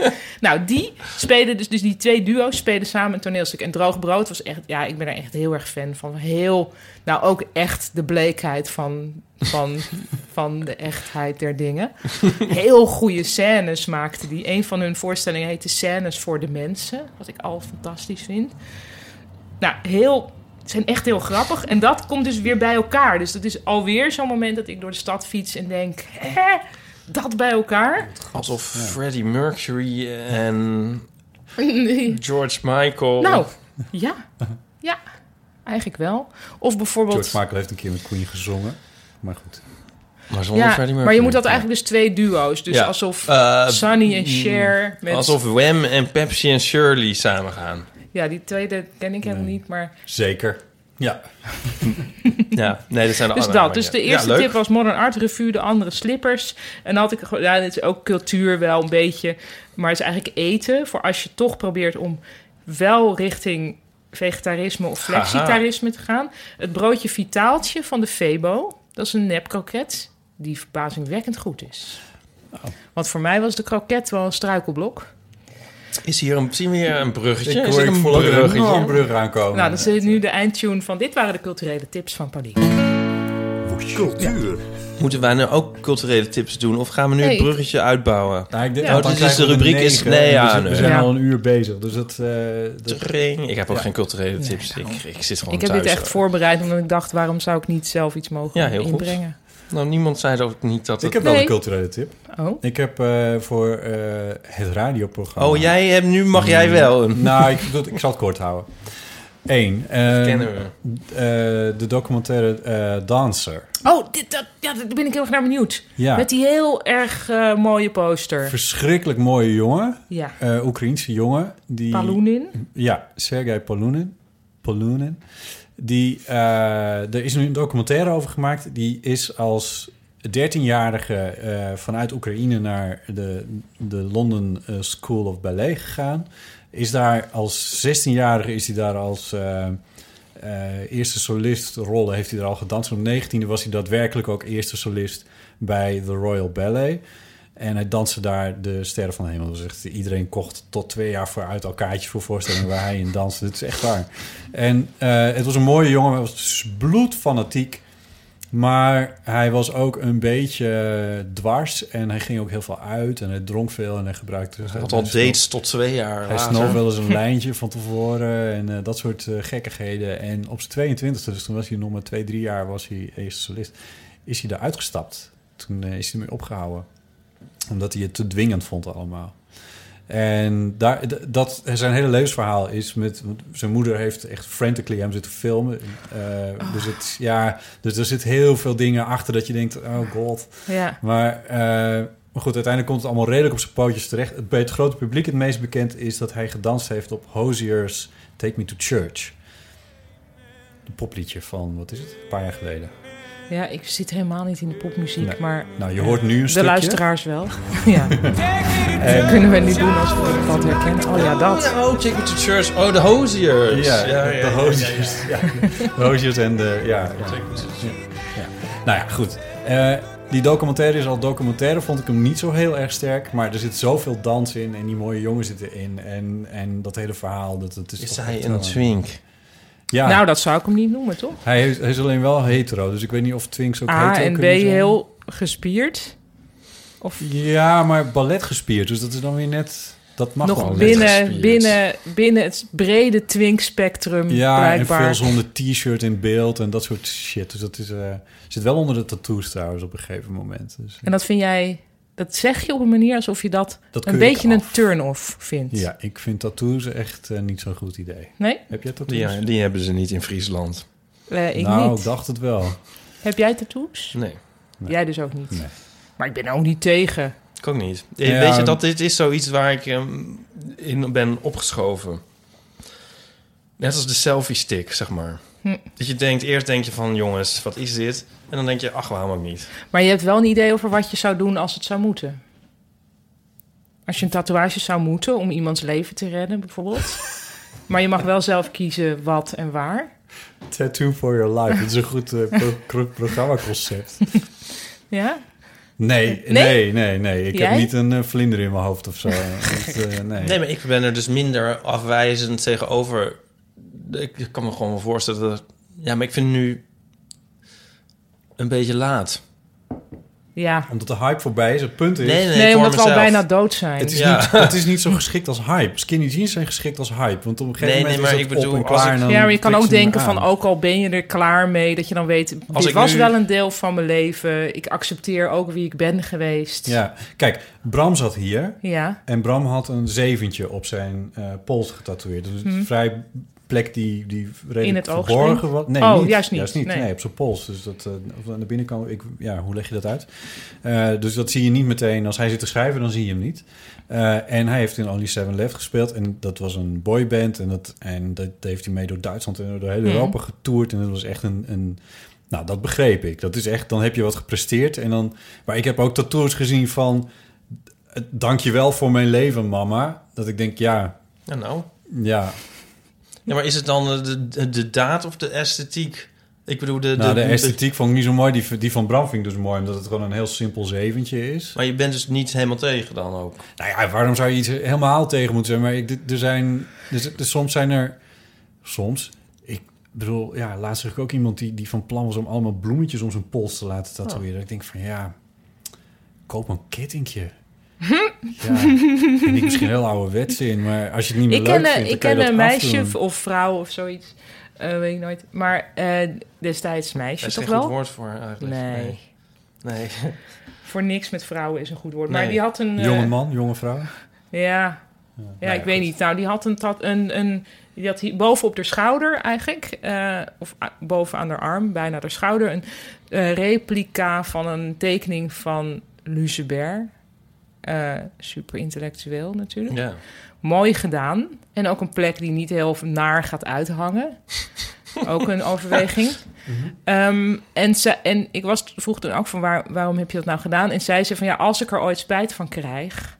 Speaker 3: <laughs> nou, die spelen dus, dus die twee duo's spelen samen een toneelstuk. En Droog Brood was echt, ja, ik ben er echt heel erg fan van. Heel, nou ook echt de bleekheid van, van, van de echtheid der dingen. Heel goede scènes maakten die. Een van hun voorstellingen heette Scènes voor de Mensen. Wat ik al fantastisch vind. Nou, heel het zijn echt heel grappig. En dat komt dus weer bij elkaar. Dus dat is alweer zo'n moment dat ik door de stad fiets en denk... Hè, dat bij elkaar?
Speaker 2: Alsof Freddie Mercury en
Speaker 3: Nee.
Speaker 2: George Michael...
Speaker 3: nou, ja. Ja, eigenlijk wel. Of bijvoorbeeld...
Speaker 4: George Michael heeft een keer met Queen gezongen. Maar goed.
Speaker 2: Maar zonder
Speaker 3: Ja,
Speaker 2: Freddie Mercury.
Speaker 3: maar je moet dat eigenlijk dus twee duo's. Dus
Speaker 2: Ja.
Speaker 3: alsof
Speaker 2: Eh,
Speaker 3: Sunny en
Speaker 2: mm,
Speaker 3: Cher... Met,
Speaker 2: Alsof Wham en Pepsi en Shirley samen gaan.
Speaker 3: Ja, die tweede ken ik helemaal niet, maar...
Speaker 4: Zeker. Ja.
Speaker 2: Ja, nee, dat zijn de
Speaker 3: Dus
Speaker 2: andere,
Speaker 3: dat.
Speaker 2: maar
Speaker 3: Dus de
Speaker 2: ja.
Speaker 3: eerste
Speaker 2: Ja, leuk.
Speaker 3: tip was Modern Art Revue, de andere slippers. En dan had ik gewoon, ja, dit is ook cultuur wel een beetje. Maar het is eigenlijk eten. Voor als je toch probeert om wel richting vegetarisme of flexitarisme te gaan. Het broodje Vitaaltje van de Febo. Dat is een nepkroket die verbazingwekkend goed is.
Speaker 2: Oh.
Speaker 3: Want voor mij was de kroket wel een struikelblok.
Speaker 2: Is hier een, zien we hier een bruggetje?
Speaker 4: ik
Speaker 2: is
Speaker 4: hoor
Speaker 2: er
Speaker 4: ik
Speaker 2: een
Speaker 4: voel ook een
Speaker 2: bruggetje? Oh,
Speaker 4: enorm brug aankomen.
Speaker 3: Nou, dat is nu de eindtune van... Dit waren de culturele tips van Pauline.
Speaker 6: Woest. Cultuur.
Speaker 2: Moeten wij nu ook culturele tips doen? Of gaan we nu
Speaker 3: Nee,
Speaker 2: het
Speaker 3: ik-
Speaker 2: bruggetje uitbouwen?
Speaker 4: Nou, ik denk-
Speaker 3: Ja,
Speaker 4: want
Speaker 3: dit
Speaker 4: dan
Speaker 2: is
Speaker 4: krijgen
Speaker 2: de
Speaker 4: we
Speaker 2: rubriek is-
Speaker 4: negen,
Speaker 2: nee,
Speaker 4: en
Speaker 2: ja,
Speaker 4: we zitten- we
Speaker 2: nee.
Speaker 4: zijn
Speaker 3: Ja.
Speaker 4: al een uur bezig, dus dat... eh, dat-
Speaker 2: Tring. Ik heb ook
Speaker 4: Ja.
Speaker 2: geen culturele tips. ik, ik zit gewoon
Speaker 3: Ik heb
Speaker 2: thuis,
Speaker 3: dit echt
Speaker 2: hoor.
Speaker 3: voorbereid, omdat ik dacht, waarom zou ik niet zelf iets mogen
Speaker 2: Ja, heel goed.
Speaker 3: inbrengen?
Speaker 2: Nou, niemand zei ook niet dat
Speaker 4: ik
Speaker 2: het...
Speaker 4: heb wel
Speaker 3: Nee.
Speaker 4: een culturele tip.
Speaker 3: Oh,
Speaker 4: Ik heb eh, voor eh, het radioprogramma...
Speaker 2: Oh, jij hebt nu mag jij wel een.
Speaker 4: Nou, ik, dat- ik zal het kort houden. Eén. eh,
Speaker 2: Kennen we.
Speaker 4: eh, de documentaire eh, Dancer.
Speaker 3: oh dit, dat, ja, daar ben ik heel erg naar benieuwd.
Speaker 4: Ja,
Speaker 3: Met die heel erg eh, mooie poster.
Speaker 4: verschrikkelijk mooie jongen.
Speaker 3: ja,
Speaker 4: eh Oekraïense jongen. Die,
Speaker 3: Palunin.
Speaker 4: Ja, Sergei Polunin. Polunin. Die, eh, er is nu een documentaire over gemaakt. Die is als 13-jarige eh, vanuit Oekraïne naar de, de London eh, School of Ballet gegaan. Is daar als 16-jarige is hij daar als eh, eh, eerste solist rollen. Heeft hij daar al gedanst. Op 19e was hij daadwerkelijk ook eerste solist bij de Royal Ballet. En hij danste daar de Sterren van de Hemel. Dus echt, iedereen kocht tot twee jaar vooruit al kaartjes voor voorstellingen waar hij in danste. Het is echt waar. En eh, het was een mooie jongen. Hij was dus bloedfanatiek. Maar hij was ook een beetje eh, dwars. En hij ging ook heel veel uit. En hij dronk veel en hij gebruikte...
Speaker 2: Had al dates tot twee jaar
Speaker 4: Hij
Speaker 2: later.
Speaker 4: snoof wel eens een <laughs> lijntje van tevoren en eh, dat soort eh, gekkigheden. En op zijn 22e, dus toen was hij nog maar twee, drie jaar, was hij eerste solist, is hij eruit gestapt. Toen eh, is hij ermee opgehouden, omdat hij het te dwingend vond allemaal. En daar, d- dat, zijn hele levensverhaal is met... want Zijn moeder heeft echt frantically hem zitten filmen. Eh, Dus, het, ja, dus er zit heel veel dingen achter dat je denkt... Oh god,
Speaker 3: Ja.
Speaker 4: maar, eh, maar goed, uiteindelijk komt het allemaal redelijk op zijn pootjes terecht. Het- Bij het grote publiek het meest bekend is dat hij gedanst heeft op Hozier's Take Me to Church. Een popliedje van, wat is het, een paar jaar geleden.
Speaker 3: ja, ik zit helemaal niet in de popmuziek,
Speaker 4: Nee.
Speaker 3: maar
Speaker 4: Nou, je hoort nu een
Speaker 3: de
Speaker 4: stukje.
Speaker 3: luisteraars wel. <laughs> ja. Eh, Kunnen we niet doen als we dat herkennen? Oh ja, dat.
Speaker 2: Oh, Take Me to Church. Oh, de Hoziers.
Speaker 4: Ja, de Hozier's. Ja, De Hozier's en de... Ja, ja. Ja. Nou ja, goed. Eh, die documentaire is al documentaire, vond ik hem niet zo heel erg sterk. Maar er zit zoveel dans in en die mooie jongen zit erin. En, en dat hele verhaal, dat, dat is,
Speaker 2: Is
Speaker 4: toch
Speaker 2: hij
Speaker 4: echt
Speaker 2: een
Speaker 4: wel
Speaker 2: twink?
Speaker 4: Ja.
Speaker 3: Nou, dat zou ik hem niet noemen, toch?
Speaker 4: Hij is, hij is alleen wel hetero, dus ik weet niet of Twinks ook
Speaker 3: A
Speaker 4: hetero
Speaker 3: Ah, en B
Speaker 4: kunnen zijn.
Speaker 3: heel gespierd. Of
Speaker 4: Ja, maar ballet gespierd, dus dat is dan weer net... Dat mag wel
Speaker 3: nog
Speaker 4: net
Speaker 3: binnen,
Speaker 4: gespierd.
Speaker 3: binnen, binnen het brede twinkspectrum
Speaker 4: Ja,
Speaker 3: blijkbaar.
Speaker 4: en veel zonder t-shirt in beeld en dat soort shit. Dus dat is, eh, zit wel onder de tattoos trouwens op een gegeven moment. Dus,
Speaker 3: En dat vind jij, dat zeg je op een manier alsof je dat,
Speaker 4: Dat
Speaker 3: een
Speaker 4: keur ik
Speaker 3: beetje een
Speaker 4: af.
Speaker 3: turn-off vindt.
Speaker 4: ja, ik vind tattoos echt eh, niet zo'n goed idee.
Speaker 3: Nee,
Speaker 4: Heb jij tattoos?
Speaker 2: Die, die hebben ze niet in Friesland.
Speaker 3: Eh, ik
Speaker 4: nou,
Speaker 3: niet.
Speaker 4: dacht het wel.
Speaker 3: Heb jij tattoos?
Speaker 2: Nee,
Speaker 4: Nee.
Speaker 3: Jij dus ook niet.
Speaker 4: Nee.
Speaker 3: Maar ik ben ook niet tegen.
Speaker 2: ik ook niet.
Speaker 4: Ja,
Speaker 2: Eh, Weet je,
Speaker 4: ja.
Speaker 2: dat dit is zoiets waar ik ehm, in ben opgeschoven. Net als de selfie-stick, zeg maar.
Speaker 3: Hm.
Speaker 2: Dat je denkt, eerst denk je van, jongens, wat is dit? En dan denk je, ach, waarom ook niet?
Speaker 3: Maar je hebt wel een idee over wat je zou doen als het zou moeten. Als je een tatoeage zou moeten om iemands leven te redden,
Speaker 4: <laughs>
Speaker 3: bijvoorbeeld. maar je mag wel zelf kiezen wat en waar.
Speaker 4: Tattoo for your life, dat is een goed eh, pro- pro- programmaconcept.
Speaker 3: Ja?
Speaker 4: Nee, nee,
Speaker 3: Nee?
Speaker 4: nee, nee. Ik
Speaker 3: Jij?
Speaker 4: heb niet een eh, vlinder in mijn
Speaker 3: <laughs>
Speaker 4: hoofd of zo. Dat, eh, nee.
Speaker 2: Nee, maar ik ben er dus minder afwijzend tegenover. Ik kan me gewoon wel voorstellen dat... Ja, maar ik vind het nu een beetje laat.
Speaker 3: Ja.
Speaker 4: Omdat de hype voorbij is. Het punt is,
Speaker 2: Nee, nee,
Speaker 3: Nee,
Speaker 2: voor
Speaker 3: omdat we al
Speaker 2: mezelf.
Speaker 3: bijna dood zijn.
Speaker 4: Het, is
Speaker 2: Ja.
Speaker 4: niet, het is niet zo geschikt als hype. Skinny jeans zijn geschikt als hype. Want op een gegeven
Speaker 2: Nee,
Speaker 4: moment
Speaker 2: nee, maar
Speaker 4: is
Speaker 2: ik
Speaker 4: dat
Speaker 2: bedoel,
Speaker 4: op en
Speaker 2: als
Speaker 4: klaar.
Speaker 2: ik-
Speaker 4: en dan
Speaker 3: Ja, maar je kan
Speaker 4: trek
Speaker 3: ook
Speaker 4: hem
Speaker 3: denken
Speaker 4: eraan.
Speaker 3: van, oh, ook al ben je er klaar mee, dat je dan weet, dit
Speaker 2: ik
Speaker 3: was
Speaker 2: nu-
Speaker 3: wel een deel van mijn leven. Ik accepteer ook wie ik ben geweest.
Speaker 4: Ja, kijk, Bram zat hier.
Speaker 3: Ja.
Speaker 4: En Bram had een zeventje op zijn eh, pols getatoeëerd. Dus een vrij plek die, die redelijk
Speaker 3: Mhm. In het oog
Speaker 4: verborgen
Speaker 3: springt?
Speaker 4: was. Nee,
Speaker 3: Oh,
Speaker 4: niet.
Speaker 3: juist niet.
Speaker 4: Nee.
Speaker 3: Nee.
Speaker 4: op zijn pols. Dus dat, eh, of aan de binnenkant, ik, ja, hoe leg je dat uit? Eh, dus dat zie je niet meteen. Als hij zit te schrijven, dan zie je hem niet. Eh, en hij heeft in Only Seven Left gespeeld. En dat was een boyband. En dat, en dat heeft hij mee door Duitsland en door heel
Speaker 3: Mhm.
Speaker 4: Europa getoerd. En dat was echt een... een nou, dat begreep ik. Dat is echt, dan heb je wat gepresteerd. En dan, maar ik heb ook tattoos gezien van... eh, Dank je wel voor mijn leven, mama. Dat ik denk, ja,
Speaker 2: Ja, nou...
Speaker 4: ja.
Speaker 2: Ja, maar is het dan eh, de, de, de daad of de esthetiek? Ik bedoel, de,
Speaker 4: nou, de, esthetiek vond ik niet zo mooi. Die, die van Bram vind ik dus mooi, omdat het gewoon een heel simpel zeventje is.
Speaker 2: Maar je bent dus niet helemaal tegen dan ook.
Speaker 4: Nou ja, waarom zou je iets dus, helemaal tegen moeten zijn? Maar ik, dit- er zijn, er, z- er- soms zijn er, soms, ik, bedoel, ja, laatst zag ik ook iemand die, die van plan was om allemaal bloemetjes om zijn pols te laten
Speaker 3: Oh.
Speaker 4: tatoeëren. Ik denk van ja, koop een kettingje. ja, vind ik misschien heel ouderwets in, maar als je het niet meer
Speaker 3: Ik
Speaker 4: leuk
Speaker 3: ken, eh,
Speaker 4: vindt,
Speaker 3: ik
Speaker 4: dan kan
Speaker 3: ken
Speaker 4: je
Speaker 3: een
Speaker 4: dat
Speaker 3: meisje
Speaker 4: afdoen.
Speaker 3: of vrouw of zoiets. Eh, weet ik nooit. Maar eh, destijds meisje
Speaker 2: Daar is
Speaker 3: toch
Speaker 2: geen goed
Speaker 3: wel?
Speaker 2: woord voor eigenlijk.
Speaker 3: Nee. <laughs>
Speaker 2: Nee.
Speaker 3: Voor niks met vrouwen is een goed woord. Maar
Speaker 2: Nee.
Speaker 3: die had een... eh,
Speaker 4: Jonge man, jonge vrouw.
Speaker 3: Ja. Ja, ik weet niet. Nou, die had een, tat, een, een die had hier boven op de schouder eigenlijk, eh, of a- boven aan de arm, bijna de schouder, een eh, replica van een tekening van Lucebert. Eh super intellectueel natuurlijk.
Speaker 2: Ja.
Speaker 3: Mooi gedaan. En ook een plek die niet heel naar gaat
Speaker 2: <laughs>
Speaker 3: uithangen. ook een overweging.
Speaker 2: Mhm.
Speaker 3: Ehm, en, ze, en ik was, vroeg toen ook van waar, waarom heb je dat nou gedaan? En zij zei van ja, als ik er ooit spijt van krijg,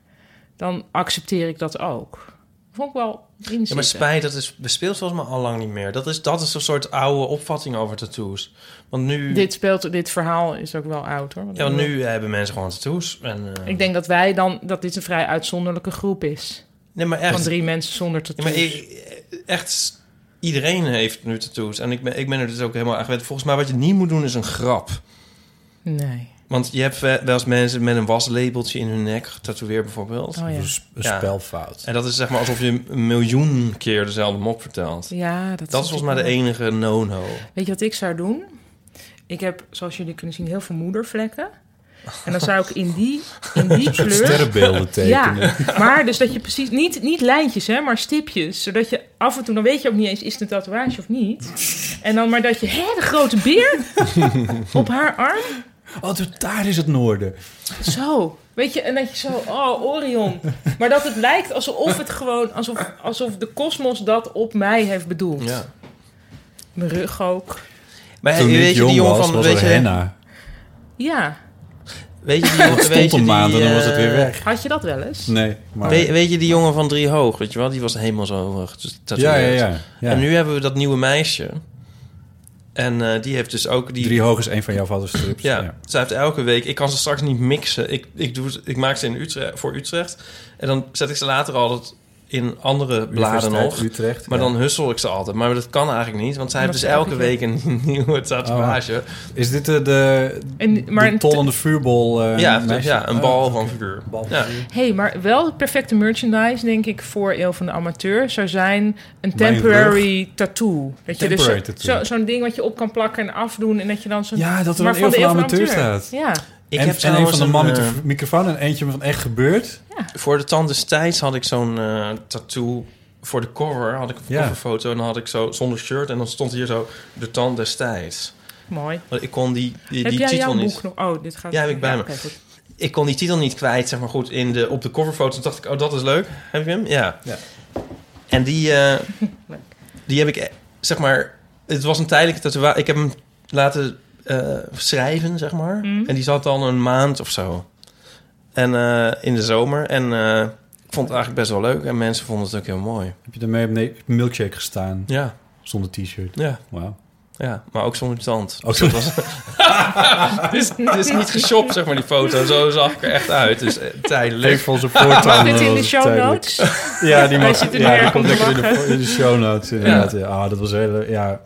Speaker 3: dan accepteer ik dat ook. Vond ik wel inzicht.
Speaker 2: Ja, maar spijt, dat is bespeeld volgens mij al lang niet meer. Dat is, dat is een soort oude opvatting over tattoos. Want nu,
Speaker 3: dit, speelt, dit verhaal is ook wel oud hoor. Want
Speaker 2: ja, want nu hebben mensen gewoon tattoos. En, eh,
Speaker 3: Ik denk dat wij dan, dat dit een vrij uitzonderlijke groep is.
Speaker 2: nee, maar
Speaker 3: Van
Speaker 2: echt,
Speaker 3: drie mensen zonder
Speaker 2: ja,
Speaker 3: tattoos.
Speaker 2: maar ik- echt, iedereen heeft nu tattoos. En ik ben, ik ben er dus ook helemaal aan gewend. Volgens mij wat je niet moet doen is een grap.
Speaker 3: Nee.
Speaker 2: Want je hebt wel wel eens mensen met een waslabeltje in hun nek getatoeëerd bijvoorbeeld.
Speaker 3: Oh ja.
Speaker 4: Een
Speaker 2: Ja.
Speaker 4: spelfout.
Speaker 2: En dat is zeg maar alsof je een miljoen keer dezelfde mop vertelt.
Speaker 3: Ja, dat,
Speaker 2: Dat is volgens mij de
Speaker 3: een.
Speaker 2: enige no-no.
Speaker 3: Weet je wat ik zou doen? Ik heb, zoals jullie kunnen zien, heel veel moedervlekken. En dan zou ik in die, in
Speaker 4: <laughs>
Speaker 3: die kleur...
Speaker 4: Sterrenbeelden tekenen.
Speaker 3: Ja, maar dus dat je precies... Niet, niet lijntjes, hè, maar stipjes. Zodat je af en toe... Dan weet je ook niet eens, is het een tatoeage of niet? En dan maar dat je... Hé, de grote beer
Speaker 4: <laughs>
Speaker 3: op haar arm.
Speaker 4: Oh, dus daar is het noorden.
Speaker 2: Eh,
Speaker 3: Zo. Weet je, en dat je zo... Oh, Orion. Maar dat het lijkt alsof het gewoon... Alsof, alsof de kosmos dat op mij heeft bedoeld.
Speaker 2: Ja.
Speaker 3: Mijn rug ook.
Speaker 2: Maar
Speaker 4: Toen ik
Speaker 2: weet je
Speaker 4: jong
Speaker 2: die jongen
Speaker 4: was,
Speaker 2: van...
Speaker 4: was
Speaker 2: weet,
Speaker 4: er
Speaker 2: je,
Speaker 4: henna.
Speaker 3: Ja.
Speaker 2: weet je die jongen...
Speaker 4: Het
Speaker 2: weet
Speaker 4: stond
Speaker 2: je
Speaker 4: een
Speaker 2: die,
Speaker 4: maand en dan was het
Speaker 2: eh,
Speaker 4: weer weg.
Speaker 3: Had je dat wel eens?
Speaker 4: Nee, maar...
Speaker 2: Weet, weet je die jongen van drie hoog, weet je wel? Die was helemaal zo eh, getatoeëerd.
Speaker 4: ja, ja, ja. ja.
Speaker 2: En nu hebben we dat nieuwe meisje. En eh, die heeft dus ook die...
Speaker 4: Drie hoog is een van jouw vaders strips.
Speaker 2: ja, zij heeft elke week... Ik kan ze straks niet mixen. Ik, ik, doe, het- ik maak ze in Utrecht, voor Utrecht. En dan zet ik ze later altijd in andere bladen
Speaker 4: Universiteit
Speaker 2: nog.
Speaker 4: Utrecht.
Speaker 2: Maar
Speaker 4: ja.
Speaker 2: dan hussel ik ze altijd. Maar dat kan eigenlijk niet, want zij heeft
Speaker 3: Maar
Speaker 2: dus
Speaker 3: dat
Speaker 2: elke
Speaker 3: snap ik,
Speaker 2: week een <laughs> nieuwe tatoeage.
Speaker 4: Is dit de, de,
Speaker 3: En, maar
Speaker 4: de tollende vuurbol? eh,
Speaker 2: ja, dus
Speaker 4: meisje?
Speaker 2: ja, een
Speaker 4: Oh,
Speaker 2: bal van figuur.
Speaker 4: bal van
Speaker 2: Ja.
Speaker 4: vuur.
Speaker 3: Hé, hey, maar wel de perfecte merchandise, denk ik, voor Eeuw van de Amateur zou zijn een
Speaker 4: Mijn
Speaker 3: temporary tattoo. Dat je dus zo-
Speaker 4: Temporary tattoo.
Speaker 3: zo- zo'n ding wat je op kan plakken en afdoen en dat je dan zo'n...
Speaker 4: Ja, dat er
Speaker 3: maar
Speaker 4: een eeuw van de amateur
Speaker 3: Amateur.
Speaker 4: staat.
Speaker 3: Ja,
Speaker 2: Ik
Speaker 4: en,
Speaker 2: heb
Speaker 4: en een
Speaker 2: trouwens
Speaker 4: van de man met
Speaker 2: eh,
Speaker 4: de microfoon en eentje van echt gebeurd.
Speaker 2: Voor de tand destijds had ik zo'n eh, tattoo voor de cover. Had ik een
Speaker 4: Ja.
Speaker 2: coverfoto en dan had ik zo zonder shirt. En dan stond hier zo de tand destijds.
Speaker 3: mooi.
Speaker 2: Want ik kon die, die,
Speaker 3: Heb
Speaker 2: die
Speaker 3: jij
Speaker 2: titel
Speaker 3: jouw
Speaker 2: niet...
Speaker 3: boek nog? Oh, dit gaat...
Speaker 2: Ja, heb ik bij me.
Speaker 3: oké, goed.
Speaker 2: Ik kon die titel niet kwijt, zeg maar goed, in de, op de coverfoto. Toen dacht ik, oh, dat is leuk. Heb je hem? Ja.
Speaker 4: Ja.
Speaker 2: En die, eh, die heb ik, eh, zeg maar... Het was een tijdelijke tatoeage. Ik heb hem laten eh, schrijven, zeg maar. En die zat dan een maand of zo. En eh, in de zomer. En eh, ik vond het eigenlijk best wel leuk. En mensen vonden het ook heel mooi.
Speaker 4: Heb je daarmee op ne- milkshake gestaan
Speaker 2: Ja,
Speaker 4: zonder t-shirt?
Speaker 2: ja,
Speaker 4: Wauw.
Speaker 2: ja. Maar ook zonder tand.
Speaker 4: Ook zo was
Speaker 2: Dus het is niet geshopt, zeg maar, die foto. Zo zag ik er echt uit. Dus eh, tijdelijk.
Speaker 4: van zijn voortanden.
Speaker 3: Mag dit in de
Speaker 4: was het
Speaker 3: show
Speaker 4: Oh, <laughs> tijdelijk.
Speaker 3: notes? <laughs>
Speaker 4: Ja, die
Speaker 3: Hij
Speaker 4: mag,
Speaker 3: zit er
Speaker 4: ja,
Speaker 3: neer
Speaker 4: die komt
Speaker 3: om te
Speaker 4: lekker in de,
Speaker 3: lachen.
Speaker 4: in de show notes. Inderdaad. Ja. Ah, dat was heel... Ja.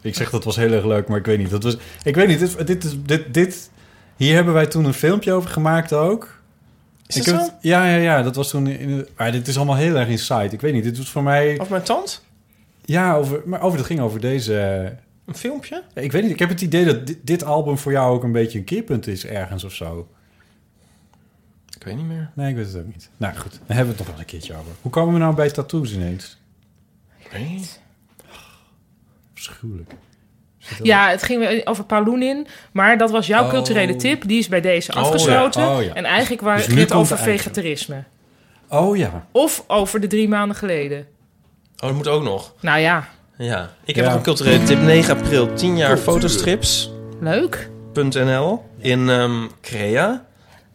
Speaker 4: Ik zeg dat was heel erg leuk, maar ik weet niet. Dat was, ik weet niet, dit, dit, is- dit, dit... Hier hebben wij toen een filmpje over gemaakt ook.
Speaker 2: Is
Speaker 4: ik
Speaker 2: dat
Speaker 4: heb
Speaker 2: zo?
Speaker 4: het- ja, ja, ja, dat was toen... In, de- ah, dit is allemaal heel erg inside. Ik weet niet, dit was voor mij...
Speaker 2: Of mijn tand?
Speaker 4: Ja, over, maar over, dat ging over deze... eh,
Speaker 2: Een filmpje?
Speaker 4: Ik weet niet, ik heb het idee dat dit, dit album voor jou ook een beetje een keerpunt is ergens of zo.
Speaker 2: Ik weet niet meer.
Speaker 4: Nee, ik weet het ook niet. Nou goed, daar hebben we het nog wel een keertje over. Hoe komen we nou bij tattoos ineens?
Speaker 2: Ik weet niet.
Speaker 4: Verschuwelijk.
Speaker 3: Ja, het ging weer over Paulunin, maar dat was jouw
Speaker 4: Oh.
Speaker 3: culturele tip. Die is bij deze
Speaker 2: ja.
Speaker 3: afgesloten.
Speaker 4: Oh, ja.
Speaker 3: En eigenlijk waar
Speaker 4: Dus
Speaker 3: ging
Speaker 4: nu
Speaker 3: het
Speaker 4: komt
Speaker 3: over
Speaker 4: de eigenlijk.
Speaker 3: vegetarisme.
Speaker 4: Oh ja.
Speaker 3: Of over de drie maanden geleden.
Speaker 2: Oh, dat moet ook nog.
Speaker 3: Nou ja,
Speaker 2: Ja. Ik heb
Speaker 4: Ja.
Speaker 2: nog een culturele tip. 9 april, 10 jaar fotostrips.nl
Speaker 3: leuk.
Speaker 2: in ehm, Crea.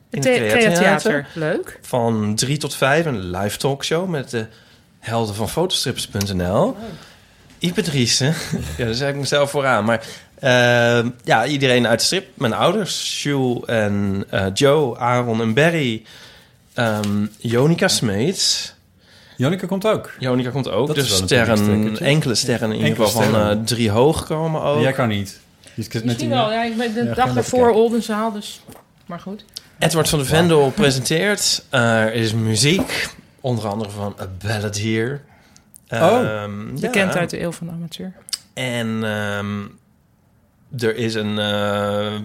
Speaker 2: In
Speaker 3: Het the-
Speaker 2: Crea
Speaker 3: Crea
Speaker 2: Theater.
Speaker 3: Theater. Leuk.
Speaker 2: Van 3 tot 5 een live talkshow met de helden van fotostrips.nl. Ipe Driessen. <laughs> ja, daar zet ik mezelf vooraan. Maar eh, ja, iedereen uit de strip. Mijn ouders, Jules en eh, Joe, Aaron en Barry. Ehm Jonica Smeets.
Speaker 4: Janneke komt ook.
Speaker 2: Jonica komt ook.
Speaker 4: Dat is
Speaker 2: dus
Speaker 4: wel natuurlijk een
Speaker 2: sterren,
Speaker 4: stekkertje.
Speaker 2: enkele sterren in ieder
Speaker 4: Enkele
Speaker 2: geval van
Speaker 4: sterren.
Speaker 2: eh, drie hoog komen ook.
Speaker 4: Jij kan niet. Je zit net
Speaker 3: Misschien
Speaker 4: in-
Speaker 3: wel. Ja, ik ben de
Speaker 4: Ja, ga
Speaker 3: dag
Speaker 4: even
Speaker 3: daarvoor
Speaker 4: kijken.
Speaker 3: Oldenzaal, dus... Maar goed.
Speaker 2: Edward van de Vendel presenteert. Eh, er is muziek, onder andere van A Ballad Here.
Speaker 4: Oh,
Speaker 2: Ehm,
Speaker 3: Bekend
Speaker 2: ja.
Speaker 3: uit de eeuw van de amateur.
Speaker 2: En ehm, er is een. eh, er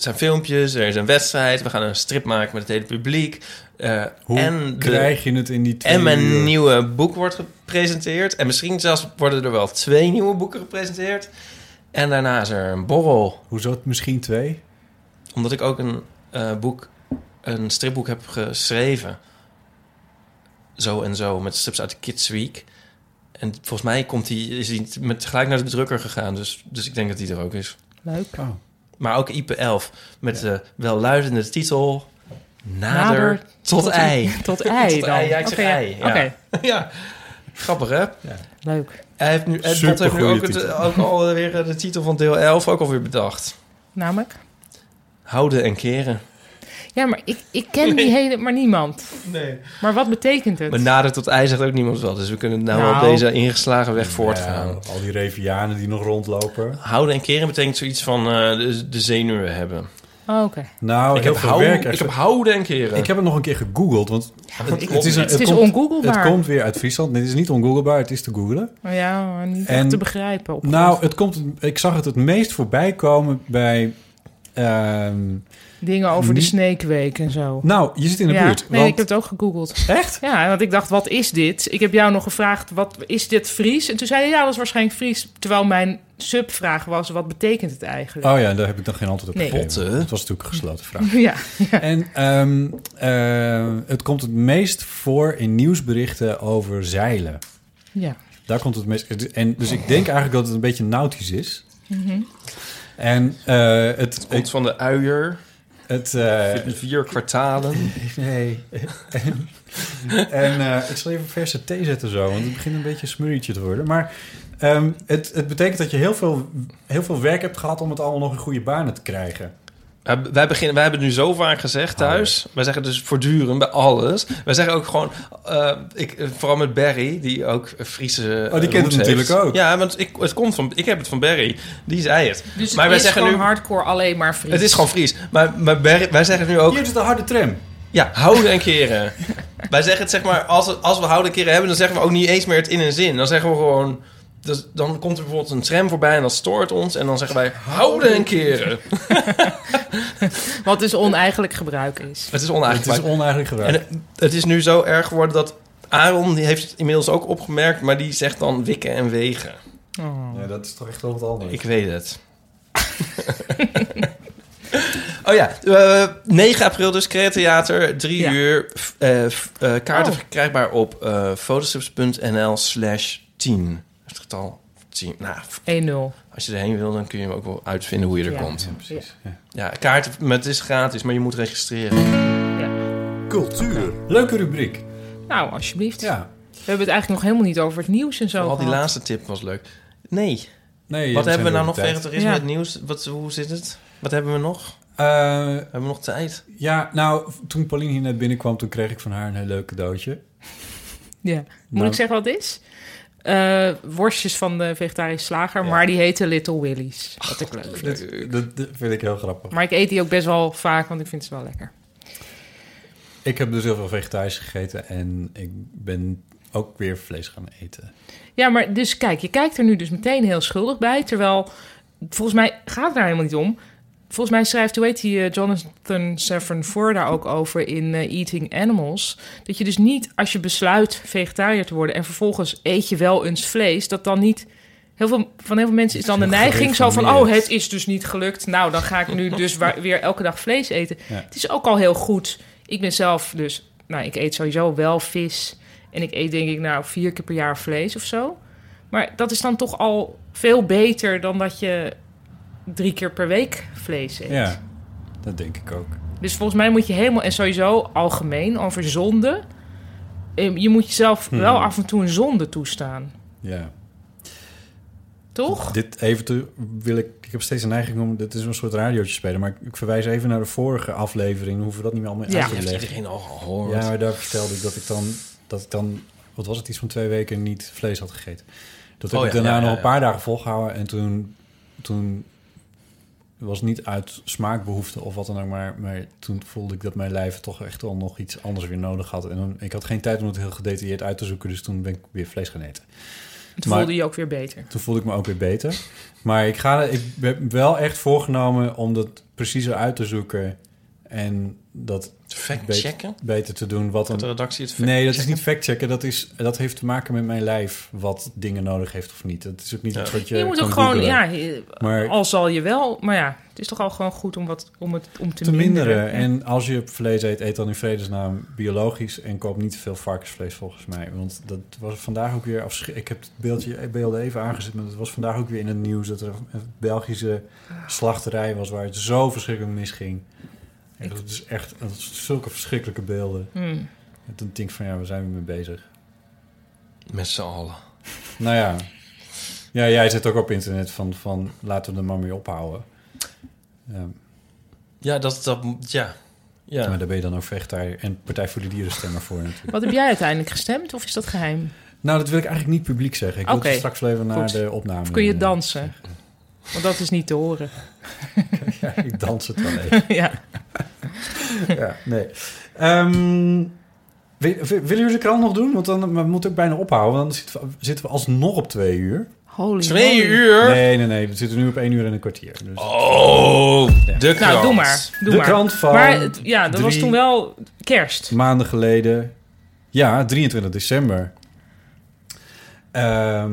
Speaker 2: zijn filmpjes, er is een wedstrijd. We gaan een strip maken met het hele publiek. Eh,
Speaker 4: Hoe
Speaker 2: en, de-
Speaker 4: krijg je het in die twee
Speaker 2: en
Speaker 4: uur?
Speaker 2: mijn nieuwe boek wordt gepresenteerd. En misschien zelfs worden er wel twee nieuwe boeken gepresenteerd. En daarna is er een borrel.
Speaker 4: Hoezo het misschien twee?
Speaker 2: Omdat ik ook een eh, boek, een stripboek heb geschreven. Zo en zo, met strips uit de Kids Week. En volgens mij komt die, is die met, gelijk naar de drukker gegaan. Dus, dus ik denk dat die er ook is.
Speaker 3: Leuk.
Speaker 4: Oh.
Speaker 2: Maar ook IP11 met de welluidende titel... Nader,
Speaker 3: Nader
Speaker 2: tot, ei.
Speaker 3: Tot ei
Speaker 2: Tot
Speaker 3: dan.
Speaker 2: ei, ja, ik zeg
Speaker 3: Oké, ja.
Speaker 2: ei, ja.
Speaker 3: Oké,
Speaker 2: <laughs> ja, grappig hè?
Speaker 3: leuk.
Speaker 2: Hij heeft nu, Ed Bot heeft nu
Speaker 4: Supergoeie
Speaker 2: ook, het, eh,
Speaker 4: titel.
Speaker 2: ook alweer de titel van deel 11 ook alweer bedacht.
Speaker 3: Namelijk?
Speaker 2: Houden en keren.
Speaker 3: Ja, maar ik, ik ken die hele... Maar niemand.
Speaker 2: Nee.
Speaker 3: Maar wat betekent het?
Speaker 2: Maar nader tot ei zegt ook niemand wat. Dus we kunnen nou,
Speaker 3: Nou.
Speaker 2: op deze ingeslagen weg voortgaan.
Speaker 4: Ja, al die revianen die nog rondlopen.
Speaker 2: Houden en keren betekent zoiets van eh, de, de zenuwen hebben.
Speaker 3: Oh, Oké.
Speaker 4: Nou,
Speaker 2: ik,
Speaker 4: heel
Speaker 2: heb
Speaker 4: veel
Speaker 2: hou-
Speaker 4: werk.
Speaker 2: ik
Speaker 4: echt.
Speaker 2: heb houden en keren.
Speaker 4: Ik heb het nog een keer gegoogeld, want
Speaker 2: het,
Speaker 4: is een-
Speaker 3: Het, is
Speaker 4: komt-
Speaker 3: ongooglebaar.
Speaker 4: het komt weer uit Friesland. Dit is niet ongooglebaar, het is te googelen.
Speaker 3: Maar Oh, ja, maar niet
Speaker 4: En-
Speaker 3: echt te begrijpen. Op
Speaker 4: Nou, het komt, ik zag het het meest voorbij komen bij... ehm,
Speaker 3: Dingen over
Speaker 4: niet-
Speaker 3: de sneekweek en zo.
Speaker 4: nou, je zit in de
Speaker 3: ja,
Speaker 4: buurt.
Speaker 3: nee,
Speaker 4: want-
Speaker 3: ik heb het ook gegoogeld.
Speaker 4: Echt?
Speaker 3: Ja, want ik dacht, wat is dit? Ik heb jou nog gevraagd, wat is dit Fries? En toen zei je, ja, dat is waarschijnlijk Fries. Terwijl mijn subvraag was, wat betekent het eigenlijk?
Speaker 4: Oh ja, daar heb ik nog geen antwoord op
Speaker 3: Nee.
Speaker 4: gegeven.
Speaker 2: Potten.
Speaker 4: Het was natuurlijk een gesloten vraag.
Speaker 3: Ja,
Speaker 4: En ehm, ehm, het komt het meest voor in nieuwsberichten over zeilen.
Speaker 3: ja.
Speaker 4: Daar komt het meest. En dus ik denk eigenlijk dat het een beetje nautisch is. En eh, het,
Speaker 2: komt
Speaker 4: het,
Speaker 2: van de uier.
Speaker 4: het, eh,
Speaker 2: vier kwartalen.
Speaker 4: nee. en eh, ik zal even verse thee zetten zo, want het begint een beetje een smurrietje te worden. Maar ehm, het, het betekent dat je heel veel, heel veel werk hebt gehad om het allemaal nog in goede banen te krijgen.
Speaker 2: Wij, wij beginnen, wij hebben het nu zo vaak gezegd thuis. Wij zeggen dus voortdurend bij alles. Wij zeggen ook gewoon, eh, ik, eh, vooral met Barry, die ook een Friese.
Speaker 4: Oh, die
Speaker 2: eh,
Speaker 4: kent
Speaker 2: roots
Speaker 4: het natuurlijk
Speaker 2: heeft.
Speaker 4: ook.
Speaker 2: Ja, want ik, het komt van, ik heb het van Barry. Die zei het.
Speaker 3: Dus
Speaker 2: maar wij zeggen nu,
Speaker 3: hardcore alleen maar Fries.
Speaker 2: het is gewoon Fries. Maar, maar Barry, wij zeggen nu ook,
Speaker 4: Hier is de harde tram.
Speaker 2: ja, houden en keren. wij zeggen het zeg maar, als, we- als we houden en keren hebben, dan zeggen we ook niet eens meer het in een zin. Dan zeggen we gewoon. dus dan komt er bijvoorbeeld een tram voorbij en dat stoort ons. En dan zeggen wij houden en keren.
Speaker 3: Wat dus oneigenlijk gebruik is.
Speaker 2: Het is
Speaker 4: Het
Speaker 2: oneigenlijk.
Speaker 4: is oneigenlijk gebruik.
Speaker 2: En het- het is nu zo erg geworden dat Aaron, die heeft het inmiddels ook opgemerkt, maar die zegt dan wikken en wegen.
Speaker 3: Oh.
Speaker 4: Ja, dat is toch echt wel wat anders.
Speaker 2: Ik weet het. <laughs> oh ja, eh, 9 april dus, Creatheater, 3
Speaker 3: Ja.
Speaker 2: uur. F- eh, f- eh, kaarten
Speaker 3: Oh.
Speaker 2: verkrijgbaar op eh fotostrips.nl slash 10. Het getal 10. Nou, f-
Speaker 3: 1-0.
Speaker 2: als je erheen wil, dan kun je hem ook wel uitvinden hoe je er
Speaker 3: Ja.
Speaker 2: komt.
Speaker 4: precies. Ja.
Speaker 2: Ja, kaarten, maar het is gratis, maar je moet registreren.
Speaker 6: Cultuur.
Speaker 4: Leuke rubriek.
Speaker 3: Nou, alsjeblieft.
Speaker 4: Ja.
Speaker 3: We hebben het eigenlijk nog helemaal niet over het nieuws en zo
Speaker 2: Al die
Speaker 3: gehad.
Speaker 2: laatste tip was leuk. Nee.
Speaker 4: Nee,
Speaker 2: Wat
Speaker 4: we
Speaker 2: hebben we nou
Speaker 4: zijn
Speaker 2: nog
Speaker 4: door de tijd.
Speaker 2: tegen toerisme,
Speaker 3: Ja.
Speaker 2: het nieuws? Wat, hoe zit het? Wat hebben we nog?
Speaker 4: Eh,
Speaker 2: Hebben we nog tijd?
Speaker 4: ja, nou, toen Pauline hier net binnenkwam, toen kreeg ik van haar een heel leuk cadeautje.
Speaker 3: Ja. Moet
Speaker 4: Nou.
Speaker 3: ik zeggen wat het is? Eh, worstjes van de vegetarische slager,
Speaker 4: Ja.
Speaker 3: maar die heten Little Willy's. Wat ik
Speaker 2: Eh,
Speaker 3: leuk vind.
Speaker 4: Dat, Eh, dat- dat vind ik heel grappig.
Speaker 3: Maar ik eet die ook best wel vaak, want ik vind ze wel lekker.
Speaker 4: Ik heb dus heel veel vegetarisch gegeten en ik ben ook weer vlees gaan eten.
Speaker 3: Ja, maar dus kijk, je kijkt er nu dus meteen heel schuldig bij. Terwijl, volgens mij gaat het daar helemaal niet om. Volgens mij schrijft, hoe heet die, eh, Jonathan Safran Foer daar ook over in eh, Eating Animals. Dat je dus niet, als je besluit vegetariër te worden... en vervolgens eet je wel eens vlees, dat dan niet... Heel veel, van heel veel mensen is dan de neiging zo van... oh,
Speaker 4: gereformeerd.
Speaker 3: het is dus niet gelukt. Nou, dan ga ik nu dus wa- weer elke dag vlees eten.
Speaker 4: Ja.
Speaker 3: Het is ook al heel goed. Ik ben zelf dus... Nou, ik eet sowieso wel vis. En ik eet denk ik nou vier keer per jaar vlees of zo. Maar dat is dan toch al veel beter dan dat je drie keer per week vlees eet.
Speaker 4: Ja, dat denk ik ook.
Speaker 3: Dus volgens mij moet je helemaal, en sowieso algemeen, over zonde. eh, Je moet jezelf
Speaker 4: Hmm.
Speaker 3: wel af en toe een zonde toestaan,
Speaker 4: Ja.
Speaker 3: toch?
Speaker 4: Dit even te, wil ik, ik heb steeds een neiging om, dit is een soort radiootje spelen, maar ik verwijs even naar de vorige aflevering, dan hoeven we dat niet meer allemaal
Speaker 3: Ja.
Speaker 4: uit te
Speaker 2: Heeft
Speaker 4: leggen.
Speaker 2: iedereen al gehoord?
Speaker 4: Ja, maar daar vertelde ik dat ik dan, dat ik dan wat was het, iets van twee weken niet vlees had gegeten. Dat heb
Speaker 2: Oh
Speaker 4: ik
Speaker 2: ja,
Speaker 4: daarna
Speaker 2: ja, ja,
Speaker 4: nog
Speaker 2: ja.
Speaker 4: een paar dagen volgehouden. En toen, toen was het niet uit smaakbehoefte of wat dan ook. Maar, maar toen voelde ik dat mijn lijf toch echt wel nog iets anders weer nodig had. En dan- ik had geen tijd om het heel gedetailleerd uit te zoeken. Dus toen ben ik weer vlees gaan eten.
Speaker 3: Toen
Speaker 4: Maar-
Speaker 3: voelde je ook weer beter.
Speaker 4: Toen voelde ik me ook weer beter. Maar ik, ga, ik heb wel echt voorgenomen om dat preciezer uit te zoeken. En dat
Speaker 2: Fact
Speaker 4: Beter.
Speaker 2: checken?
Speaker 4: beter te doen. Wat
Speaker 2: Dat de
Speaker 4: een,
Speaker 2: redactie het fact
Speaker 4: nee, dat is niet factchecken. Dat, is, dat heeft te maken met mijn lijf. Wat dingen nodig heeft of niet. Dat is ook niet
Speaker 2: Ja.
Speaker 4: iets wat je
Speaker 3: Je moet
Speaker 4: kan
Speaker 3: ook gewoon,
Speaker 4: googlen.
Speaker 3: ja, je-
Speaker 4: Maar
Speaker 3: al zal je wel, maar ja, het is toch al gewoon goed om, wat, om het om te,
Speaker 4: te minderen.
Speaker 3: Ja.
Speaker 4: En als je vlees eet, eet dan in vredesnaam biologisch. En koop niet te veel varkensvlees volgens mij. Want dat was vandaag ook weer... afsch- Ik heb het beeldje, beelden even aangezet. Maar het was vandaag ook weer in het nieuws... dat er een Belgische slachterij was... waar het zo verschrikkelijk misging. En dat is echt dat is zulke verschrikkelijke beelden.
Speaker 3: Hmm.
Speaker 4: En toen denk ik van ja, waar zijn we mee bezig?
Speaker 2: Met z'n allen.
Speaker 4: Nou ja. Ja, jij zit ook op internet van, van laten we er maar mee ophouden. Ja,
Speaker 2: Ja, dat... dat ja. ja.
Speaker 4: Maar daar ben je dan ook vegetariër en Partij voor de Dieren stemmer voor natuurlijk.
Speaker 3: Wat heb jij uiteindelijk gestemd of is dat geheim?
Speaker 4: Nou, dat wil ik eigenlijk niet publiek zeggen. Ik wil
Speaker 3: Oké,
Speaker 4: het straks wel even naar
Speaker 3: goed.
Speaker 4: de opname.
Speaker 3: Of kun je
Speaker 4: eh,
Speaker 3: dansen? Want dat is niet te horen.
Speaker 4: <laughs> Ja, ik dans het wel even.
Speaker 3: <laughs> ja.
Speaker 4: ja, nee. Ehm, wil- wil- willen jullie de krant nog doen? Want dan we moeten ook bijna ophouden. Want dan zitten we, zitten we alsnog op twee uur.
Speaker 3: Holy
Speaker 2: Twee
Speaker 3: moly.
Speaker 2: uur?
Speaker 4: Nee, nee, nee. We zitten nu op één uur en een kwartier. Dus
Speaker 2: Oh, de krant.
Speaker 3: Nou, doe maar. Doe
Speaker 4: de
Speaker 3: maar.
Speaker 4: krant van
Speaker 3: maar het- ja, dat was
Speaker 4: drie-
Speaker 3: toen wel kerst.
Speaker 4: maanden geleden. Ja, 23 december. Ehm,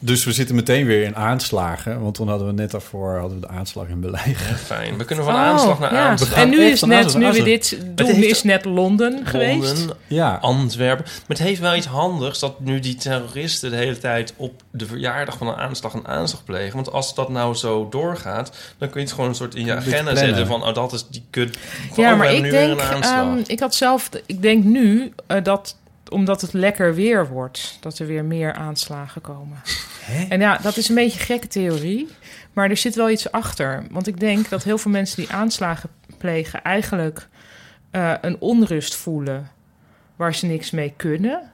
Speaker 4: dus we zitten meteen weer in aanslagen. Want toen hadden we net daarvoor hadden we de aanslag in België.
Speaker 2: Fijn. We kunnen van aanslag naar
Speaker 3: Oh, ja.
Speaker 2: aanslag.
Speaker 3: En nu
Speaker 4: Echt
Speaker 3: is
Speaker 4: van
Speaker 3: net,
Speaker 4: aanslag
Speaker 3: nu
Speaker 4: naar
Speaker 3: weer
Speaker 4: aanslag.
Speaker 3: dit, toen
Speaker 2: heeft-
Speaker 3: is net Londen, geweest.
Speaker 2: Londen,
Speaker 4: <laughs> Ja,
Speaker 2: Antwerpen. Maar het heeft wel iets handigs dat nu die terroristen de hele tijd op de verjaardag van een aanslag een aanslag plegen. Want als dat nou zo doorgaat, dan kun je het gewoon een soort in je
Speaker 4: Een beetje
Speaker 2: agenda
Speaker 4: plannen.
Speaker 2: zetten van, oh dat is die kut. Van,
Speaker 3: Ja,
Speaker 2: oh,
Speaker 3: maar
Speaker 2: we hebben
Speaker 3: ik
Speaker 2: nu weer
Speaker 3: denk,
Speaker 2: een aanslag.
Speaker 3: ehm, ik had zelf, ik denk nu eh, dat omdat het lekker weer wordt, dat er weer meer aanslagen komen. En ja, dat is een beetje een gekke theorie, maar er zit wel iets achter. Want ik denk dat heel veel mensen die aanslagen plegen eigenlijk eh, een onrust voelen waar ze niks mee kunnen.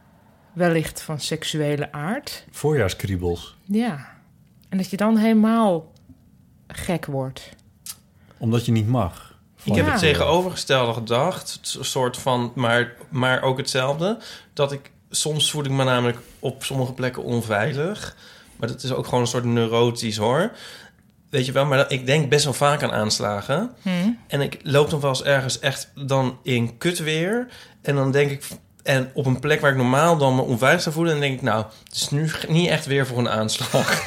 Speaker 3: Wellicht van seksuele aard.
Speaker 4: voorjaarskriebels.
Speaker 3: Ja. En dat je dan helemaal gek wordt.
Speaker 4: Omdat je niet mag.
Speaker 2: Ik heb
Speaker 3: Ja.
Speaker 2: het tegenovergestelde gedacht, het soort van, maar, maar ook hetzelfde. Dat ik soms voel ik me namelijk op sommige plekken onveilig. Maar dat is ook gewoon een soort neurotisch hoor. Weet je wel, maar dat- ik denk best wel vaak aan aanslagen.
Speaker 3: Hmm.
Speaker 2: En ik loop dan wel eens ergens echt dan in kut weer. En dan denk ik, en op een plek waar ik normaal dan me onveilig zou voelen. En dan denk ik, nou, het is nu g- niet echt weer voor een aanslag.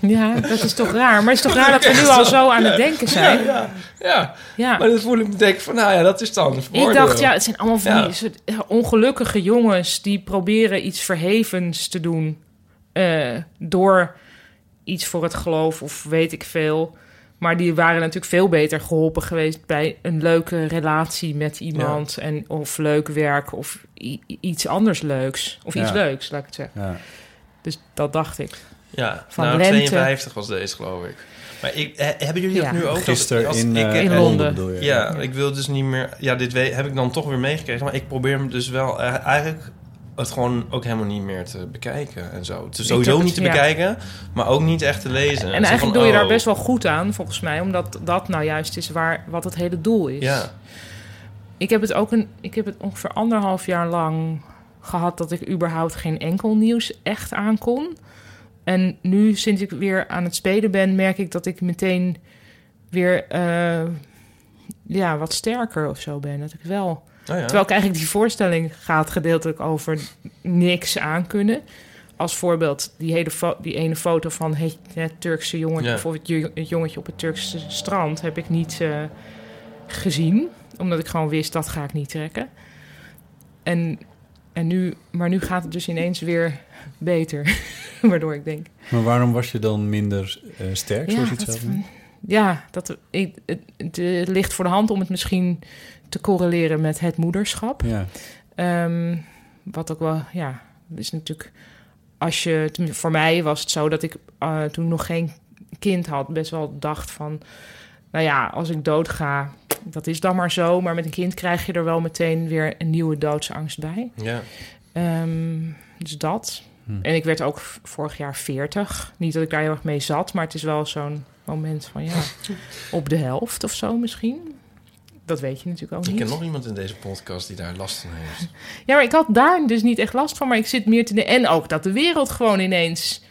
Speaker 3: Ja, dat is toch raar. Maar het is toch raar dat we nu al zo aan het denken zijn. <laughs> Ja.
Speaker 2: <laughs> ja, maar dan voel ik me denk ik van, nou ja, dat is dan.
Speaker 3: Ik dacht, ja, het zijn allemaal van
Speaker 2: Ja.
Speaker 3: die soort eh, ongelukkige jongens die proberen iets verhevens te doen eh, door iets voor het geloof of weet ik veel. Maar die waren natuurlijk veel beter geholpen geweest bij een leuke relatie met iemand en of leuk werk of i- i- iets anders leuks of iets
Speaker 4: Ja.
Speaker 3: leuks, laat ik het zeggen.
Speaker 4: Ja.
Speaker 3: Dus dat dacht ik.
Speaker 2: Ja,
Speaker 3: Van
Speaker 2: nou,
Speaker 3: Lente.
Speaker 2: 52 was deze, geloof ik. Maar ik, eh, hebben jullie
Speaker 3: Ja.
Speaker 2: dat nu ook?
Speaker 4: Gisteren
Speaker 2: Als- als
Speaker 4: in,
Speaker 2: ik,
Speaker 4: eh,
Speaker 2: eh,
Speaker 3: in Londen.
Speaker 4: bedoel je.
Speaker 2: Ja, ik wil dus niet meer... Ja, dit we- heb ik dan toch weer meegekregen. Maar ik probeer hem dus wel eh, eigenlijk... Het gewoon ook helemaal niet meer te bekijken en zo. Het is sowieso
Speaker 3: ook,
Speaker 2: niet te
Speaker 3: ja.
Speaker 2: bekijken, maar ook niet echt te lezen. oh.
Speaker 3: En eigenlijk doe je daar best
Speaker 2: wel
Speaker 3: wel goed aan, volgens mij, omdat dat nou juist is waar, wat het hele doel is.
Speaker 2: Ja,
Speaker 3: Ik heb het ook een, ik heb het ongeveer anderhalf jaar lang gehad dat ik überhaupt geen enkel nieuws echt aan kon. En nu, sinds ik weer aan het spelen ben, merk ik dat ik meteen weer eh, ja, wat sterker of zo ben. Dat ik wel.
Speaker 2: oh, ja.
Speaker 3: Terwijl ik eigenlijk die voorstelling gaat gedeeltelijk over niks aankunnen. Als voorbeeld die, hele fo- die ene foto van het, het Turkse jongetje...
Speaker 2: Ja.
Speaker 3: bijvoorbeeld ju- het jongetje op het Turkse strand... heb ik niet eh, gezien. Omdat ik gewoon wist, dat ga ik niet trekken. En, en nu, maar nu gaat het dus ineens weer beter. <laughs> Waardoor ik denk...
Speaker 4: Maar waarom was je dan minder eh, sterk, zoals je het
Speaker 3: dat-
Speaker 4: zelf noemt?
Speaker 3: ja, dat, ik, het, het, het ligt voor de hand om het misschien te correleren met het moederschap.
Speaker 4: Ja.
Speaker 3: Ehm, wat ook wel, ja, dat is natuurlijk. Als je, tenminste, voor mij was het zo dat ik eh, toen nog geen kind had, best wel dacht van. Nou ja, als ik doodga, dat is dan maar zo. Maar met een kind krijg je er wel meteen weer een nieuwe doodsangst bij.
Speaker 2: ja.
Speaker 3: Ehm, dus dat. En ik werd ook v- vorig jaar 40. Niet dat ik daar heel erg mee zat, maar het is wel zo'n moment van ja, op de helft of zo misschien. Dat weet je natuurlijk ook
Speaker 2: Ik
Speaker 3: niet.
Speaker 2: ken nog iemand in deze podcast die daar last van heeft.
Speaker 3: Ja, maar ik had daar dus niet echt last van, maar ik zit meer te... de- En ook dat de wereld gewoon ineens...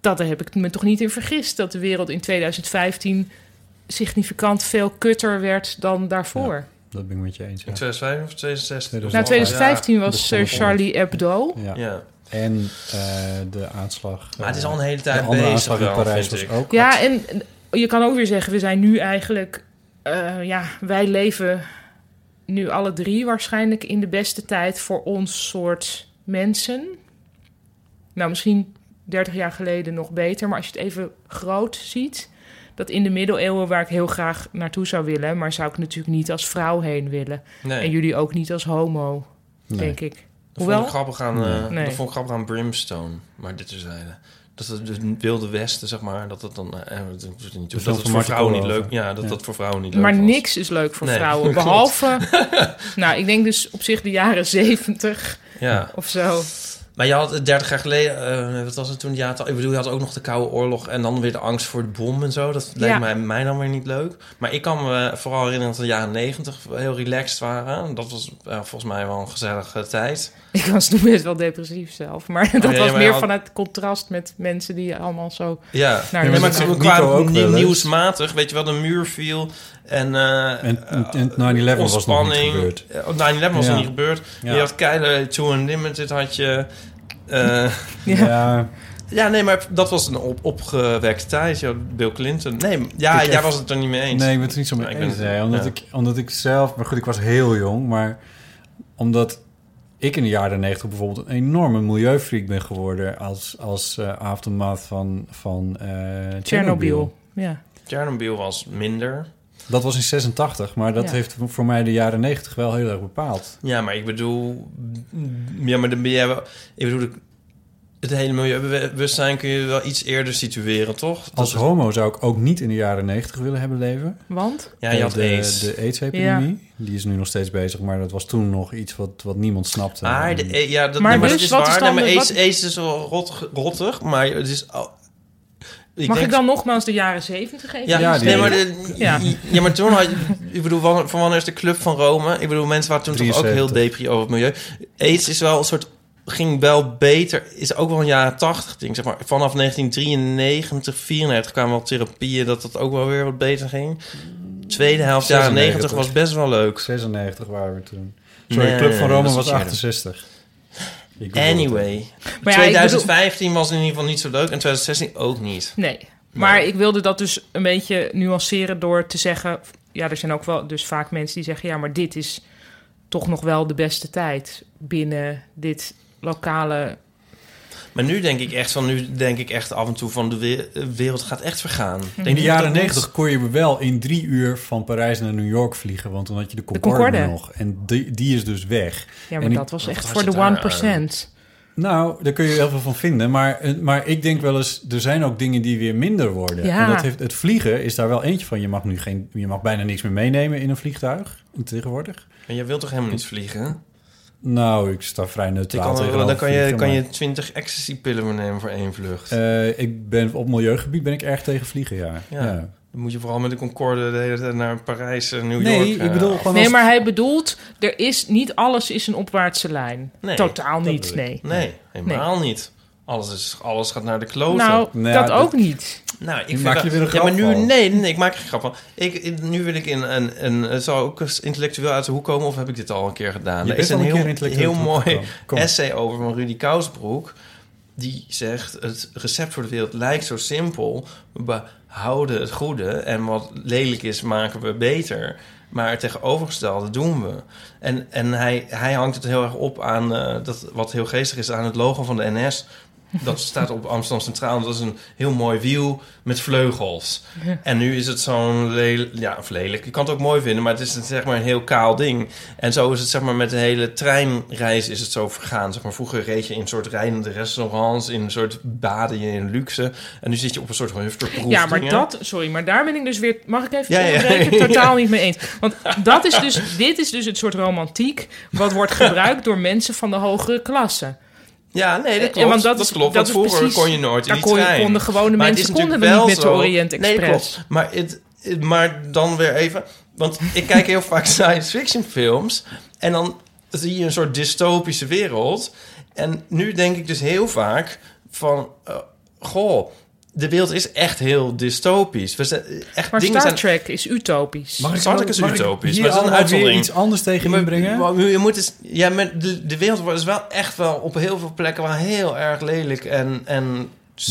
Speaker 3: Dat daar heb ik me toch niet in vergist. Dat de wereld in 2015 significant veel kutter werd dan daarvoor.
Speaker 4: Dat ben ik met je eens. Ja.
Speaker 2: In 2005 of 2016?
Speaker 4: Nou,
Speaker 3: Na 2015
Speaker 4: dat
Speaker 3: was
Speaker 4: vond
Speaker 3: eh,
Speaker 4: ik
Speaker 3: Charlie Hebdo.
Speaker 4: Ja.
Speaker 2: Ja. ja.
Speaker 4: En eh, de aanslag.
Speaker 2: Maar het is
Speaker 4: eh,
Speaker 2: al een hele
Speaker 4: de
Speaker 2: tijd
Speaker 4: andere
Speaker 2: bezig
Speaker 4: aanslag in
Speaker 2: wel,
Speaker 4: Parijs
Speaker 2: vind
Speaker 4: was
Speaker 2: ik.
Speaker 4: ook.
Speaker 3: Ja, en je kan ook weer zeggen, we zijn nu eigenlijk... eh, ja, wij leven nu alle drie waarschijnlijk in de beste tijd voor ons soort mensen. Nou, misschien 30 jaar geleden nog beter, maar als je het even groot ziet... dat in de middeleeuwen, waar ik heel graag naartoe zou willen... maar zou ik natuurlijk niet als vrouw heen willen. En
Speaker 2: Nee,
Speaker 3: jullie ook niet als homo,
Speaker 4: Nee.
Speaker 3: denk ik.
Speaker 2: dat
Speaker 3: hoewel-
Speaker 2: vond ik grappig aan, eh,
Speaker 3: Nee.
Speaker 2: dat vond ik grappig aan Brimstone. Maar dit is eh, dat het dus wilde westen, zeg maar, dat het dan eh, eh, dat, het niet,
Speaker 4: film
Speaker 2: dat,
Speaker 4: van
Speaker 2: het voor
Speaker 4: Martin
Speaker 2: vrouwen niet
Speaker 4: Koolhoven.
Speaker 2: leuk, ja, dat
Speaker 4: Ja.
Speaker 2: dat voor vrouwen niet leuk
Speaker 3: Maar
Speaker 2: was.
Speaker 3: niks is leuk voor
Speaker 2: Nee, <laughs>
Speaker 3: vrouwen.
Speaker 2: klopt.
Speaker 3: Behalve, nou, ik denk dus op zich de jaren 70
Speaker 2: Ja,
Speaker 3: of zo.
Speaker 2: maar je had het 30 jaar geleden, eh, wat was het toen? Je had, al- ik bedoel, je had ook nog de Koude Oorlog en dan weer de angst voor de bom en zo. Dat leek
Speaker 3: Ja.
Speaker 2: mij, mij dan weer niet leuk. Maar ik kan me eh, vooral herinneren dat de jaren 90 heel relaxed waren. Dat was eh, volgens mij wel een gezellige tijd.
Speaker 3: <laughs> Ik was toen best wel depressief zelf. Maar <laughs> dat
Speaker 2: ja,
Speaker 3: was
Speaker 2: maar
Speaker 3: meer
Speaker 2: al-
Speaker 3: van het contrast met mensen die allemaal zo...
Speaker 2: Ja,
Speaker 3: Naar de
Speaker 2: nee, maar
Speaker 3: zin.
Speaker 2: qua-
Speaker 4: Nico
Speaker 2: qua
Speaker 4: ook
Speaker 2: nie-
Speaker 4: wel eens.
Speaker 2: nieuwsmatig, weet je wel, de muur viel en... eh
Speaker 4: En, en, en 9-11 was nog niet
Speaker 2: ontspanning.
Speaker 4: gebeurd.
Speaker 2: eh, op 9-11 was
Speaker 4: Ja.
Speaker 2: nog niet gebeurd.
Speaker 4: Ja.
Speaker 2: Je had Keiler, To Unlimited had je... eh,
Speaker 3: Ja.
Speaker 4: Ja,
Speaker 2: ja, nee, maar dat was een op opgewekte tijd. Je had Bill Clinton. Nee, ja,
Speaker 4: Ik
Speaker 2: jij
Speaker 4: heb-
Speaker 2: was het er niet mee eens.
Speaker 4: Nee, ik ben het er niet zo
Speaker 2: Ja,
Speaker 4: mee
Speaker 2: ik
Speaker 4: eens.
Speaker 2: ben het-
Speaker 4: nee, omdat,
Speaker 2: ja.
Speaker 4: ik, omdat ik zelf... Maar goed, ik was heel jong. Maar omdat ik in de jaren negentig bijvoorbeeld... een enorme milieufreak ben geworden... als, als eh, aftermath van, van eh, Chernobyl.
Speaker 3: Chernobyl. Ja.
Speaker 2: Chernobyl was minder.
Speaker 4: Dat was in 86. Maar dat
Speaker 3: Ja.
Speaker 4: heeft voor mij de jaren 90 wel heel erg bepaald.
Speaker 2: Ja, maar ik bedoel... mm, Ja, maar dan ben jij wel... Ik bedoel, het hele milieubewustzijn kun je wel iets eerder situeren, toch? Dat
Speaker 4: Als
Speaker 2: is-
Speaker 4: homo zou ik ook niet in de jaren 90 willen hebben leven. Eh,
Speaker 3: Want?
Speaker 2: Ja, je had
Speaker 4: de,
Speaker 2: AIDS.
Speaker 4: De AIDS-epidemie. Die is nu nog steeds bezig. Maar dat was toen nog iets wat, wat niemand snapte.
Speaker 2: Maar,
Speaker 4: En-
Speaker 2: de, eh, ja, dat,
Speaker 3: Maar
Speaker 2: nee, maar
Speaker 3: dus,
Speaker 2: dat is
Speaker 3: wat is
Speaker 2: waar.
Speaker 3: dan
Speaker 2: nee,
Speaker 3: de-
Speaker 2: maar
Speaker 3: wat-
Speaker 2: Ace, Ace is wel rot, rottig, maar het is... al- ik
Speaker 3: Mag
Speaker 2: denk-
Speaker 3: ik dan nogmaals de jaren 70 even?
Speaker 2: Ja,
Speaker 4: Ja, die-
Speaker 2: nee, maar, de-
Speaker 3: Ja.
Speaker 2: ja. maar toen had je... Ik bedoel, wan- van wanneer is de Club van Rome? Ik bedoel, mensen waren toen toch ook heel
Speaker 4: 73.
Speaker 2: depri over het milieu. AIDS is wel een soort... Ging wel beter. Is ook wel een jaren tachtig ding, zeg maar. Vanaf 1993, 94 kwamen wel therapieën... dat dat ook wel weer wat beter ging. Tweede helft jaren 90 was best wel leuk.
Speaker 4: 96 waren we toen. Sorry,
Speaker 2: Nee,
Speaker 4: Club van
Speaker 2: nee,
Speaker 4: Rome
Speaker 2: dat
Speaker 4: was
Speaker 2: is eerder.
Speaker 4: 68. Ik bedoel het.
Speaker 2: Anyway.
Speaker 3: Maar ja, ik bedoel-
Speaker 2: 2015 was in ieder geval niet zo leuk en 2016 ook niet.
Speaker 3: Nee. Maar ik wilde dat dus een beetje nuanceren door te zeggen... Ja, er zijn ook wel dus vaak mensen die zeggen... Ja, maar dit is toch nog wel de beste tijd binnen dit lokale...
Speaker 2: Maar nu denk ik echt van nu denk ik echt af en toe van de we- eh, wereld gaat echt vergaan.
Speaker 3: Hm.
Speaker 2: Denk je
Speaker 4: In de
Speaker 2: dat
Speaker 4: jaren
Speaker 2: dat
Speaker 4: 90 kon je wel in drie uur van Parijs naar New York vliegen, want toen had je de Concorde,
Speaker 3: Concorde.
Speaker 4: nog. En die, die is dus weg.
Speaker 3: Ja, maar
Speaker 4: En ik-
Speaker 3: dat was
Speaker 2: wat
Speaker 3: echt
Speaker 2: had
Speaker 3: voor
Speaker 2: je
Speaker 3: de
Speaker 2: daar
Speaker 3: 1%. procent.
Speaker 4: Nou, daar kun je heel veel van vinden. Maar, eh, maar ik denk wel eens, er zijn ook dingen die weer minder worden.
Speaker 3: Ja.
Speaker 4: En dat heeft, het vliegen is daar wel eentje van. Je mag nu geen, je mag bijna niks meer meenemen in een vliegtuig tegenwoordig.
Speaker 2: moet? Maar jij wilt toch helemaal niet vliegen?
Speaker 4: Nou, ik sta vrij
Speaker 2: Ik
Speaker 4: neutraal
Speaker 2: kan,
Speaker 4: tegenover
Speaker 2: dan kan je,
Speaker 4: vliegen,
Speaker 2: kan
Speaker 4: maar-
Speaker 2: je 20 ecstasy-pillen maar nemen voor één vlucht.
Speaker 4: Eh, ik ben, op milieugebied ben ik erg tegen vliegen, ja.
Speaker 2: Ja.
Speaker 4: ja.
Speaker 2: dan moet je vooral met de Concorde de hele tijd naar Parijs en New York.
Speaker 4: Nee, ik
Speaker 2: eh,
Speaker 4: bedoel gewoon
Speaker 3: Nee,
Speaker 4: als-
Speaker 3: maar hij bedoelt, er is niet alles is een opwaartse lijn.
Speaker 2: Nee,
Speaker 3: Totaal
Speaker 4: dat
Speaker 3: niet,
Speaker 4: bedoel ik.
Speaker 3: nee.
Speaker 2: Nee, helemaal niet. Alles, is, alles gaat naar de kloten.
Speaker 3: Nou,
Speaker 4: Nou,
Speaker 3: dat
Speaker 4: dat-
Speaker 3: ook niet.
Speaker 2: Nou, ik
Speaker 4: Nu
Speaker 2: vind
Speaker 4: maak je
Speaker 2: dat-
Speaker 4: weer een
Speaker 2: ja, maar
Speaker 4: grap
Speaker 2: nu,
Speaker 4: van.
Speaker 2: nee, nee, ik maak geen grap van. Ik, ik- nu wil ik in een, een, een- Zou ik eens intellectueel uit de hoek komen of heb ik dit al een keer gedaan?
Speaker 4: Je
Speaker 2: er
Speaker 4: bent
Speaker 2: is
Speaker 4: al
Speaker 2: een,
Speaker 4: een keer
Speaker 2: heel,
Speaker 4: intellectueel
Speaker 2: heel
Speaker 4: uit de hoek
Speaker 2: mooi
Speaker 4: gekomen. Kom.
Speaker 2: essay over van Rudy Kousbroek. Die zegt: Het recept voor de wereld lijkt zo simpel. We houden het goede en wat lelijk is, maken we beter. Maar het tegenovergestelde doen we. En, en hij, hij hangt het heel erg op aan eh, dat, wat heel geestig is aan het logo van de NS. dat staat op Amsterdam Centraal. Dat is een heel mooi wiel met vleugels. En nu is het zo'n lelijk... Ja, of lelijk. Je kan het ook mooi vinden, maar het is een, zeg maar een heel kaal ding. En zo is het zeg maar met de hele treinreis is het zo vergaan. Zeg maar, vroeger reed je in een soort rijdende restaurants, in een soort baden je in luxe. En nu zit je op een soort hufterproef
Speaker 3: Ja, maar
Speaker 2: dingen.
Speaker 3: dat, sorry, maar daar ben ik dus weer, mag ik even
Speaker 2: Ja, ja.
Speaker 3: onderbreken? Totaal niet mee eens. Want dat is dus, dit is dus het soort romantiek wat wordt gebruikt door mensen van de hogere klasse.
Speaker 2: Ja, nee, dat
Speaker 3: Eh,
Speaker 2: klopt.
Speaker 3: want dat
Speaker 2: dat,
Speaker 3: is-
Speaker 2: klopt.
Speaker 3: dat
Speaker 2: want
Speaker 3: is
Speaker 2: vroeger
Speaker 3: precies-
Speaker 2: kon je nooit
Speaker 3: daar
Speaker 2: in die
Speaker 3: kon je-
Speaker 2: trein.
Speaker 3: konden gewone
Speaker 2: Maar het
Speaker 3: mensen
Speaker 2: is
Speaker 3: konden
Speaker 2: natuurlijk
Speaker 3: niet
Speaker 2: wel
Speaker 3: met de
Speaker 2: zo-
Speaker 3: Orient
Speaker 2: Nee,
Speaker 3: Express.
Speaker 2: klopt. Maar, het, het- maar dan weer even... Want ik kijk heel vaak <laughs> science fiction films... en dan zie je een soort dystopische wereld. En nu denk ik dus heel vaak van... eh, goh, de wereld is echt heel dystopisch. We zijn, eh, echt,
Speaker 3: Maar
Speaker 2: dingen
Speaker 3: Star
Speaker 2: zijn...
Speaker 3: Trek is utopisch.
Speaker 4: Mag
Speaker 2: Star Trek
Speaker 4: ook-
Speaker 2: is
Speaker 4: mag
Speaker 2: utopisch,
Speaker 4: hier
Speaker 2: maar het is een
Speaker 4: allemaal weer
Speaker 2: uitzondering.
Speaker 4: iets anders tegen
Speaker 2: Ja, maar-
Speaker 4: inbrengen?
Speaker 2: maar je moet eens, ja, maar de, de wereld is wel echt wel op heel veel plekken wel heel erg lelijk en, en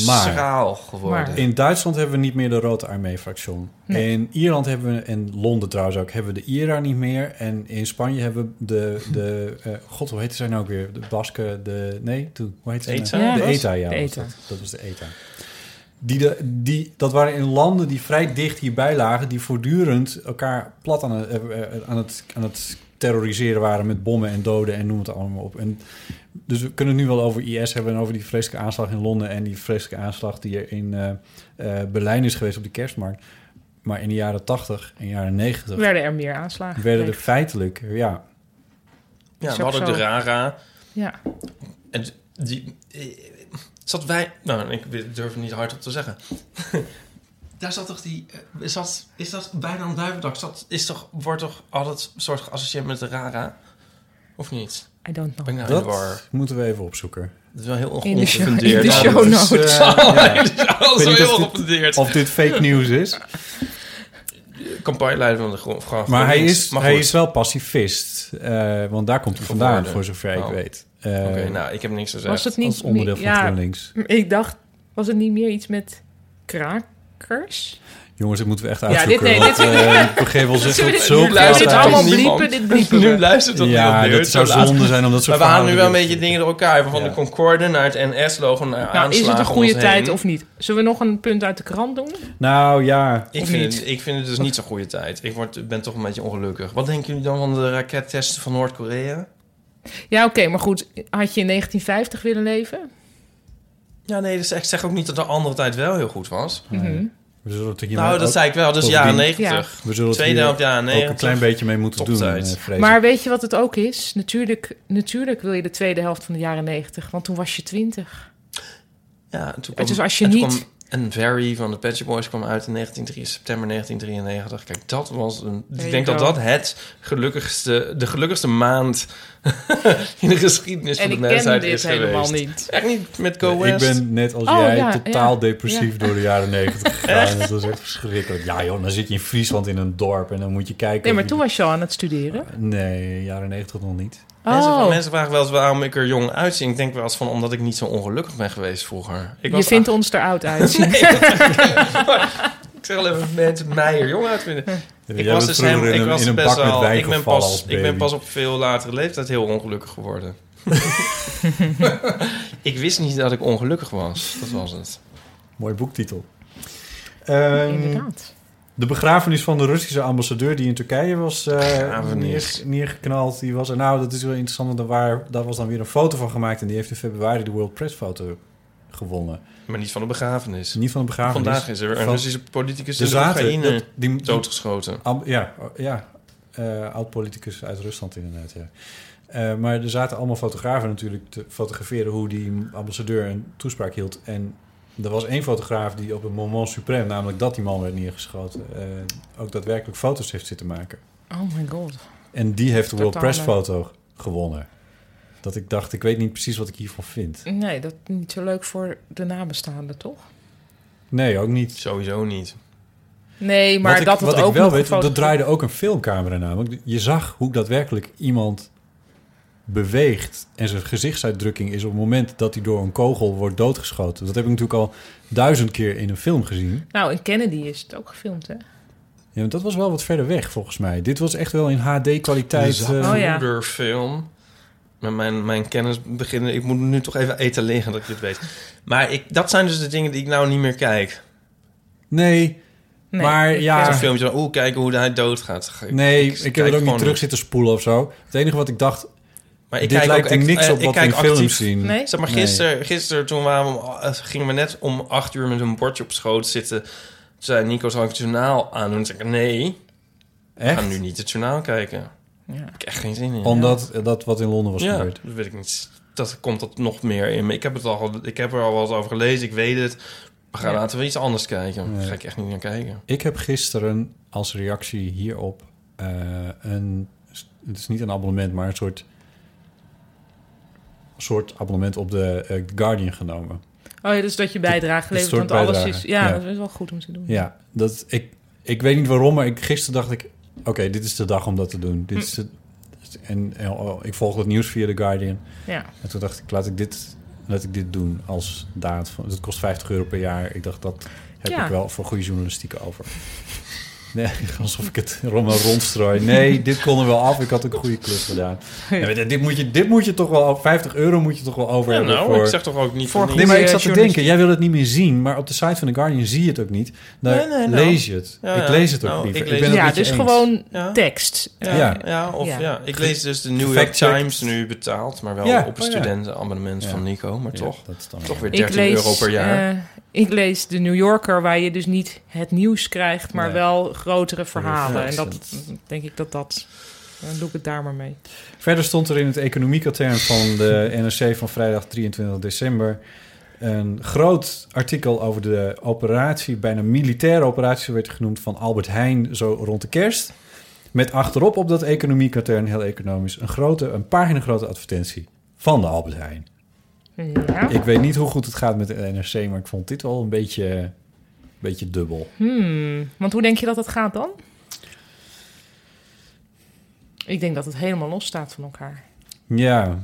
Speaker 4: Maar-
Speaker 2: schraal geworden.
Speaker 3: maar-
Speaker 4: In Duitsland hebben we niet meer de Rode Armee-fractie.
Speaker 3: Nee.
Speaker 4: In Ierland hebben we, en Londen trouwens ook, hebben we de IRA niet meer. En in Spanje hebben we
Speaker 3: <laughs>
Speaker 4: de, de eh, god, hoe heette zij nou ook weer? De Basken, de, nee, toen, hoe heette zij
Speaker 2: ETA?
Speaker 3: E Ja.
Speaker 4: nou? De
Speaker 2: was-
Speaker 4: ETA, ja.
Speaker 3: De
Speaker 4: was
Speaker 3: ETA.
Speaker 4: Dat, dat was de ETA. Die de, die, dat waren in landen die vrij dicht hierbij lagen, die voortdurend elkaar plat aan het, eh, eh, aan het, aan het terroriseren waren met bommen en doden en noem het allemaal op. En dus we kunnen het nu wel over IS hebben en over die vreselijke aanslag in Londen en die vreselijke aanslag die er in eh, eh, Berlijn is geweest op de kerstmarkt. Maar in de jaren 80 en jaren 90
Speaker 3: werden er meer aanslagen.
Speaker 4: werden er
Speaker 3: gepleegd.
Speaker 4: feitelijk, ja,
Speaker 2: Ja,
Speaker 3: Is
Speaker 2: we
Speaker 3: ook
Speaker 2: hadden ook de
Speaker 3: zo.
Speaker 2: Rara.
Speaker 3: Ja.
Speaker 2: En die, eh, zat wij... Nou, ik durf het niet hardop te zeggen. <laughs> Daar zat toch die... eh, Is dat, is dat bijna een duivendak? Is dat- Is toch, wordt toch altijd een soort geassocieerd met de Rara? Of niet?
Speaker 3: I don't know.
Speaker 2: Ben ik nou in
Speaker 4: dat
Speaker 2: de war?
Speaker 4: moeten we even opzoeken.
Speaker 2: Dat is wel heel
Speaker 3: In de show, in
Speaker 2: ongefundeerd.
Speaker 3: de
Speaker 4: Ja,
Speaker 3: show
Speaker 4: dat
Speaker 3: <laughs>
Speaker 4: is,
Speaker 3: notes.
Speaker 4: eh, ja.
Speaker 2: Dat is
Speaker 4: weet
Speaker 2: wel
Speaker 4: niet
Speaker 2: heel
Speaker 4: of dit-
Speaker 2: ongefundeerd.
Speaker 4: Of dit fake nieuws is.
Speaker 2: campagneleider van de gro- van
Speaker 4: Maar hij
Speaker 2: GroenLinks.
Speaker 4: is,
Speaker 2: Maar
Speaker 4: hij
Speaker 2: goed.
Speaker 4: is wel pacifist. eh, want daar komt hij vandaan,
Speaker 2: Geworden.
Speaker 4: voor zover ik
Speaker 2: Oh.
Speaker 4: weet. Eh,
Speaker 2: Oké, nou, ik heb niks gezegd.
Speaker 3: Was het niet
Speaker 4: als onderdeel van
Speaker 3: meer- ja,
Speaker 4: GroenLinks.
Speaker 3: Ik dacht, was het niet meer iets met krakers?
Speaker 4: Jongens, dit moeten we echt
Speaker 3: dit-
Speaker 4: uitzoeken.
Speaker 3: nee, dit-
Speaker 4: want, eh, ik begreep al
Speaker 3: Zullen we
Speaker 4: zeggen
Speaker 3: dit-
Speaker 4: op zulke
Speaker 3: nu luistert
Speaker 4: laatste-
Speaker 3: allemaal
Speaker 2: niemand.
Speaker 3: bliepen, dit bliepen
Speaker 2: <laughs>
Speaker 3: we.
Speaker 2: nu luistert dat
Speaker 4: Ja,
Speaker 2: heel
Speaker 4: dat
Speaker 2: nerd,
Speaker 4: zou
Speaker 2: zo laat.
Speaker 4: zonde zijn omdat
Speaker 2: Maar we halen nu wel een beetje dingen door elkaar. Van
Speaker 4: Ja.
Speaker 2: de Concorde naar het NS-logo naar
Speaker 3: Nou, is het
Speaker 2: aanslagen
Speaker 3: een
Speaker 2: om
Speaker 3: goede
Speaker 2: ons
Speaker 3: tijd
Speaker 2: heen.
Speaker 3: of niet? Zullen we nog een punt uit de krant doen?
Speaker 4: Nou ja,
Speaker 2: Ik
Speaker 3: of
Speaker 2: vind,
Speaker 3: niet?
Speaker 2: Het, ik vind het dus niet zo'n goede tijd. Ik word, ben toch een beetje ongelukkig. Wat denken jullie dan van de rakettesten van Noord-Korea?
Speaker 3: Ja, oké, maar goed. Had je in 1950 willen leven?
Speaker 2: Ja, nee, dus ik zeg ook niet dat de andere tijd wel heel goed was.
Speaker 3: Mhm.
Speaker 4: we zullen het er hier
Speaker 2: nou,
Speaker 4: maar
Speaker 2: dat
Speaker 4: ook-
Speaker 2: zei ik wel. Dus
Speaker 4: Bovendien-
Speaker 2: jaren 90.
Speaker 4: we zullen het
Speaker 2: Tweede
Speaker 4: hier
Speaker 2: helft jaren
Speaker 4: ook een
Speaker 2: 90.
Speaker 4: klein beetje mee moeten doen,
Speaker 2: Toptijd.
Speaker 4: eh, vrees ik.
Speaker 3: Maar weet je wat het ook is? Natuurlijk, natuurlijk wil je de tweede helft van de jaren 90, want toen was je 20.
Speaker 2: Ja, en toen
Speaker 3: dus als je
Speaker 2: en toen
Speaker 3: niet-
Speaker 2: kwam een Very van de Pet Shop Boys kwam uit in 19, september 1993. Kijk, dat was een...
Speaker 3: There
Speaker 2: ik denk
Speaker 3: you
Speaker 2: dat
Speaker 3: go.
Speaker 2: dat het gelukkigste... de gelukkigste maand <laughs> in de geschiedenis
Speaker 3: en
Speaker 2: van
Speaker 3: ik
Speaker 2: de
Speaker 3: ken
Speaker 2: mensheid
Speaker 3: dit
Speaker 2: is geweest.
Speaker 3: helemaal niet.
Speaker 2: Echt niet met Go
Speaker 4: ik
Speaker 2: West.
Speaker 4: ben net als
Speaker 3: Oh,
Speaker 4: jij
Speaker 3: ja,
Speaker 4: totaal
Speaker 3: ja,
Speaker 4: depressief door de jaren
Speaker 2: <laughs>
Speaker 4: 90 gegaan. Dat is echt verschrikkelijk. Ja joh, dan zit je in Friesland in een dorp en dan moet je kijken...
Speaker 3: Nee, maar
Speaker 4: of
Speaker 3: toen
Speaker 4: je-
Speaker 3: was je al aan het studeren.
Speaker 4: Nee, jaren 90 nog niet.
Speaker 2: Mensen,
Speaker 3: Oh,
Speaker 2: mensen vragen wel eens waarom ik er jong uitzie. Ik denk wel eens van omdat ik niet zo ongelukkig ben geweest vroeger. Ik
Speaker 3: je vindt ons er oud uit.
Speaker 2: Ah, Ik zeg al even mensen mij er jong uit vinden. Ik
Speaker 4: Jij
Speaker 2: was
Speaker 4: bent
Speaker 2: dus
Speaker 4: vroeger
Speaker 2: helemaal-
Speaker 4: in
Speaker 2: ik
Speaker 4: een-
Speaker 2: was
Speaker 4: in een
Speaker 2: best
Speaker 4: bak met
Speaker 2: wel-
Speaker 4: wijn
Speaker 2: ik ben
Speaker 4: gevallen
Speaker 2: pas,
Speaker 4: als
Speaker 2: ik ben
Speaker 4: baby.
Speaker 2: pas op veel latere leeftijd heel ongelukkig
Speaker 4: <laughs>
Speaker 2: geworden. ik wist niet dat ik ongelukkig was. Dat was het.
Speaker 4: Mooi boektitel. <laughs> Ehm,
Speaker 3: Inderdaad.
Speaker 4: de begrafenis van de Russische ambassadeur die in Turkije was eh,
Speaker 2: Begrafenis.
Speaker 4: neer, neergeknald. Die was er. Nou, dat is wel interessant. Want daar, waar, daar was dan weer een foto van gemaakt. En die heeft in februari de World Press foto gewonnen.
Speaker 2: Maar niet van de begrafenis.
Speaker 4: Niet van de begrafenis.
Speaker 2: Vandaag is er weer een
Speaker 4: Van-
Speaker 2: Russische politicus
Speaker 4: Er
Speaker 2: in
Speaker 4: zaten...
Speaker 2: Oekraïne
Speaker 4: dat- die, die-
Speaker 2: doodgeschoten.
Speaker 4: am- ja, oh, ja eh, oud-politicus uit Rusland inderdaad, ja. Eh, maar er zaten allemaal fotografen natuurlijk te fotograferen... hoe die ambassadeur een toespraak hield. En er was één fotograaf die op het moment suprême... namelijk dat die man werd neergeschoten... eh, ook daadwerkelijk foto's heeft zitten maken.
Speaker 3: Oh my god.
Speaker 4: En die heeft de World
Speaker 3: Totaal
Speaker 4: Press foto gewonnen. Dat ik dacht, ik weet niet precies wat ik hiervan vind.
Speaker 3: Nee, dat is niet zo leuk voor de nabestaanden, toch?
Speaker 4: Nee, ook niet.
Speaker 2: Sowieso niet.
Speaker 3: Nee, maar
Speaker 4: wat ik,
Speaker 3: dat
Speaker 4: wat
Speaker 3: wordt
Speaker 4: ik
Speaker 3: ook
Speaker 4: wel
Speaker 3: nog
Speaker 4: weet,
Speaker 3: gefotografeerd.
Speaker 4: dat draaide ook een filmcamera namelijk. Je zag hoe daadwerkelijk iemand beweegt en zijn gezichtsuitdrukking is op het moment dat hij door een kogel wordt doodgeschoten. Dat heb ik natuurlijk al duizend keer in een film gezien.
Speaker 3: Nou, in Kennedy is het ook gefilmd, hè?
Speaker 4: Ja, maar dat was eh, wel wat verder weg volgens mij. Dit was echt wel in HD-kwaliteit.
Speaker 2: Een
Speaker 3: Oh ja.
Speaker 2: moederfilm. Met mijn, mijn kennis beginnen. Ik moet nu toch even etaleren dat ik dit weet. Maar ik, dat zijn dus de dingen die ik nou niet meer kijk.
Speaker 4: Nee,
Speaker 3: Nee,
Speaker 4: Maar
Speaker 3: ik,
Speaker 4: ja,
Speaker 3: eh,
Speaker 2: Zo'n filmpje van, oeh, kijken hoe hij doodgaat. Ge-
Speaker 4: nee, ik,
Speaker 2: kijk
Speaker 4: heb het ook niet
Speaker 2: gewoon
Speaker 4: terug zitten spoelen of zo. Het enige wat ik dacht,
Speaker 2: Maar
Speaker 4: dit lijkt er
Speaker 2: act-
Speaker 4: niks
Speaker 2: eh,
Speaker 4: op
Speaker 2: ik
Speaker 4: wat we
Speaker 2: kijk
Speaker 4: in films
Speaker 2: actief.
Speaker 4: zien.
Speaker 3: Nee?
Speaker 2: Zeg maar,
Speaker 4: Nee.
Speaker 2: gisteren, gisteren toen waren we, om- eh, gingen we net om acht uur met een bordje op schoot zitten. Toen zei Nico, zal ik het journaal aandoen? Toen zei ik, nee, ik ga
Speaker 4: Echt?
Speaker 2: nu niet het journaal kijken. Daar heb ik echt geen zin in.
Speaker 4: Omdat eh, dat wat in Londen was
Speaker 2: ja,
Speaker 4: gebeurd.
Speaker 2: dat weet ik niet. Dat komt dat nog meer in. me. Ik heb, het al, ik heb er al wat over gelezen, ik weet het. We gaan
Speaker 3: Ja.
Speaker 2: laten we iets anders kijken. Daar
Speaker 4: Ja.
Speaker 2: ga ik echt niet naar kijken.
Speaker 4: Ik heb gisteren als reactie hierop eh, een... Het is niet een abonnement, maar een soort... soort abonnement op de eh, Guardian genomen.
Speaker 2: Mm.
Speaker 3: Oh ja, dus dat je bijdrage
Speaker 4: Dit
Speaker 3: levert,
Speaker 4: soort
Speaker 3: want alles is...
Speaker 4: bijdrage,
Speaker 3: Ja,
Speaker 4: ja.
Speaker 3: dat is wel goed om te doen.
Speaker 4: Ja, dat, ik, ik weet niet waarom, maar ik, gisteren dacht ik... Oké, dit is de dag om dat te doen.
Speaker 2: Mm.
Speaker 4: Dit is de- en, en, oh, ik volg het nieuws via The Guardian.
Speaker 3: Ja.
Speaker 4: En toen dacht ik, laat ik dit, laat ik dit doen als daad. Van, het kost 50 euro per jaar. Ik dacht, dat heb
Speaker 3: Ja.
Speaker 4: ik wel voor goede journalistiek over. Nee, <laughs> alsof ik het rond me rondstrooi. Nee, dit kon er wel af. Ik had ook een goede klus gedaan. Nee, maar dit, dit moet je, dit moet je toch wel... 50 euro moet je toch wel over
Speaker 2: Ja,
Speaker 4: hebben
Speaker 2: nou,
Speaker 4: voor...
Speaker 2: ik zeg toch ook niet...
Speaker 3: Voor-
Speaker 2: voor
Speaker 4: Nee, maar ik
Speaker 3: Eh,
Speaker 4: zat te
Speaker 3: journalist-
Speaker 4: denken, jij wil het niet meer zien, maar op de site van The Guardian zie je het ook niet. Daar
Speaker 2: Nee, nee, nou.
Speaker 4: lees je het.
Speaker 2: Ja,
Speaker 4: ik
Speaker 2: ja.
Speaker 4: lees het ook
Speaker 2: Nou,
Speaker 4: liever.
Speaker 2: ik
Speaker 4: Ik,
Speaker 2: lees
Speaker 4: ben
Speaker 2: het.
Speaker 4: het
Speaker 3: ja,
Speaker 4: met je
Speaker 3: dus
Speaker 4: eens.
Speaker 3: gewoon
Speaker 2: Ja.
Speaker 3: tekst.
Speaker 2: Ja, ja.
Speaker 4: Ja.
Speaker 2: of
Speaker 3: Ja.
Speaker 2: ja. Ik lees dus de New York
Speaker 4: Gefact checked.
Speaker 2: Times nu betaald, maar wel
Speaker 4: Ja,
Speaker 2: op een
Speaker 4: oh ja.
Speaker 2: studentenabonnement
Speaker 4: Ja.
Speaker 2: van Nico. Maar
Speaker 4: Ja,
Speaker 2: toch,
Speaker 4: dat is dan
Speaker 2: toch weer
Speaker 3: Ik
Speaker 2: 13
Speaker 3: lees,
Speaker 2: euro per jaar.
Speaker 3: eh, ik lees de New Yorker, waar je dus niet het nieuws krijgt, maar
Speaker 4: Nee.
Speaker 3: wel grotere verhalen.
Speaker 4: Ja,
Speaker 3: en dat
Speaker 4: precies.
Speaker 3: denk ik dat dat. Dan doe ik het daar maar mee.
Speaker 4: Verder stond er in het economiekatern van de NRC van vrijdag 23 december een groot artikel over de operatie, bijna militaire operatie werd genoemd van Albert Heijn zo rond de kerst. Met achterop op dat economiekatern, heel economisch, een grote, een pagina grote advertentie van de Albert Heijn.
Speaker 3: Ja.
Speaker 4: Ik weet niet hoe goed het gaat met de NRC, maar ik vond dit wel een beetje, een beetje dubbel.
Speaker 3: Hmm, Want hoe denk je dat het gaat dan? Ik denk dat het helemaal los staat van elkaar.
Speaker 4: Ja,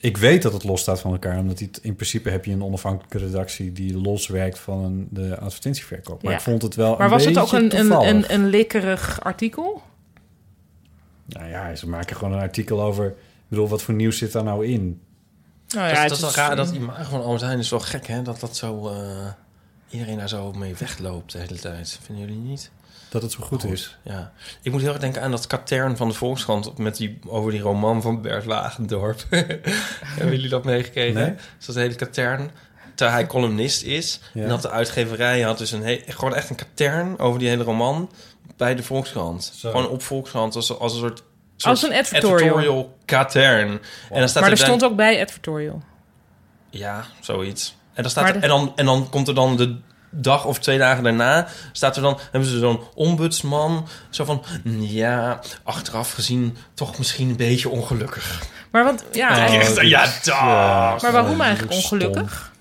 Speaker 4: ik weet dat het los staat van elkaar, omdat die t- in principe heb je een onafhankelijke redactie die los werkt van een- de advertentieverkoop. Maar
Speaker 3: Ja.
Speaker 4: ik vond het wel.
Speaker 3: Maar
Speaker 4: een
Speaker 3: was het
Speaker 4: beetje
Speaker 3: ook een, een,
Speaker 4: toevallig.
Speaker 3: een, een likkerig artikel?
Speaker 4: Nou ja, ze maken gewoon een artikel over. Ik bedoel, wat voor nieuws zit daar nou in?
Speaker 3: Nou
Speaker 2: dat,
Speaker 3: ja,
Speaker 2: is- dat is wel raar, dat imago van Albert Heijn is wel gek, hè? Dat dat zo... eh, iedereen daar zo mee wegloopt de hele tijd. Vinden jullie niet?
Speaker 4: Dat het zo goed,
Speaker 2: Goed.
Speaker 4: is.
Speaker 2: Ja. Ik moet heel erg denken aan dat katern van de Volkskrant... Met die, over die roman van Bert Lagendorp. <laughs> Hebben jullie dat meegekregen?
Speaker 4: Nee.
Speaker 2: Dus dat hele katern... Terwijl hij columnist is.
Speaker 4: Ja.
Speaker 2: En dat de uitgeverij had dus een he- gewoon echt een katern over die hele roman... bij de Volkskrant.
Speaker 4: Zo.
Speaker 2: Gewoon op Volkskrant als, als een soort...
Speaker 3: Als
Speaker 2: soort
Speaker 3: een advertorial.
Speaker 2: katern. En dan staat
Speaker 3: maar er
Speaker 2: dan-
Speaker 3: stond ook bij advertorial.
Speaker 2: ja, zoiets. En dan, staat
Speaker 3: Maar
Speaker 2: er-
Speaker 3: de-
Speaker 2: en, dan, en dan komt er dan de dag of twee dagen daarna... Staat er dan, hebben ze zo'n ombudsman. Zo van, "Mm, ja, achteraf gezien toch misschien een beetje ongelukkig.
Speaker 3: Maar, want, ja, eigenlijk-
Speaker 2: Echt, ja, dag.
Speaker 3: maar waarom
Speaker 4: dat
Speaker 3: eigenlijk
Speaker 4: is stom.
Speaker 3: ongelukkig?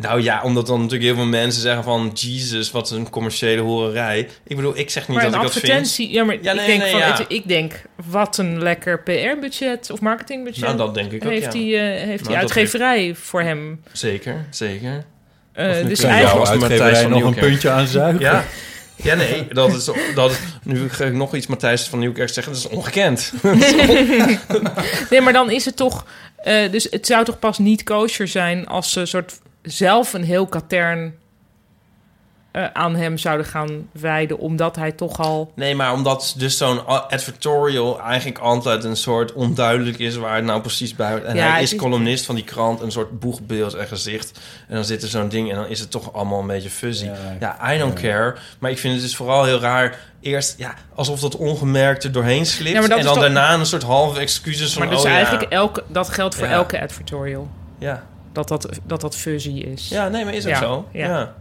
Speaker 2: Nou ja, omdat dan natuurlijk heel veel mensen zeggen van... Jezus, wat een commerciële horerij. Ik bedoel, ik zeg niet
Speaker 3: Maar een
Speaker 2: dat ik dat vind.
Speaker 3: advertentie, ja, maar
Speaker 2: Ja, nee,
Speaker 3: ik, denk
Speaker 2: nee,
Speaker 3: van,
Speaker 2: ja.
Speaker 3: het- ik denk, wat een lekker PR-budget of marketingbudget.
Speaker 2: Nou, dat denk ik ook, ja. Nou,
Speaker 3: heeft die, eh, heeft die
Speaker 2: dat
Speaker 3: uitgeverij voor hem.
Speaker 2: Zeker, zeker.
Speaker 3: Eh,
Speaker 4: Nu
Speaker 3: dus
Speaker 4: kan jouw
Speaker 3: eigenlijk,
Speaker 2: was het
Speaker 4: uitgeverij
Speaker 2: Matthijs van
Speaker 4: nog een
Speaker 2: Nieuwkerk.
Speaker 4: puntje aan zuigen.
Speaker 2: Ja. Ja, nee, dat is, dat is... Nu ga ik nog iets Matthijs van Nieuwkerk zeggen. Dat is ongekend.
Speaker 3: <laughs> nee, maar dan is het toch, eh, dus het zou toch pas niet kosher zijn als ze soort zelf een heel katern eh, aan hem zouden gaan wijden, omdat hij toch al.
Speaker 2: Nee, maar omdat dus zo'n a- advertorial eigenlijk altijd een soort onduidelijk is waar het nou precies bij hoort. En
Speaker 3: Ja,
Speaker 2: hij
Speaker 3: het
Speaker 2: is
Speaker 3: is-
Speaker 2: columnist van die krant, een soort boegbeeld en gezicht. En dan zit er zo'n ding en dan is het toch allemaal een beetje fuzzy.
Speaker 4: Ja.
Speaker 2: Ja, I don't care. Maar ik vind het dus vooral heel raar. Eerst, ja, alsof dat ongemerkt er doorheen slipt.
Speaker 3: Ja, maar
Speaker 2: en
Speaker 3: dat is
Speaker 2: dan
Speaker 3: toch-
Speaker 2: daarna een soort halve excuses van,
Speaker 3: Maar dus
Speaker 2: oh
Speaker 3: eigenlijk
Speaker 2: ja.
Speaker 3: elke, dat geldt voor
Speaker 2: Ja.
Speaker 3: elke advertorial.
Speaker 2: ja.
Speaker 3: Dat dat, dat dat fuzzy is.
Speaker 2: Ja, nee, maar is ook
Speaker 3: Ja,
Speaker 2: zo.
Speaker 3: ja.
Speaker 2: Ja.
Speaker 4: Ja.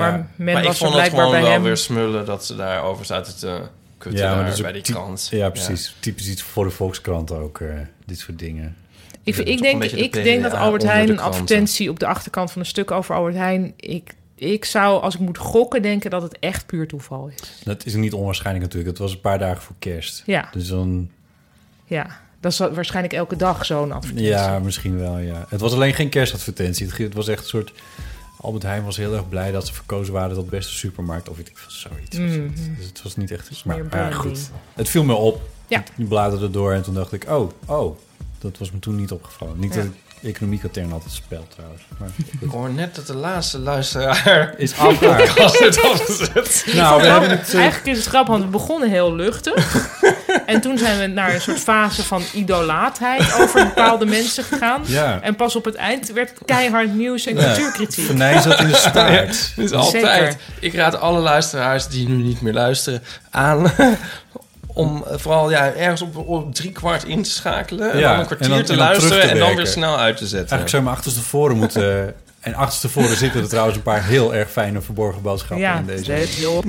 Speaker 3: Maar men
Speaker 2: Maar ik
Speaker 3: was er
Speaker 2: vond het
Speaker 3: blijkbaar
Speaker 2: gewoon
Speaker 3: bij
Speaker 2: wel
Speaker 3: hem.
Speaker 2: weer smullen dat ze daarover zaten te kutten
Speaker 4: Ja, maar
Speaker 2: daar
Speaker 4: dat is ook
Speaker 2: bij die
Speaker 4: ty-
Speaker 2: krant.
Speaker 4: Ja, precies. Typisch iets voor de Volkskrant ook, eh, dit soort dingen.
Speaker 3: Ik,
Speaker 2: Dat is
Speaker 3: ik,
Speaker 2: toch een
Speaker 3: denk,
Speaker 2: beetje de
Speaker 3: ik
Speaker 2: PvdA
Speaker 3: denk dat Albert
Speaker 2: onder
Speaker 3: Heijn
Speaker 2: de
Speaker 3: een
Speaker 2: kranten.
Speaker 3: advertentie op de achterkant van een stuk over Albert Heijn. Ik, ik zou, als ik moet gokken, denken dat het echt puur toeval is.
Speaker 4: Dat is niet onwaarschijnlijk natuurlijk. Het was een paar dagen voor kerst.
Speaker 3: Ja,
Speaker 4: Dus dan...
Speaker 3: ja. Dat is waarschijnlijk elke dag zo'n advertentie.
Speaker 4: Ja, misschien wel, ja. Het was alleen geen kerstadvertentie. Het, ge- het was echt een soort... Albert Heijn was heel erg blij dat ze verkozen waren tot beste supermarkt. Of weet ik veel, zoiets. was
Speaker 3: Mm.
Speaker 4: het. Dus het was niet echt...
Speaker 3: meer
Speaker 4: Maar ja,
Speaker 3: branding.
Speaker 4: goed. Het viel me op.
Speaker 3: Ja.
Speaker 4: Ik bladerde door en toen dacht ik... Oh, oh, Dat was me toen niet opgevallen. Niet
Speaker 3: Ja.
Speaker 4: dat ik economie-katern had gespeeld trouwens. Maar
Speaker 2: Ik hoor net dat de laatste luisteraar
Speaker 4: is
Speaker 3: <laughs>
Speaker 4: afgehaakt.
Speaker 2: als het
Speaker 4: <laughs>
Speaker 2: afgezet.
Speaker 4: nou, we hebben het... eh,
Speaker 3: Eigenlijk is het grappig, want we begonnen heel
Speaker 4: <laughs>
Speaker 3: luchtig. en toen zijn we naar een soort fase van idolaatheid over
Speaker 4: <laughs>
Speaker 3: bepaalde mensen gegaan.
Speaker 4: ja.
Speaker 3: En pas op het eind werd het keihard nieuws en
Speaker 4: Ja.
Speaker 3: cultuurkritiek.
Speaker 4: Venijn zat in de staart.
Speaker 2: Dus altijd. Ik raad alle luisteraars die nu niet meer luisteren aan <laughs> om eh, vooral ja, ergens op, op drie kwart in te schakelen. en
Speaker 4: Ja,
Speaker 2: dan een kwartier
Speaker 4: en dan-
Speaker 2: te
Speaker 4: en dan terug te
Speaker 2: luisteren en dan
Speaker 4: werken.
Speaker 2: weer snel uit te zetten.
Speaker 4: Eigenlijk zou je maar achterstevoren moeten... En achterstevoren zitten er trouwens een paar heel erg fijne verborgen boodschappen
Speaker 3: Ja,
Speaker 4: in
Speaker 3: dat
Speaker 4: deze.
Speaker 3: is heel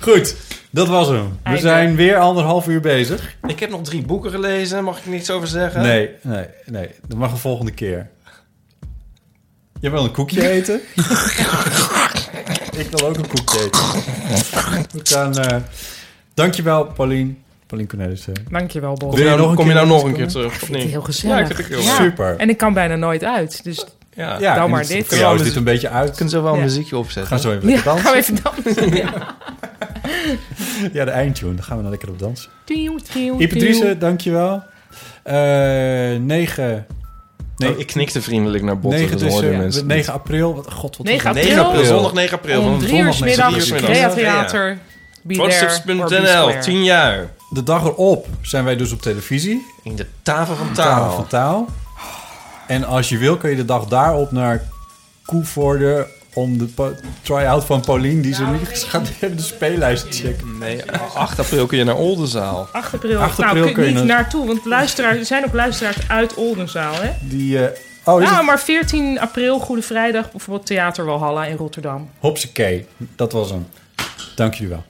Speaker 4: Goed, dat was hem. We
Speaker 3: Einde.
Speaker 4: zijn weer anderhalf uur bezig.
Speaker 2: Ik heb nog drie boeken gelezen, mag ik niks over zeggen?
Speaker 4: Nee, nee, nee. Dat mag een volgende keer. Jij wil een koekje eten? ik wil ook een koekje eten. We gaan... eh, dankjewel, Paulien. Paulien Cornelissen.
Speaker 3: Dankjewel, Bob.
Speaker 2: Kom je,
Speaker 4: Wil je
Speaker 2: nou,
Speaker 4: nog een
Speaker 2: kom je
Speaker 4: keer
Speaker 2: nou nog een keer
Speaker 4: terugkomen?
Speaker 2: terug? of
Speaker 3: vind
Speaker 2: niet?
Speaker 3: het heel gezellig.
Speaker 2: Ja, ik vind het ook heel
Speaker 3: Ja.
Speaker 2: leuk.
Speaker 4: Super.
Speaker 3: En ik kan bijna nooit uit, dus
Speaker 2: Ja.
Speaker 4: Ja,
Speaker 3: Nou
Speaker 4: en
Speaker 3: maar
Speaker 4: het-
Speaker 3: dit.
Speaker 4: Voor jou is dit een beetje
Speaker 2: We
Speaker 4: uit.
Speaker 2: kunnen zo wel een
Speaker 3: Ja.
Speaker 2: muziekje opzetten.
Speaker 4: Gaan zo even
Speaker 3: ja,
Speaker 4: lekker
Speaker 3: gaan we
Speaker 4: dansen.
Speaker 3: even
Speaker 4: <laughs>
Speaker 3: dansen.
Speaker 4: Ja, de eindtune. Dan gaan we nou lekker op dansen.
Speaker 3: Tieuw, tieuw, tieuw.
Speaker 4: Ipatrice, dankjewel. Eh 9...
Speaker 2: Nee,
Speaker 4: Nee,
Speaker 2: Oh, ik knikte vriendelijk naar Botten,
Speaker 4: 9,
Speaker 2: dat hoorden
Speaker 4: tussen-
Speaker 2: mensen
Speaker 4: 9 april. Wat, God, wat
Speaker 3: 9
Speaker 2: niet. 9
Speaker 3: april.
Speaker 2: april, zondag 9 april.
Speaker 3: Om
Speaker 2: van
Speaker 3: drie uur 's
Speaker 4: zondag
Speaker 2: met
Speaker 3: middags,
Speaker 2: z'n drieën.
Speaker 3: Crea
Speaker 2: Ja.
Speaker 3: Theater. Be there or be
Speaker 2: Frontstips.nl,
Speaker 3: square.
Speaker 2: 10 jaar.
Speaker 4: De dag erop zijn wij dus op televisie.
Speaker 2: In de tafel van
Speaker 4: Tafel
Speaker 2: taal.
Speaker 4: van Taal. En als je wil, kun je de dag daarop naar Koevoorde om de pa- try-out van Paulien, die ze nu gaat hebben, de speellijst te checken.
Speaker 2: Nee, 8 april kun je naar Oldenzaal.
Speaker 3: 8 april.
Speaker 4: 8
Speaker 3: nou,
Speaker 4: april
Speaker 3: kun
Speaker 4: kun je
Speaker 3: je niet
Speaker 4: nog-
Speaker 3: naartoe, want luisteraars, er zijn ook luisteraars uit Oldenzaal, hè?
Speaker 4: Die, eh, oh, is
Speaker 3: Nou,
Speaker 4: het?
Speaker 3: maar 14 april, Goede Vrijdag, bijvoorbeeld Theater Walhalla in Rotterdam.
Speaker 4: Hopsakee, dat was hem. Dank jullie wel.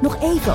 Speaker 1: Nog even